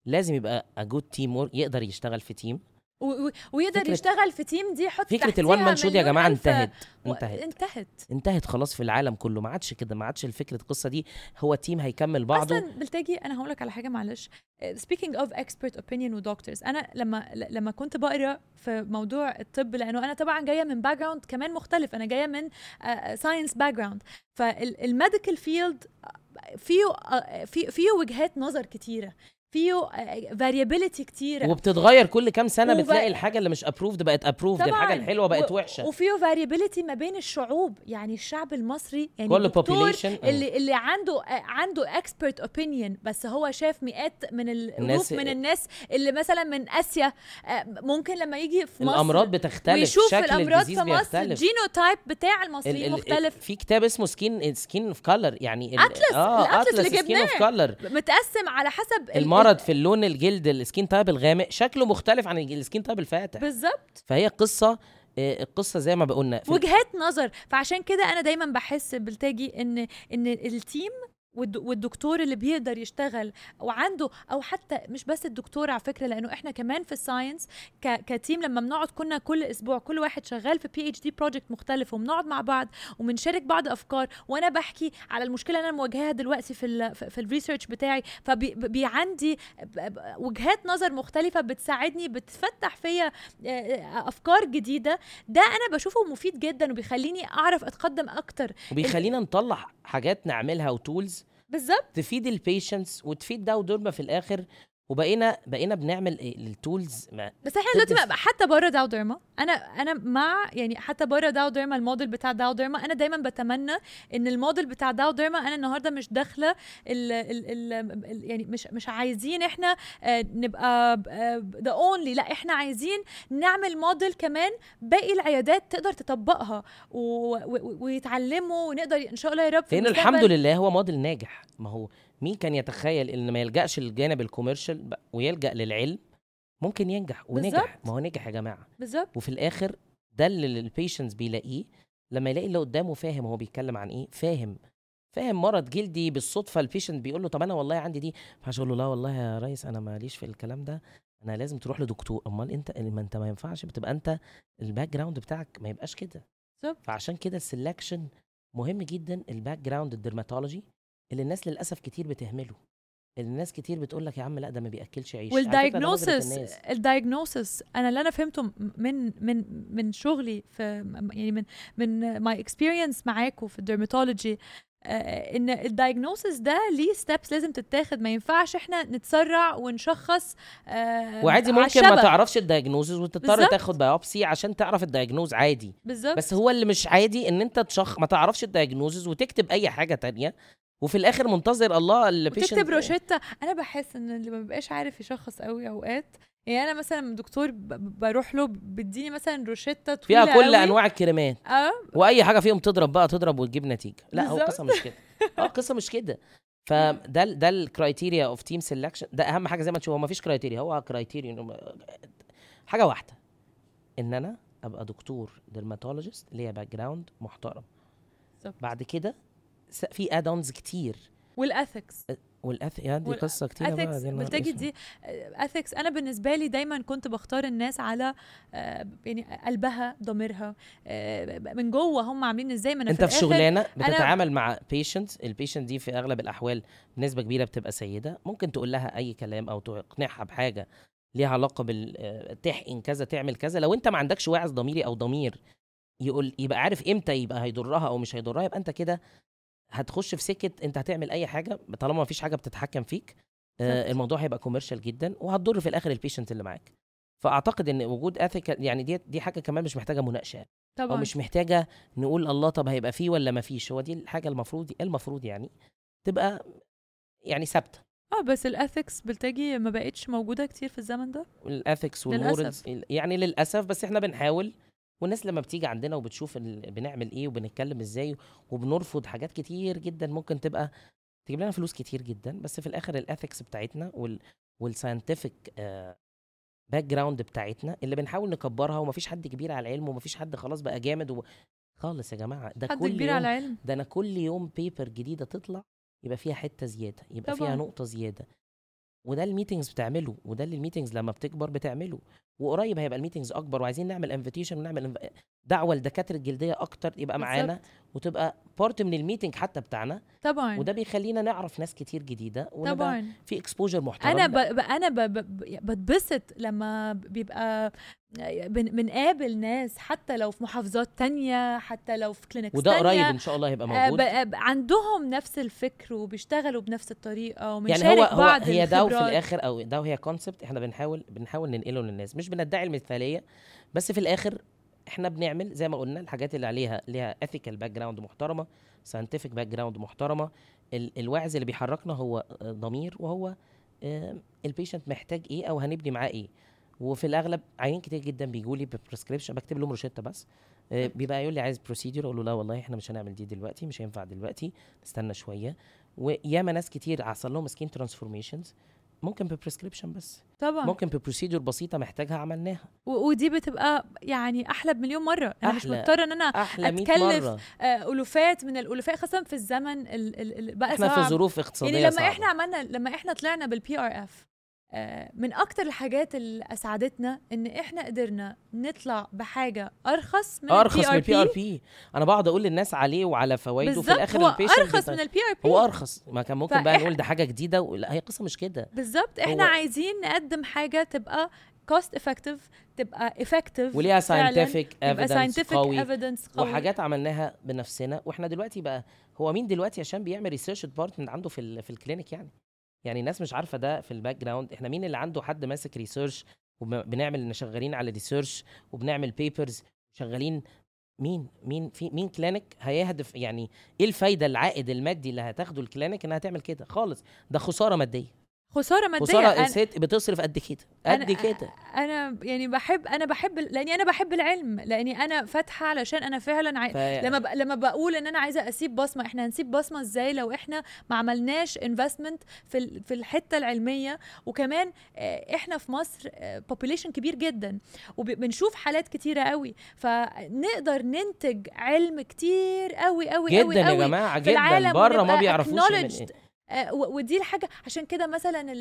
Speaker 2: لازم يبقى اجود تيم يقدر يشتغل في تيم
Speaker 1: و- و- ويقدر
Speaker 2: فكرة-
Speaker 1: يشتغل في تيم دي حط
Speaker 2: فكره
Speaker 1: تحتيها
Speaker 2: الوان مان شوت يا
Speaker 1: مليون
Speaker 2: جماعه
Speaker 1: ألف
Speaker 2: انتهت
Speaker 1: و-
Speaker 2: انتهت
Speaker 1: انتهت
Speaker 2: انتهت خلاص في العالم كله ما عادش كده ما عادش الفكره القصه دي هو تيم هيكمل
Speaker 1: اصلا
Speaker 2: بعضه
Speaker 1: بالتاجي انا هقول لك على حاجه معلش آه، سبيكينج اوف اكسبرت اوبينيون ودكتورز انا لما ل- لما كنت بقرا في موضوع الطب لانه انا طبعا جايه من باك جراوند كمان مختلف انا جايه من آه، ساينس باك جراوند فالميديكال فيلد فيه آه، في- فيه وجهات نظر كتيره فيه آه، فاريابيلتي كتيره
Speaker 2: وبتتغير كل كام سنه
Speaker 1: وب-
Speaker 2: بتلاقي الحاجه اللي مش ابروفد بقت ابروفد الحاجه
Speaker 1: طبعاً.
Speaker 2: الحلوه بقت
Speaker 1: و-
Speaker 2: وحشه
Speaker 1: وفيه فاريابيلتي ما بين الشعوب يعني الشعب المصري يعني
Speaker 2: كل
Speaker 1: الدكتور
Speaker 2: population آه.
Speaker 1: اللي اللي عنده آه، عنده اكسبرت اوبينيون بس هو شاف مئات من الناس
Speaker 2: الناس-
Speaker 1: من الناس اللي مثلا من اسيا آه، ممكن لما يجي في مصر
Speaker 2: الامراض بتختلف
Speaker 1: ويشوف
Speaker 2: شكل
Speaker 1: الامراض
Speaker 2: الامراض
Speaker 1: في مصر الجينوتايب بتاع المصريين مختلف
Speaker 2: في كتاب اسمه سكين سكين اوف كلر يعني ال-
Speaker 1: أطلس، الأطلس اللي
Speaker 2: سكين اوف كلر
Speaker 1: متقسم على حسب ال-
Speaker 2: المرض في اللون الجلد السكين تايب الغامق شكله مختلف عن السكين تايب الفاتح
Speaker 1: بالظبط
Speaker 2: فهي قصه آه، القصه زي ما بقولنا في-
Speaker 1: وجهات نظر فعشان كده انا دايما بحس بالتاجي ان ان التيم والد- والدكتور اللي بيقدر يشتغل وعنده او حتى مش بس الدكتور على فكره لانه احنا كمان في الساينس ك- كتيم لما بنقعد كنا كل اسبوع كل واحد شغال في بي اتش دي بروجكت مختلف وبنقعد مع بعض وبنشارك بعض افكار وانا بحكي على المشكله اللي انا مواجهاها دلوقتي في ال في في الريسيرش بتاعي فبي عندي ب- ب- وجهات نظر مختلفه بتساعدني بتفتح فيا آه، افكار جديده ده انا بشوفه مفيد جدا وبيخليني اعرف اتقدم اكتر
Speaker 2: وبيخلينا نطلع حاجات نعملها وتولز
Speaker 1: بالظبط
Speaker 2: تفيد البيشنس وتفيد ده ودورما في الاخر وبقينا بقينا بنعمل إيه؟ التولز ما-
Speaker 1: بس احنا دلوقتي
Speaker 2: تدف-
Speaker 1: بقى حتى بره داو ديرما انا انا مع يعني حتى بره داو ديرما الموديل بتاع داو ديرما انا دايما بتمنى ان الموديل بتاع داو ديرما انا النهارده مش داخله ال ال ال يعني مش مش عايزين احنا آه، نبقى ذا اونلي لا احنا عايزين نعمل موديل كمان باقي العيادات تقدر تطبقها و- و- ويتعلموا ونقدر ان شاء الله يا رب في
Speaker 2: لان
Speaker 1: المستقبل-
Speaker 2: الحمد لله هو موديل ناجح ما هو مين كان يتخيل ان ما يلجاش للجانب الكوميرشال ب- ويلجا للعلم ممكن ينجح ونجح
Speaker 1: بالظبط.
Speaker 2: ما هو نجح يا جماعه
Speaker 1: بالظبط
Speaker 2: وفي الاخر ده اللي البيشنس بيلاقيه لما يلاقي اللي قدامه فاهم هو بيتكلم عن ايه فاهم فاهم مرض جلدي بالصدفه البيشنت بيقول له طب انا والله عندي دي فعشان يقول له لا والله يا ريس انا ماليش في الكلام ده انا لازم تروح لدكتور امال انت ما انت ما ينفعش بتبقى انت الباك جراوند بتاعك ما يبقاش كده
Speaker 1: بالظبط
Speaker 2: فعشان كده السلكشن مهم جدا الباك جراوند الدرماتولوجي اللي الناس للاسف كتير بتهمله اللي الناس كتير بتقول لك يا عم لا ده ما بياكلش عيش على فكرة ده نظرة
Speaker 1: والدايجنوسس
Speaker 2: الناس.
Speaker 1: الدايجنوسس انا اللي انا فهمته من من من شغلي في يعني من من ماي اكسبيرينس معاكم في الدرماتولوجي ان الدايجنوسس ده ليه ستيبس لازم تتاخد ما ينفعش احنا نتسرع ونشخص آه،
Speaker 2: وعادي
Speaker 1: على
Speaker 2: ممكن ما
Speaker 1: الشبك.
Speaker 2: تعرفش الدايجنوزز وتضطر
Speaker 1: بالظبط.
Speaker 2: تاخد بايوبسي عشان تعرف الدايجنوز عادي
Speaker 1: بالظبط
Speaker 2: بس هو اللي مش عادي ان انت تشخ ما تعرفش الدايجنوزز وتكتب اي حاجه تانية وفي الاخر منتظر الله اللي
Speaker 1: وتكتب روشتة انا بحس ان اللي ما بيبقاش عارف يشخص قوي اوقات يعني انا مثلا دكتور ب- ب- بروح له بيديني مثلا روشتة طويلة
Speaker 2: فيها كل
Speaker 1: قوي.
Speaker 2: انواع الكريمات
Speaker 1: اه
Speaker 2: واي حاجه فيهم تضرب بقى تضرب وتجيب نتيجه لا هو
Speaker 1: بالظبط.
Speaker 2: القصه مش كده اه القصه مش كده فده ال- ده الكرايتيريا اوف تيم سelection ده اهم حاجه زي ما تشوف هو مفيش كرايتيريا هو كرايتيريا حاجه واحده ان انا ابقى دكتور ديرماتولوجيست ليا باك جراوند محترم
Speaker 1: بالظبط.
Speaker 2: بعد كده س- في ادونز كتير
Speaker 1: والاثكس
Speaker 2: والاث يا دي
Speaker 1: وال-
Speaker 2: قصه كتير بقى
Speaker 1: اثكس
Speaker 2: دي أنا
Speaker 1: بتجي
Speaker 2: اسمع.
Speaker 1: دي آه، اثكس انا بالنسبه لي دايما كنت بختار الناس على آه، يعني قلبها ضميرها آه، من جوه هم عاملين ازاي ما انا
Speaker 2: انت في
Speaker 1: الآخر
Speaker 2: شغلانه
Speaker 1: أنا-
Speaker 2: بتتعامل مع بيشنت البيشنت دي في اغلب الاحوال بنسبه كبيره بتبقى سيده ممكن تقول لها اي كلام او تقنعها بحاجه ليها علاقه بال آه، تحقن كذا تعمل كذا لو انت ما عندكش واعظ ضميري او ضمير يقول يبقى عارف امتى يبقى هيضرها او مش هيضرها يبقى انت كده هتخش في سكه انت هتعمل اي حاجه طالما ما فيش حاجه بتتحكم فيك
Speaker 1: صح.
Speaker 2: آه، الموضوع هيبقى كوميرشال جدا وهتضر في الاخر البيشنت اللي معاك فاعتقد ان وجود اثيكال يعني دي دي حاجه كمان مش محتاجه مناقشه او
Speaker 1: طبعا
Speaker 2: مش محتاجه نقول الله طب هيبقى فيه ولا ما فيش هو دي الحاجه المفروض المفروض يعني تبقى يعني ثابته
Speaker 1: اه بس الاثكس بتجي ما بقتش موجوده كتير في الزمن ده
Speaker 2: الاثكس والمورالز يعني للاسف بس احنا بنحاول والناس لما بتيجي عندنا وبتشوف ال- بنعمل ايه وبنتكلم ازاي وبنرفض حاجات كتير جدا ممكن تبقى تجيب لنا فلوس كتير جدا بس في الاخر الاثكس بتاعتنا وال والساينتفك باك جراوند بتاعتنا اللي بنحاول نكبرها ومفيش حد كبير على العلم ومفيش حد خلاص بقى جامد و... خالص يا جماعه ده
Speaker 1: حد
Speaker 2: كل
Speaker 1: كبير
Speaker 2: يوم
Speaker 1: على العلم
Speaker 2: ده انا كل يوم بيبر جديده تطلع يبقى فيها حته زياده يبقى طبعًا.
Speaker 1: طبعاً.
Speaker 2: فيها نقطه زياده وده الميتنجز بتعمله وده اللي الميتنجز لما بتكبر بتعمله وقريب هيبقى الميتنجز اكبر وعايزين نعمل انفيتيشن ونعمل inv- دعوه لدكاتره الجلديه اكتر يبقى أه، معانا
Speaker 1: بالظبط. أيوة.
Speaker 2: وتبقى بارت من الميتنج حتى بتاعنا
Speaker 1: طبعا
Speaker 2: وده بيخلينا نعرف ناس كتير جديده ونبقى
Speaker 1: طبعا
Speaker 2: في اكسبوجر محترم
Speaker 1: انا ب... ب... انا ب... ب... يعني بتبسط لما بيبقى آه، بن... بنقابل ناس حتى لو في محافظات تانية حتى لو في كلينكس
Speaker 2: وده
Speaker 1: تانية
Speaker 2: قريب ان شاء الله هيبقى موجود
Speaker 1: آه، ب- ب- عندهم نفس الفكر وبيشتغلوا بنفس الطريقه وبنشارك
Speaker 2: يعني هو هو
Speaker 1: بعض
Speaker 2: هي ده وفي
Speaker 1: الخبرات.
Speaker 2: الاخر او ده وهي كونسبت احنا بنحاول بنحاول ننقله للناس مش بندعي المثاليه بس في الاخر احنا بنعمل زي ما قلنا الحاجات اللي عليها ليها اثيكال باك جراوند محترمه ساينتفك باك جراوند محترمه ال- الواعز اللي بيحركنا هو آه، ضمير وهو البيشنت محتاج ايه او هنبني معاه ايه وفي الاغلب عيانين كتير جدا بيجوا لي ببريسكريبشن بكتب لهم روشته بس آه، بيبقى يقول لي عايز بروسيدور اقول له لا والله احنا مش هنعمل دي دلوقتي مش هينفع دلوقتي استنى شويه وياما ناس كتير حصل لهم سكين ترانسفورميشنز ممكن ببريسكريبشن بس
Speaker 1: طبعا
Speaker 2: ممكن ببروسيدور بسيطه محتاجها عملناها
Speaker 1: و- ودي بتبقى يعني احلى بمليون مره انا مش
Speaker 2: أحلى.
Speaker 1: مضطره ان انا
Speaker 2: احلى 100
Speaker 1: أتكلف
Speaker 2: مره
Speaker 1: آه، الوفات من الالوفات خاصه في الزمن ال- ال- ال- بقى
Speaker 2: احنا في
Speaker 1: صعب
Speaker 2: ظروف اقتصاديه
Speaker 1: يعني لما
Speaker 2: صعبة.
Speaker 1: احنا عملنا لما احنا طلعنا بالبي ار اف من اكتر الحاجات اللي اسعدتنا ان احنا قدرنا نطلع بحاجه ارخص من
Speaker 2: ارخص من
Speaker 1: البي
Speaker 2: البي
Speaker 1: ار
Speaker 2: ار
Speaker 1: بي
Speaker 2: بي انا بقعد اقول للناس عليه وعلى فوائده وفي
Speaker 1: بالظبط
Speaker 2: الاخر
Speaker 1: هو
Speaker 2: البيشنت
Speaker 1: ارخص
Speaker 2: بيطلع-
Speaker 1: من البي ار
Speaker 2: هو
Speaker 1: بي
Speaker 2: ارخص ما كان ممكن بقى
Speaker 1: فإح-
Speaker 2: نقول ده حاجه جديده ولا هي قصه مش كده
Speaker 1: بالظبط احنا
Speaker 2: هو-
Speaker 1: عايزين نقدم حاجه تبقى كوست افكتيف تبقى افكتيف
Speaker 2: وليها ساينتفك ايفيدنس قوي
Speaker 1: ايفيدنس قوي
Speaker 2: وحاجات عملناها بنفسنا واحنا دلوقتي بقى هو مين دلوقتي عشان بيعمل ريسيرش ديبارتمنت عنده في ال- في الكلينيك يعني يعني الناس مش عارفه ده في الباك جراوند احنا مين اللي عنده حد ماسك ريسيرش وبنعمل ان شغالين على ريسيرش وبنعمل بيبرز شغالين مين مين في مين كلينيك هيهدف يعني ايه الفايده العائد المادي اللي هتاخده الكلينيك انها تعمل كده خالص ده خساره ماديه
Speaker 1: خساره ماديه
Speaker 2: خساره
Speaker 1: أنا-
Speaker 2: الست بتصرف قد كده قد كده
Speaker 1: انا يعني بحب انا بحب لاني انا بحب العلم لاني انا فاتحه علشان انا فعلا عاي...
Speaker 2: ف-
Speaker 1: لما ب... لما بقول ان انا عايزه اسيب بصمه احنا هنسيب بصمه ازاي لو احنا ما عملناش انفستمنت في ال... في الحته العلميه وكمان آه، احنا في مصر بوبوليشن كبير جدا وبنشوف حالات كتيره قوي فنقدر ننتج علم كتير قوي قوي
Speaker 2: جدا
Speaker 1: قوي قوي
Speaker 2: يا جماعه
Speaker 1: في
Speaker 2: جدا
Speaker 1: العالم
Speaker 2: بره ما
Speaker 1: ونبقى
Speaker 2: بيعرفوش من إيه.
Speaker 1: acknowledged. آه، و- ودي الحاجه عشان كده مثلا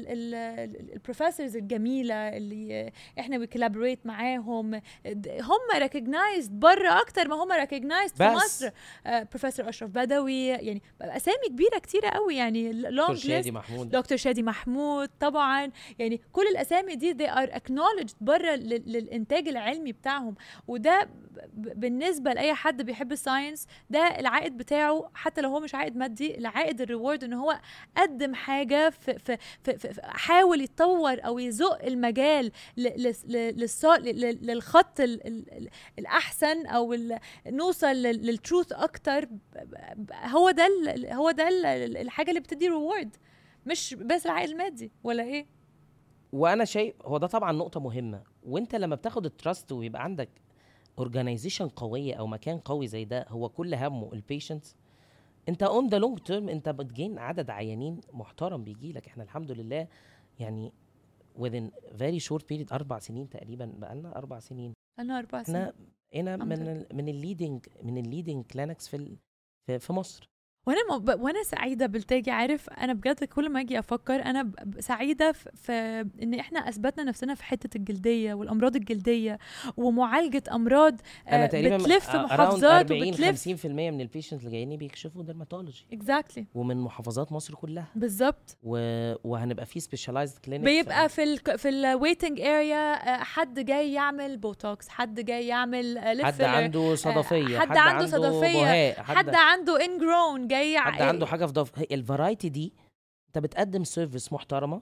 Speaker 1: البروفيسورز الجميله اللي احنا بكولابوريت معاهم د- هم ريكوجنايزد بره اكتر ما هم ريكوجنايزد في
Speaker 2: بس.
Speaker 1: مصر بروفيسور اشرف آه، بدوي يعني اسامي كبيره كتيره قوي يعني
Speaker 2: دكتور
Speaker 1: لونج
Speaker 2: شادي محمود
Speaker 1: دكتور شادي محمود طبعا يعني كل الاسامي دي they are acknowledged بره لل- للانتاج العلمي بتاعهم وده ب- بالنسبه لاي حد بيحب الساينس ده العائد بتاعه حتى لو هو مش عائد مادي العائد الريورد ان هو قدم حاجه في في في في في- حاول يتطور او يزق المجال ل- لس- ل- للص- ل- ل- للخط ال- ال- ال- الاحسن او ال- نوصل لل- للتروث اكتر ب- ب- هو ده ال- هو ده ال- الحاجه اللي بتدي ريورد مش بس العائد المادي ولا ايه
Speaker 2: وانا شايف هو ده طبعا نقطه مهمه وانت لما بتاخد التراست ويبقى عندك اورجانيزيشن قويه او مكان قوي زي ده هو كل همه البيشنتس انت اون ذا لونج تيرم انت بتجين عدد عيانين محترم بيجي لك احنا الحمد لله يعني within very short period اربع سنين تقريبا بقالنا اربع سنين
Speaker 1: انا اربع سنين
Speaker 2: احنا هنا
Speaker 1: الحمد
Speaker 2: من ال من الليدنج من الليدنج كلينكس في ال- في- في مصر
Speaker 1: وانا م... ب- وانا سعيده بالتاجي عارف انا بجد كل ما اجي افكر انا ب- ب- سعيده في... في ان احنا اثبتنا نفسنا في حته الجلديه والامراض الجلديه ومعالجه امراض آه،
Speaker 2: انا تقريبا
Speaker 1: بتلف
Speaker 2: around
Speaker 1: محافظات
Speaker 2: 40
Speaker 1: وبتلف
Speaker 2: 50% من البيشنتس اللي جايين بيكشفوا ديرماتولوجي
Speaker 1: اكزاكتلي
Speaker 2: ومن محافظات مصر كلها
Speaker 1: بالظبط
Speaker 2: و... وهنبقى فيه سبيشاليزد كلينك
Speaker 1: بيبقى في ال في الويتنج اريا حد جاي يعمل بوتوكس حد جاي يعمل آه، لب
Speaker 2: حد
Speaker 1: فيلر،
Speaker 2: عنده صدفيه
Speaker 1: حد عنده صدفية،
Speaker 2: بهاء،
Speaker 1: حد عنده انجرون جاي
Speaker 2: حد عنده حاجه في ضف الفرايتي دي انت بتقدم سيرفيس محترمه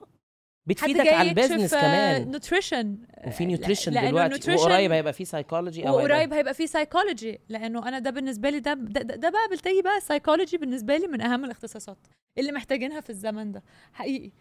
Speaker 2: بتفيدك على البيزنس
Speaker 1: آه،
Speaker 2: كمان
Speaker 1: نوتريشن
Speaker 2: وفي نيوتريشن دلوقتي وقريب هيبقى فيه سايكولوجي او هيبقى-
Speaker 1: وقريب هيبقى فيه سايكولوجي لانه انا ده بالنسبه لي ده ده, ده, ده بقى بلتقي بقى السايكولوجي بالنسبه لي من اهم الاختصاصات اللي محتاجينها في الزمن ده حقيقي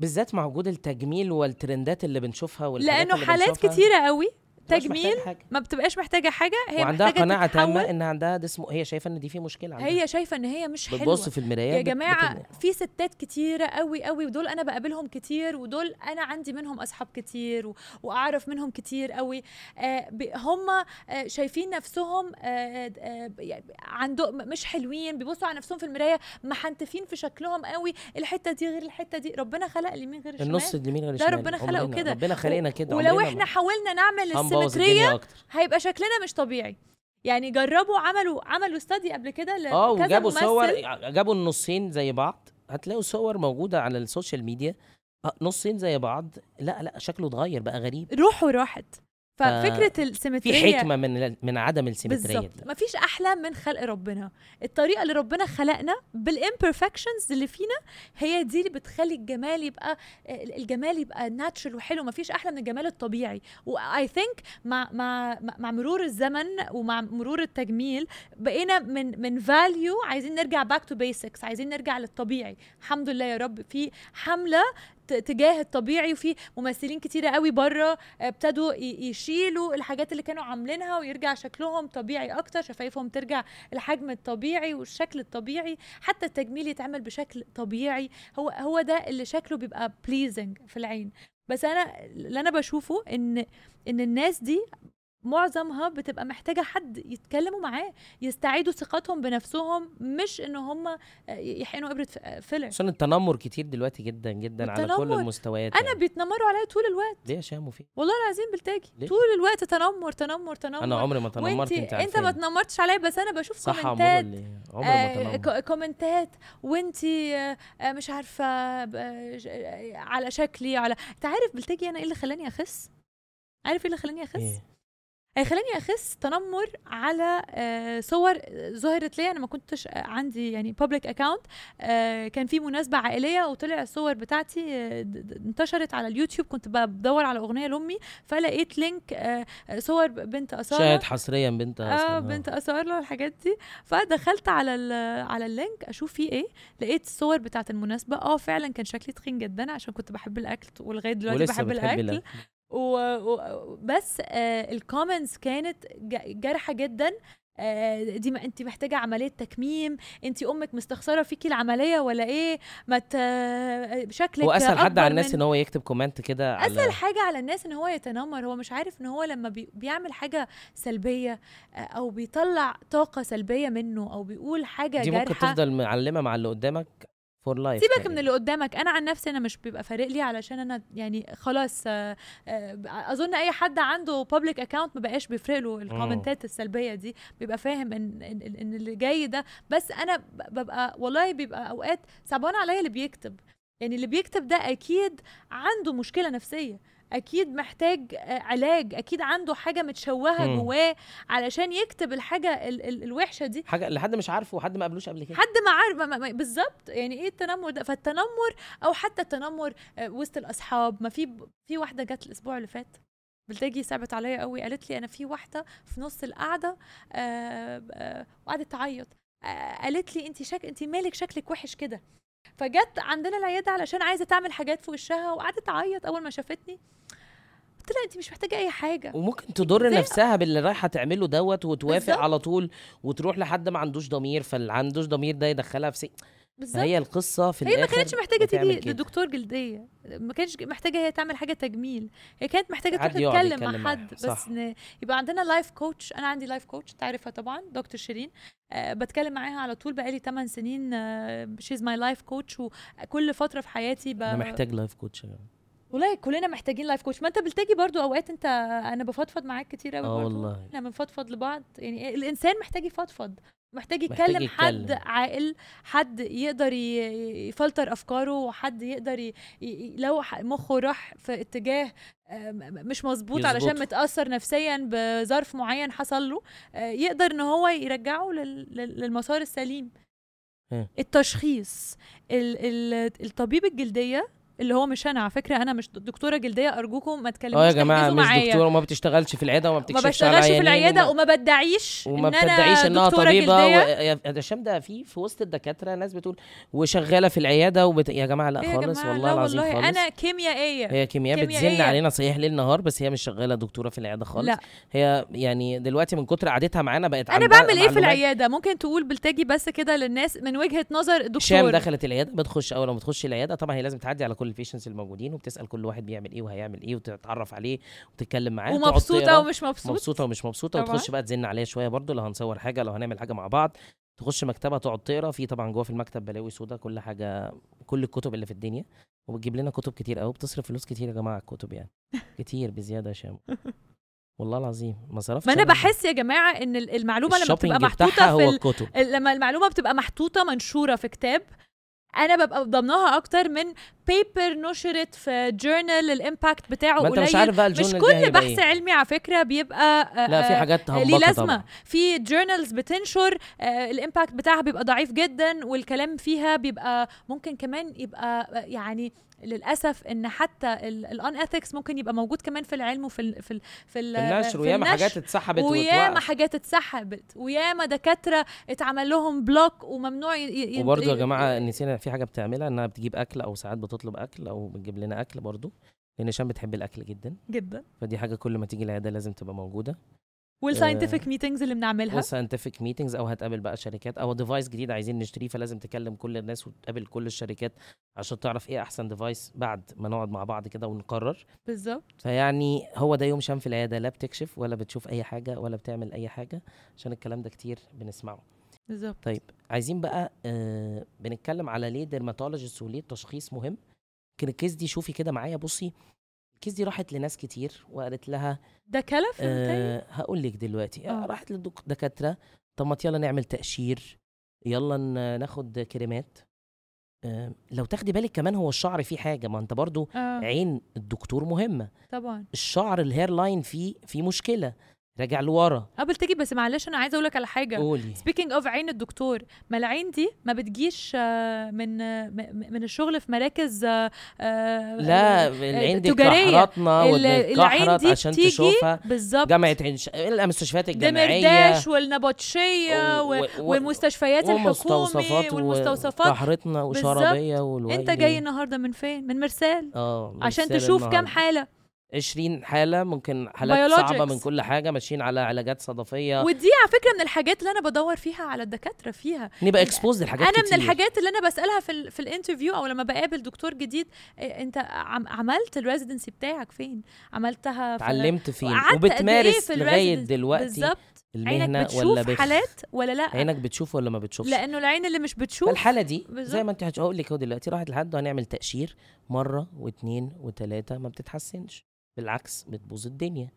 Speaker 2: بالذات مع وجود التجميل والترندات اللي بنشوفها والحاجات
Speaker 1: لانه
Speaker 2: اللي
Speaker 1: حالات
Speaker 2: بنشوفها،
Speaker 1: كتيره قوي
Speaker 2: مش محتاجة
Speaker 1: تجميل
Speaker 2: حاجة.
Speaker 1: ما بتبقاش محتاجه حاجه هي
Speaker 2: وعندها
Speaker 1: محتاجة
Speaker 2: قناعه
Speaker 1: تتحول.
Speaker 2: تامه ان عندها ده اسمه هي شايفه ان دي في مشكله عندها
Speaker 1: هي شايفه ان هي مش حلوه
Speaker 2: بتبص في المرايه
Speaker 1: يا
Speaker 2: بت- بت-
Speaker 1: جماعه في ستات كتيره قوي قوي ودول انا بقابلهم كتير ودول انا عندي منهم اصحاب كتير و... واعرف منهم كتير قوي آه ب... هم آه شايفين نفسهم آه آه يعني عنده م- مش حلوين بيبصوا على نفسهم في المرايه محنتفين في شكلهم قوي الحته دي غير الحته دي ربنا خلق اليمين غير الشمال
Speaker 2: النص اليمين غير
Speaker 1: ده
Speaker 2: الشمال.
Speaker 1: ربنا خلقه
Speaker 2: عمرنا-
Speaker 1: كده.
Speaker 2: ربنا خلقنا كده
Speaker 1: ولو
Speaker 2: عمرنا
Speaker 1: احنا
Speaker 2: ما-
Speaker 1: حاولنا نعمل
Speaker 2: هنبوظ
Speaker 1: السيمتريه
Speaker 2: الدنيا اكتر
Speaker 1: هيبقى شكلنا مش طبيعي يعني جربوا عملوا عملوا استدي قبل كده لكذا
Speaker 2: اه وجابوا
Speaker 1: ممثل.
Speaker 2: صور جابوا النصين زي بعض هتلاقوا صور موجوده على السوشيال ميديا آه، نصين زي بعض لا لا شكله اتغير بقى غريب
Speaker 1: روحه راحت ففكره
Speaker 2: آه، في
Speaker 1: السيمتريه
Speaker 2: حكمه من من عدم السيمتريه دي
Speaker 1: بالظبط مفيش احلى من خلق ربنا الطريقه اللي ربنا خلقنا بالامبرفكشنز اللي فينا هي دي اللي بتخلي الجمال يبقى الجمال يبقى ناتشرال وحلو مفيش احلى من الجمال الطبيعي واي ثينك مع مع مع مرور الزمن ومع مرور التجميل بقينا من من فاليو عايزين نرجع باك تو بيسكس عايزين نرجع للطبيعي الحمد لله يا رب في حمله ت- تجاه الطبيعي وفي ممثلين كتيرة قوي بره ابتدوا ي- يشيلوا الحاجات اللي كانوا عاملينها ويرجع شكلهم طبيعي اكتر شفايفهم ترجع الحجم الطبيعي والشكل الطبيعي حتى التجميل يتعمل بشكل طبيعي هو هو ده اللي شكله بيبقى بليزنج في العين بس انا اللي انا بشوفه ان ان الناس دي معظمها بتبقى محتاجة حد يتكلموا معاه يستعيدوا ثقتهم بنفسهم مش ان هم يحقنوا ابرة ف- فيلر
Speaker 2: عشان التنمر كتير دلوقتي جدا جدا على كل
Speaker 1: التنمر.
Speaker 2: المستويات
Speaker 1: انا
Speaker 2: يعني.
Speaker 1: بيتنمروا عليا طول الوقت
Speaker 2: ليه يا شامو في
Speaker 1: والله العظيم بالتاجي
Speaker 2: ليه؟
Speaker 1: طول الوقت تنمر تنمر تنمر
Speaker 2: انا عمري ما تنمرت انت
Speaker 1: انت انت ما تنمرتش عليا بس انا بشوف
Speaker 2: صح عمري
Speaker 1: كومنتات
Speaker 2: اللي عمري ما
Speaker 1: آه،
Speaker 2: تنمرت
Speaker 1: كو- كومنتات وانت آه، آه، مش عارفه آه، ش- آه، على شكلي على انت عارف بالتاجي انا ايه اللي خلاني اخس عارف ايه اللي خلاني اخس
Speaker 2: إيه؟
Speaker 1: آه، خلاني اخس تنمر على آه، صور ظهرت لي انا ما كنتش آه، عندي يعني بابليك اكاونت كان في مناسبه عائليه وطلع الصور بتاعتي آه، د- د- انتشرت على اليوتيوب كنت بدور على اغنيه لامي فلقيت لينك آه، آه، صور ب- بنت اساره
Speaker 2: شاهد حصريا بنت آه.
Speaker 1: اه بنت اسارة والحاجات دي فدخلت على ال- على اللينك اشوف فيه ايه لقيت الصور بتاعه المناسبه اه فعلا كان شكلي تخين جدا عشان كنت بحب الاكل ولغايه دلوقتي
Speaker 2: ولسه
Speaker 1: بحب
Speaker 2: بتحب
Speaker 1: الاكل
Speaker 2: الاكل
Speaker 1: و... و... بس آه الكومنتس كانت ج- جارحه جدا آه دي ما انت محتاجه عمليه تكميم انت امك مستخسره فيكي العمليه ولا ايه ما ت... آه، شكلك
Speaker 2: هو اسهل حد
Speaker 1: أكبر
Speaker 2: على الناس
Speaker 1: من-
Speaker 2: ان هو يكتب كومنت كده على
Speaker 1: اسهل حاجه على الناس ان هو يتنمر هو مش عارف ان هو لما بي بيعمل حاجه سلبيه آه، او بيطلع طاقه سلبيه منه او بيقول حاجه
Speaker 2: دي ممكن
Speaker 1: جارحه
Speaker 2: تفضل معلمه مع اللي قدامك فور لايف
Speaker 1: سيبك من اللي قدامك انا عن نفسي انا مش بيبقى فارق لي علشان انا يعني خلاص آه، آه، اظن اي حد عنده بابليك اكاونت ما بقاش بيفرق له الكومنتات السلبيه دي بيبقى فاهم ان ان, إن- إن اللي جاي ده بس انا ب- ببقى والله بيبقى اوقات صعبان عليا اللي بيكتب يعني اللي بيكتب ده اكيد عنده مشكله نفسيه اكيد محتاج آه، علاج اكيد عنده حاجه متشوهه
Speaker 2: مم.
Speaker 1: جواه علشان يكتب الحاجه ال- ال- الوحشه دي
Speaker 2: حاجه اللي حد مش عارفه وحد ما قابلوش قبل كده
Speaker 1: حد ما عارف ما- ما- ما- بالظبط يعني ايه التنمر ده فالتنمر او حتى التنمر آه، وسط الاصحاب ما في ب- في واحده جت الاسبوع اللي فات بلتجي صعبت عليا قوي قالت لي انا في واحده في نص القعده آه، آه، وقعدت تعيط آه، قالت لي انت شك انت مالك شكلك وحش كده فجت عندنا العياده علشان عايزه تعمل حاجات في وشها وقعدت تعيط اول ما شافتني قلت لها انت مش محتاجه اي حاجه
Speaker 2: وممكن تضر
Speaker 1: زي-
Speaker 2: نفسها باللي رايحه تعمله دوت وتوافق
Speaker 1: بالظبط.
Speaker 2: على طول وتروح لحد ما عندوش ضمير فاللي عندوش ضمير ده يدخلها في سي
Speaker 1: بالظبط
Speaker 2: هي القصه في
Speaker 1: هي ما
Speaker 2: الآخر
Speaker 1: كانتش محتاجه
Speaker 2: بتعمل
Speaker 1: تيجي
Speaker 2: كده.
Speaker 1: لدكتور جلديه ما كانتش محتاجه هي تعمل حاجه تجميل هي كانت محتاجه تروح
Speaker 2: عادي يقعد
Speaker 1: تتكلم
Speaker 2: يتكلم
Speaker 1: مع
Speaker 2: معاها،
Speaker 1: حد
Speaker 2: صح.
Speaker 1: بس ن... يبقى عندنا لايف كوتش انا عندي لايف كوتش تعرفها طبعا دكتور شيرين أه بتكلم معاها على طول بقالي 8 سنين آه، شيز ماي لايف كوتش وكل فتره في حياتي ب...
Speaker 2: انا محتاج لايف كوتش
Speaker 1: والله كلنا محتاجين لايف كوتش ما انت بلتجي برضو اوقات انت انا بفضفض معاك كتير قوي
Speaker 2: اه
Speaker 1: برضو
Speaker 2: والله.
Speaker 1: احنا بنفضفض لبعض يعني الانسان محتاج يفضفض محتاج
Speaker 2: محتاج
Speaker 1: يتكلم حد
Speaker 2: يتكلم.
Speaker 1: عاقل حد يقدر ي- يفلتر افكاره وحد يقدر ي... ي- لو ح- مخه راح في اتجاه آه، م- م- مش مظبوط علشان
Speaker 2: يظبطه.
Speaker 1: متاثر نفسيا بظرف معين حصل له آه، يقدر ان هو يرجعه لل- لل- للمسار السليم
Speaker 2: ها.
Speaker 1: التشخيص ال- ال- الطبيب الجلديه اللي هو مش انا على فكره انا مش دكتوره جلديه ارجوكم ما تكلموش
Speaker 2: اه يا جماعه
Speaker 1: تحجزوا
Speaker 2: مش
Speaker 1: معايا.
Speaker 2: دكتوره وما بتشتغلش في العياده وما
Speaker 1: ما
Speaker 2: بتكشفش
Speaker 1: بشتغلش في العياده
Speaker 2: وما,
Speaker 1: وما بدعيش
Speaker 2: وما
Speaker 1: ان انا
Speaker 2: بتدعيش انها
Speaker 1: دكتوره
Speaker 2: طبيبه و...
Speaker 1: جلديه
Speaker 2: يا- يا- عشان ده في في وسط الدكاتره ناس بتقول وشغاله في العياده وبت... يا جماعه لا
Speaker 1: إيه يا
Speaker 2: خالص
Speaker 1: جماعة؟
Speaker 2: والله
Speaker 1: لا
Speaker 2: العظيم
Speaker 1: والله إيه؟
Speaker 2: خالص
Speaker 1: انا كيميائيه
Speaker 2: هي كيمياء بتزن
Speaker 1: كيميائية.
Speaker 2: علينا صحيح ليل نهار بس هي مش شغاله دكتوره في العياده خالص
Speaker 1: لا
Speaker 2: هي يعني دلوقتي من كتر قعدتها معانا بقت
Speaker 1: انا
Speaker 2: عندها
Speaker 1: بعمل ايه في
Speaker 2: معلومات.
Speaker 1: العياده ممكن تقول بلتجي بس كده للناس من وجهه نظر
Speaker 2: شام
Speaker 1: الدكتور
Speaker 2: دخلت العياده بتخش اول ما بتخش العياده طبعا هي لازم تعدي على كل البيشنتس الموجودين وبتسال كل واحد بيعمل ايه وهيعمل ايه وتتعرف عليه وتتكلم معاه وتقعد
Speaker 1: ومبسوطه
Speaker 2: تقرا.
Speaker 1: ومش مبسوطه
Speaker 2: مبسوطه ومش مبسوطه
Speaker 1: طبعاً.
Speaker 2: وتخش بقى تزن عليها شويه برضو لو هنصور حاجه لو هنعمل حاجه مع بعض تخش مكتبها تقعد تقرا في طبعا جوه في المكتب بلاوي سودا كل حاجه كل الكتب اللي في الدنيا وبتجيب لنا كتب كتير قوي بتصرف فلوس كتير يا جماعه على الكتب يعني كتير بزياده يا شام والله العظيم ما صرفتش
Speaker 1: ما انا بحس يا جماعه ان ال- المعلومه لما بتبقى
Speaker 2: الشوبينج
Speaker 1: محطوطه
Speaker 2: بتاعها
Speaker 1: في
Speaker 2: هو
Speaker 1: ال...
Speaker 2: الكتب
Speaker 1: ال- لما المعلومه بتبقى محطوطه منشوره في كتاب انا ببقى ضمناها اكتر من بيبر نشرت في جورنال الامباكت بتاعه
Speaker 2: ما انت مش
Speaker 1: آه، قليل
Speaker 2: عارف بقى
Speaker 1: مش
Speaker 2: الجورنال ده
Speaker 1: كل
Speaker 2: هيبقى
Speaker 1: بحث
Speaker 2: إيه.
Speaker 1: علمي على فكره بيبقى آه،
Speaker 2: لا في
Speaker 1: آه،
Speaker 2: حاجات
Speaker 1: آه، ليه
Speaker 2: همبكه
Speaker 1: لازمه
Speaker 2: طبعا
Speaker 1: في جورنالز بتنشر آه، الامباكت بتاعها بيبقى ضعيف جدا والكلام فيها بيبقى ممكن كمان يبقى آه، يعني للاسف ان حتى الان اثكس ممكن يبقى موجود كمان في العلم وفي ال في ال في, ال-
Speaker 2: في النشر
Speaker 1: في
Speaker 2: وياما
Speaker 1: النشر.
Speaker 2: حاجات اتسحبت
Speaker 1: وياما
Speaker 2: واتوقفت
Speaker 1: حاجات اتسحبت وياما دكاتره اتعمل لهم بلوك وممنوع ي- ي- ي-
Speaker 2: وبرضه يا
Speaker 1: ي-
Speaker 2: جماعه نسينا في حاجه بتعملها انها بتجيب اكل او ساعات بتطلب اكل او بتجيب لنا اكل برضه لان شام بتحب الاكل جدا
Speaker 1: جدا
Speaker 2: فدي حاجه كل ما تيجي العياده لازم تبقى موجوده آه،
Speaker 1: والساينتفك ميتنجز اللي بنعملها
Speaker 2: وساينتفك ميتنجز او هتقابل بقى شركات او ديفايس جديد عايزين نشتريه فلازم تكلم كل الناس وتقابل كل الشركات عشان تعرف ايه احسن ديفايس بعد ما نقعد مع بعض كده ونقرر
Speaker 1: بالظبط
Speaker 2: فيعني هو ده يوم شام في العياده لا بتكشف ولا بتشوف اي حاجه ولا بتعمل اي حاجه عشان الكلام ده كتير بنسمعه
Speaker 1: بالظبط
Speaker 2: طيب عايزين بقى آه بنتكلم على ليه ديرماتولوجيست وليه التشخيص مهم يمكن الكيس دي شوفي كده معايا بصي الكيس دي راحت لناس كتير وقالت لها
Speaker 1: ده كلف آه
Speaker 2: آه هقول لك دلوقتي آه
Speaker 1: آه.
Speaker 2: راحت للدكاتره طب ما يلا نعمل تقشير يلا ن- ناخد كريمات آه لو تاخدي بالك كمان هو الشعر فيه حاجه ما انت برضو
Speaker 1: آه
Speaker 2: عين الدكتور مهمه
Speaker 1: طبعا
Speaker 2: الشعر الهير لاين فيه فيه مشكله راجع لورا
Speaker 1: قبل تيجي بس معلش انا عايزه اقول لك على حاجه
Speaker 2: قولي
Speaker 1: سبيكينج اوف عين الدكتور ما العين دي ما بتجيش آه، من آه، م- م- من الشغل في مراكز آه، آه،
Speaker 2: لا
Speaker 1: آه،
Speaker 2: العين دي
Speaker 1: تجارية.
Speaker 2: كحرتنا
Speaker 1: ال- العين
Speaker 2: والكحرت
Speaker 1: دي
Speaker 2: عشان
Speaker 1: بتيجي
Speaker 2: تشوفها
Speaker 1: بالظبط
Speaker 2: جامعة عين ش... المستشفيات الجامعية
Speaker 1: دمرداش والنبطشيه
Speaker 2: و-
Speaker 1: و-
Speaker 2: و-
Speaker 1: والمستشفيات الحكومي
Speaker 2: ومستوصفات
Speaker 1: والمستوصفات
Speaker 2: وكحرتنا
Speaker 1: بالظبط.
Speaker 2: وشرابية والويلي
Speaker 1: انت جاي النهارده من فين من مرسال
Speaker 2: اه
Speaker 1: عشان
Speaker 2: لسه
Speaker 1: تشوف كام
Speaker 2: النهاردة.
Speaker 1: حاله
Speaker 2: 20 حالة ممكن حالات صعبة
Speaker 1: Biologics.
Speaker 2: من كل حاجة ماشيين على علاجات صدفية
Speaker 1: ودي على فكره من الحاجات اللي انا بدور فيها على الدكاتره فيها
Speaker 2: نبقى اكسبوز لحاجات
Speaker 1: انا
Speaker 2: كتير.
Speaker 1: من الحاجات اللي انا بسالها في ال في الانترفيو او لما بقابل دكتور جديد إيه، انت عم عملت الريزيدنسي بتاعك فين عملتها في
Speaker 2: اتعلمت فين
Speaker 1: وقعدت قد إيه
Speaker 2: وبتمارس
Speaker 1: في
Speaker 2: لغاية
Speaker 1: الresidence؟
Speaker 2: دلوقتي
Speaker 1: بالظبط
Speaker 2: المهنه
Speaker 1: عينك
Speaker 2: ولا
Speaker 1: بتشوف
Speaker 2: بخ
Speaker 1: حالات ولا لا
Speaker 2: عينك بتشوف ولا ما بتشوفش
Speaker 1: لانه العين اللي مش بتشوف
Speaker 2: فالحاله دي زي
Speaker 1: بالظبط.
Speaker 2: ما انت هتش- هقول لك اهو دلوقتي راحت لحد وهنعمل تقشير مره واثنين وثلاثه ما بتتحسنش بالعكس بتبوظ الدنيا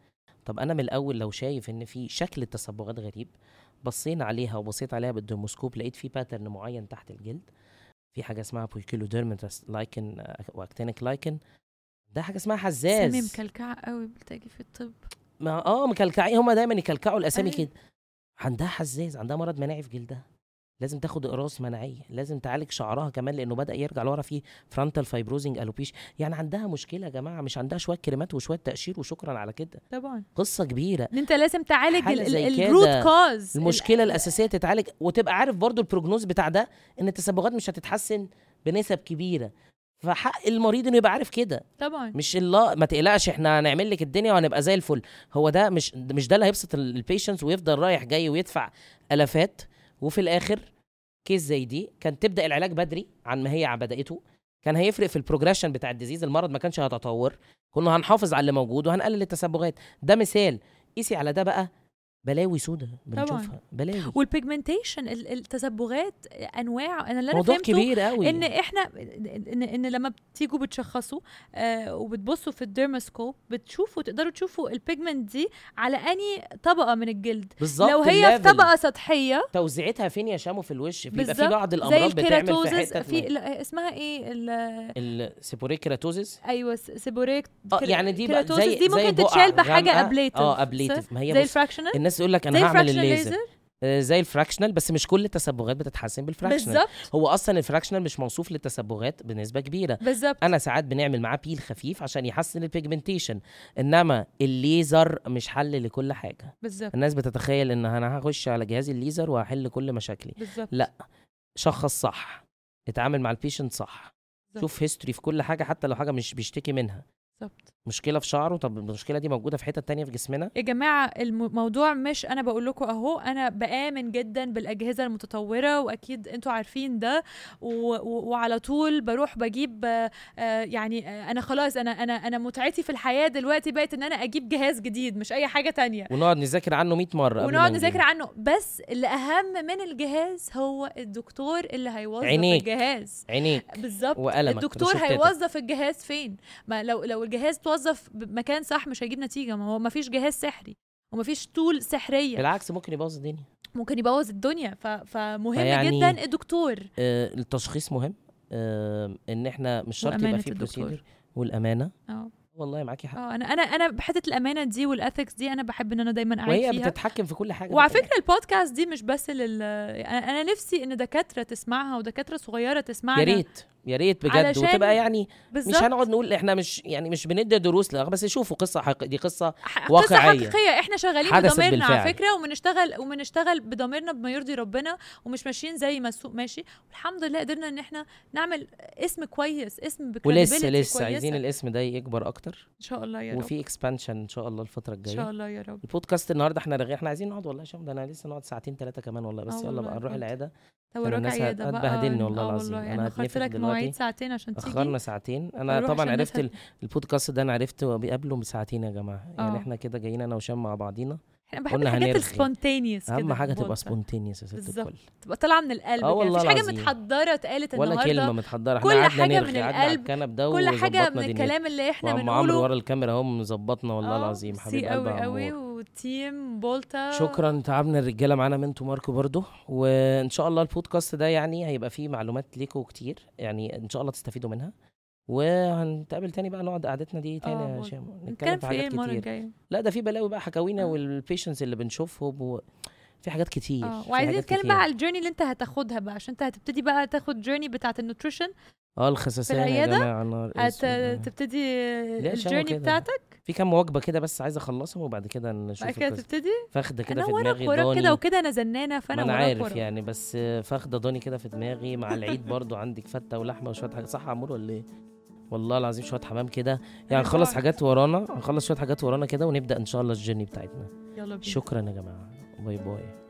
Speaker 2: طب انا من الاول لو شايف ان في شكل تصبغات غريب بصينا عليها وبصيت عليها بالدرموسكوب لقيت في باترن معين تحت الجلد في حاجه اسمها بويكيلوديرمتس لايكن واكتينيك لايكن ده حاجه اسمها
Speaker 1: سامي
Speaker 2: حزاز
Speaker 1: مكلكعه قوي بتلاقي في الطب
Speaker 2: ما اه مكلكعين هما دايما يكلكعوا الاسامي
Speaker 1: أيوة.
Speaker 2: كده عندها حزاز عندها مرض مناعي في جلدها لازم تاخد اقراص مناعيه لازم تعالج شعرها كمان لانه بدا يرجع لورا فيه فرونتال فايبروزنج الوبيش يعني عندها مشكله يا جماعه مش عندها شويه كريمات وشويه تقشير وشكرا على كده
Speaker 1: طبعا
Speaker 2: قصه كبيره
Speaker 1: ان انت لازم تعالج
Speaker 2: حالة زي كده.
Speaker 1: الروت كوز
Speaker 2: المشكله الاساسيه تتعالج وتبقى عارف برضو البروجنوز بتاع ده ان التسببات مش هتتحسن بنسب كبيره فحق المريض انه يبقى عارف كده
Speaker 1: طبعا
Speaker 2: مش الله ما تقلقش احنا هنعمل لك الدنيا وهنبقى زي الفل هو ده مش مش ده اللي هيبسط البيشنس ويفضل رايح جاي ويدفع الافات وفي الاخر كيس زي دي كان تبدا العلاج بدري عن ما هي بداته كان هيفرق في البروجريشن بتاع الديزيز المرض ما كانش هيتطور كنا هنحافظ على اللي موجود وهنقلل التسببات ده مثال قيسي على ده بقى بلاوي سودا بنشوفها بلاوي
Speaker 1: والبيجمنتيشن ال- التصبغات انواع انا اللي انا
Speaker 2: موضوع
Speaker 1: فهمته
Speaker 2: كبير قوي
Speaker 1: ان احنا ان ان لما بتيجوا بتشخصوا آه وبتبصوا في الديرماسكوب بتشوفوا تقدروا تشوفوا البيجمنت دي على اني طبقه من الجلد
Speaker 2: بالظبط
Speaker 1: لو هي في
Speaker 2: الليفل.
Speaker 1: طبقه سطحيه
Speaker 2: توزيعتها فين يا شامو في الوش بيبقى في
Speaker 1: بالظبط،
Speaker 2: بعض
Speaker 1: زي
Speaker 2: الامراض بتعمل في
Speaker 1: الكيراتوزز
Speaker 2: حته
Speaker 1: في لا، اسمها ايه ال-
Speaker 2: السيبوريكراتوزيس
Speaker 1: ايوه س- سيبوريك
Speaker 2: اه
Speaker 1: كير-
Speaker 2: يعني دي بقى
Speaker 1: كيراتوزيس
Speaker 2: زي
Speaker 1: دي ممكن
Speaker 2: زي بقع
Speaker 1: تتشال بحاجه
Speaker 2: غامقة.
Speaker 1: ablative،
Speaker 2: اه
Speaker 1: صح؟
Speaker 2: ابليتيف ما
Speaker 1: زي
Speaker 2: هي بص
Speaker 1: الفراكشنال
Speaker 2: الناس يقول لك
Speaker 1: زي
Speaker 2: انا هعمل
Speaker 1: الفراكشنال
Speaker 2: الليزر
Speaker 1: ليزر
Speaker 2: آه، زي الفراكشنال بس مش كل التسبغات بتتحسن بالفراكشنال
Speaker 1: بالظبط
Speaker 2: هو اصلا الفراكشنال مش موصوف للتسبغات بنسبه كبيره
Speaker 1: بالظبط
Speaker 2: انا ساعات بنعمل معاه بيل خفيف عشان يحسن البيجمنتيشن انما الليزر مش حل لكل حاجه
Speaker 1: بالظبط
Speaker 2: الناس بتتخيل ان انا هخش على جهاز الليزر وهحل كل مشاكلي
Speaker 1: بالظبط
Speaker 2: لا، شخص صح اتعامل مع البيشنت صح
Speaker 1: بالظبط.
Speaker 2: شوف هيستوري في كل حاجه حتى لو حاجه مش بيشتكي منها
Speaker 1: بالظبط
Speaker 2: مشكله في شعره طب المشكله دي موجوده في حته تانية في جسمنا
Speaker 1: يا جماعة الموضوع مش أنا بقول لكم أهو أنا بآمن جدا بالأجهزة المتطورة وأكيد أنتوا عارفين ده و- و- وعلى طول بروح بجيب آه، آه، يعني آه، أنا خلاص أنا أنا أنا متعتي في الحياة دلوقتي بقت إن أنا أجيب جهاز جديد مش أي حاجة تانية
Speaker 2: ونقعد نذاكر عنه 100 مره قبل ما
Speaker 1: ونقعد
Speaker 2: نجيبه.
Speaker 1: نذاكر عنه بس اللي أهم من الجهاز هو الدكتور اللي هيوظف
Speaker 2: عينيك.
Speaker 1: الجهاز
Speaker 2: عينيك
Speaker 1: بالظبط
Speaker 2: وقلمك
Speaker 1: الدكتور
Speaker 2: روشتتك.
Speaker 1: هيوظف الجهاز فين ما لو لو الجهاز توظف بمكان صح مش هيجيب نتيجه ما هو ما فيش جهاز سحري وما فيش طول سحريه
Speaker 2: بالعكس ممكن يبوظ الدنيا
Speaker 1: ممكن يبوظ الدنيا ف... فمهم
Speaker 2: فيعني-
Speaker 1: جدا الدكتور
Speaker 2: آه التشخيص مهم آه ان احنا مش شرط يبقى
Speaker 1: وأمانة
Speaker 2: فيه
Speaker 1: الدكتور.
Speaker 2: بروسيدر والامانه
Speaker 1: اه
Speaker 2: والله معاكي حق
Speaker 1: اه انا انا انا بحته الامانه دي والاثكس دي انا بحب ان انا دايما اعيد
Speaker 2: وهي
Speaker 1: فيها
Speaker 2: بتتحكم في كل حاجه
Speaker 1: آه، وعلى
Speaker 2: بقى.
Speaker 1: فكره البودكاست دي مش بس لل انا أنا نفسي ان دكاتره تسمعها ودكاتره صغيره تسمعنا
Speaker 2: يا ريت يا ريت بجد
Speaker 1: علشان
Speaker 2: وتبقى يعني مش
Speaker 1: بالظبط
Speaker 2: هنقعد نقول احنا مش يعني مش بندي دروس لا بس شوفوا قصه حقيقيه دي قصه
Speaker 1: ح- قصة
Speaker 2: واقعية.
Speaker 1: حقيقية احنا شغالين
Speaker 2: حدثت
Speaker 1: بضميرنا
Speaker 2: بالفعل.
Speaker 1: على فكرة وبنشتغل وبنشتغل بضميرنا بما يرضي ربنا ومش ماشيين زي ما السوق ماشي والحمد لله قدرنا ان احنا نعمل اسم كويس اسم
Speaker 2: ولسه
Speaker 1: credibility
Speaker 2: لسه
Speaker 1: كويسة.
Speaker 2: عايزين الاسم ده يكبر اكتر
Speaker 1: ان شاء الله يا رب
Speaker 2: وفي اكسبانشن ان شاء الله الفتره
Speaker 1: ان
Speaker 2: الجايه
Speaker 1: شاء الله يا رب
Speaker 2: البودكاست النهارده احنا رغي احنا عايزين نقعد والله يا شباب ده انا لسه نقعد ساعتين ثلاثه كمان والله
Speaker 1: آه
Speaker 2: بس يلا
Speaker 1: والله يا
Speaker 2: بقى نروح
Speaker 1: فندم.
Speaker 2: العياده
Speaker 1: طب
Speaker 2: عشان
Speaker 1: وراك
Speaker 2: الناس
Speaker 1: عيادة بقى
Speaker 2: هتبهدلني والله
Speaker 1: آه
Speaker 2: العظيم.
Speaker 1: والله
Speaker 2: أنا
Speaker 1: انا اخرت
Speaker 2: هتنفخ
Speaker 1: لك
Speaker 2: دلوقتي.
Speaker 1: مواعيد ساعتين عشان تيجي
Speaker 2: اخرنا ساعتين انا
Speaker 1: هنروح
Speaker 2: طبعا
Speaker 1: عشان
Speaker 2: عرفت
Speaker 1: نسهر.
Speaker 2: ال- البودكاست ده انا عرفته بيقابله من ساعتين يا جماعه يعني
Speaker 1: آه.
Speaker 2: احنا كده جايين انا وشام مع بعضينا
Speaker 1: احنا بحب
Speaker 2: قلنا
Speaker 1: الحاجات
Speaker 2: هنرغي.
Speaker 1: السبونتينيوس
Speaker 2: اهم حاجه تبقى
Speaker 1: سبونتينيوس
Speaker 2: سبونتينيوس يا ست
Speaker 1: بالظبط.
Speaker 2: الكل
Speaker 1: تبقى طالعة من القلب
Speaker 2: آه
Speaker 1: كده.
Speaker 2: والله
Speaker 1: مفيش حاجة
Speaker 2: العظيم.
Speaker 1: متحضرة اتقالت
Speaker 2: ولا
Speaker 1: النهاردة
Speaker 2: كلمه متحضره احنا
Speaker 1: كل
Speaker 2: قعدنا
Speaker 1: حاجة
Speaker 2: نرغي
Speaker 1: من
Speaker 2: قعدنا على
Speaker 1: القلب.
Speaker 2: الكنب ده
Speaker 1: كل حاجة من
Speaker 2: وظبطنا دنيتنا
Speaker 1: الكلام اللي احنا
Speaker 2: وعم عمرو
Speaker 1: بنقوله
Speaker 2: ورا الكاميرا اهو مظبطنا والله
Speaker 1: آه،
Speaker 2: العظيم
Speaker 1: ميرسي
Speaker 2: حبيب قلبي
Speaker 1: قوي
Speaker 2: يا
Speaker 1: قوي
Speaker 2: عمور
Speaker 1: وتيم بولتا
Speaker 2: شكرا تعبنا الرجاله معانا منتو ماركو برضو وان شاء الله البودكاست ده يعني هيبقى فيه معلومات ليكوا كتير يعني ان شاء الله تستفيدوا منها وهنتقابل تاني بقى نقعد قعدتنا دي
Speaker 1: آه،
Speaker 2: تاني يا
Speaker 1: بول.
Speaker 2: شام
Speaker 1: نتكلم في ايه
Speaker 2: حاجات
Speaker 1: المره
Speaker 2: كتير
Speaker 1: الجايه
Speaker 2: لا ده في بلاوي بقى حكاوينا
Speaker 1: آه.
Speaker 2: والبيشنس اللي بنشوفهم و... في حاجات كتير
Speaker 1: اه
Speaker 2: في
Speaker 1: وعايزين
Speaker 2: حاجات
Speaker 1: نتكلم
Speaker 2: كتير.
Speaker 1: بقى على الجيرني اللي انت هتاخدها بقى عشان انت هتبتدي بقى تاخد جيرني بتاعه النوتريشن
Speaker 2: اه الخساسين يا
Speaker 1: العيادة
Speaker 2: جماعه نار أسود.
Speaker 1: هتبتدي
Speaker 2: ليه شبه
Speaker 1: الجيرني
Speaker 2: كده؟
Speaker 1: بتاعتك
Speaker 2: في كام وجبه كده بس عايز اخلصهم وبعد كده
Speaker 1: بقى
Speaker 2: نشوف
Speaker 1: كده
Speaker 2: القصة.
Speaker 1: تبتدي
Speaker 2: فاخده كده
Speaker 1: انا
Speaker 2: في
Speaker 1: وراك
Speaker 2: دماغي
Speaker 1: وراك
Speaker 2: دوني
Speaker 1: كده وكده انا زنانه
Speaker 2: ما
Speaker 1: فانا
Speaker 2: انا
Speaker 1: وراك
Speaker 2: عارف
Speaker 1: وراك.
Speaker 2: يعني بس فاخده ضاني كده في دماغي مع العيد برضو عندك فته ولحمه وشويه حاجات صح يا عمور ولا ايه والله العظيم شويه حمام كده يعني نخلص
Speaker 1: جوعت.
Speaker 2: حاجات ورانا نخلص شويه حاجات ورانا كده ونبدا ان شاء الله الجيرني بتاعتنا
Speaker 1: يلا بينا
Speaker 2: شكرا يا جماعه باي باي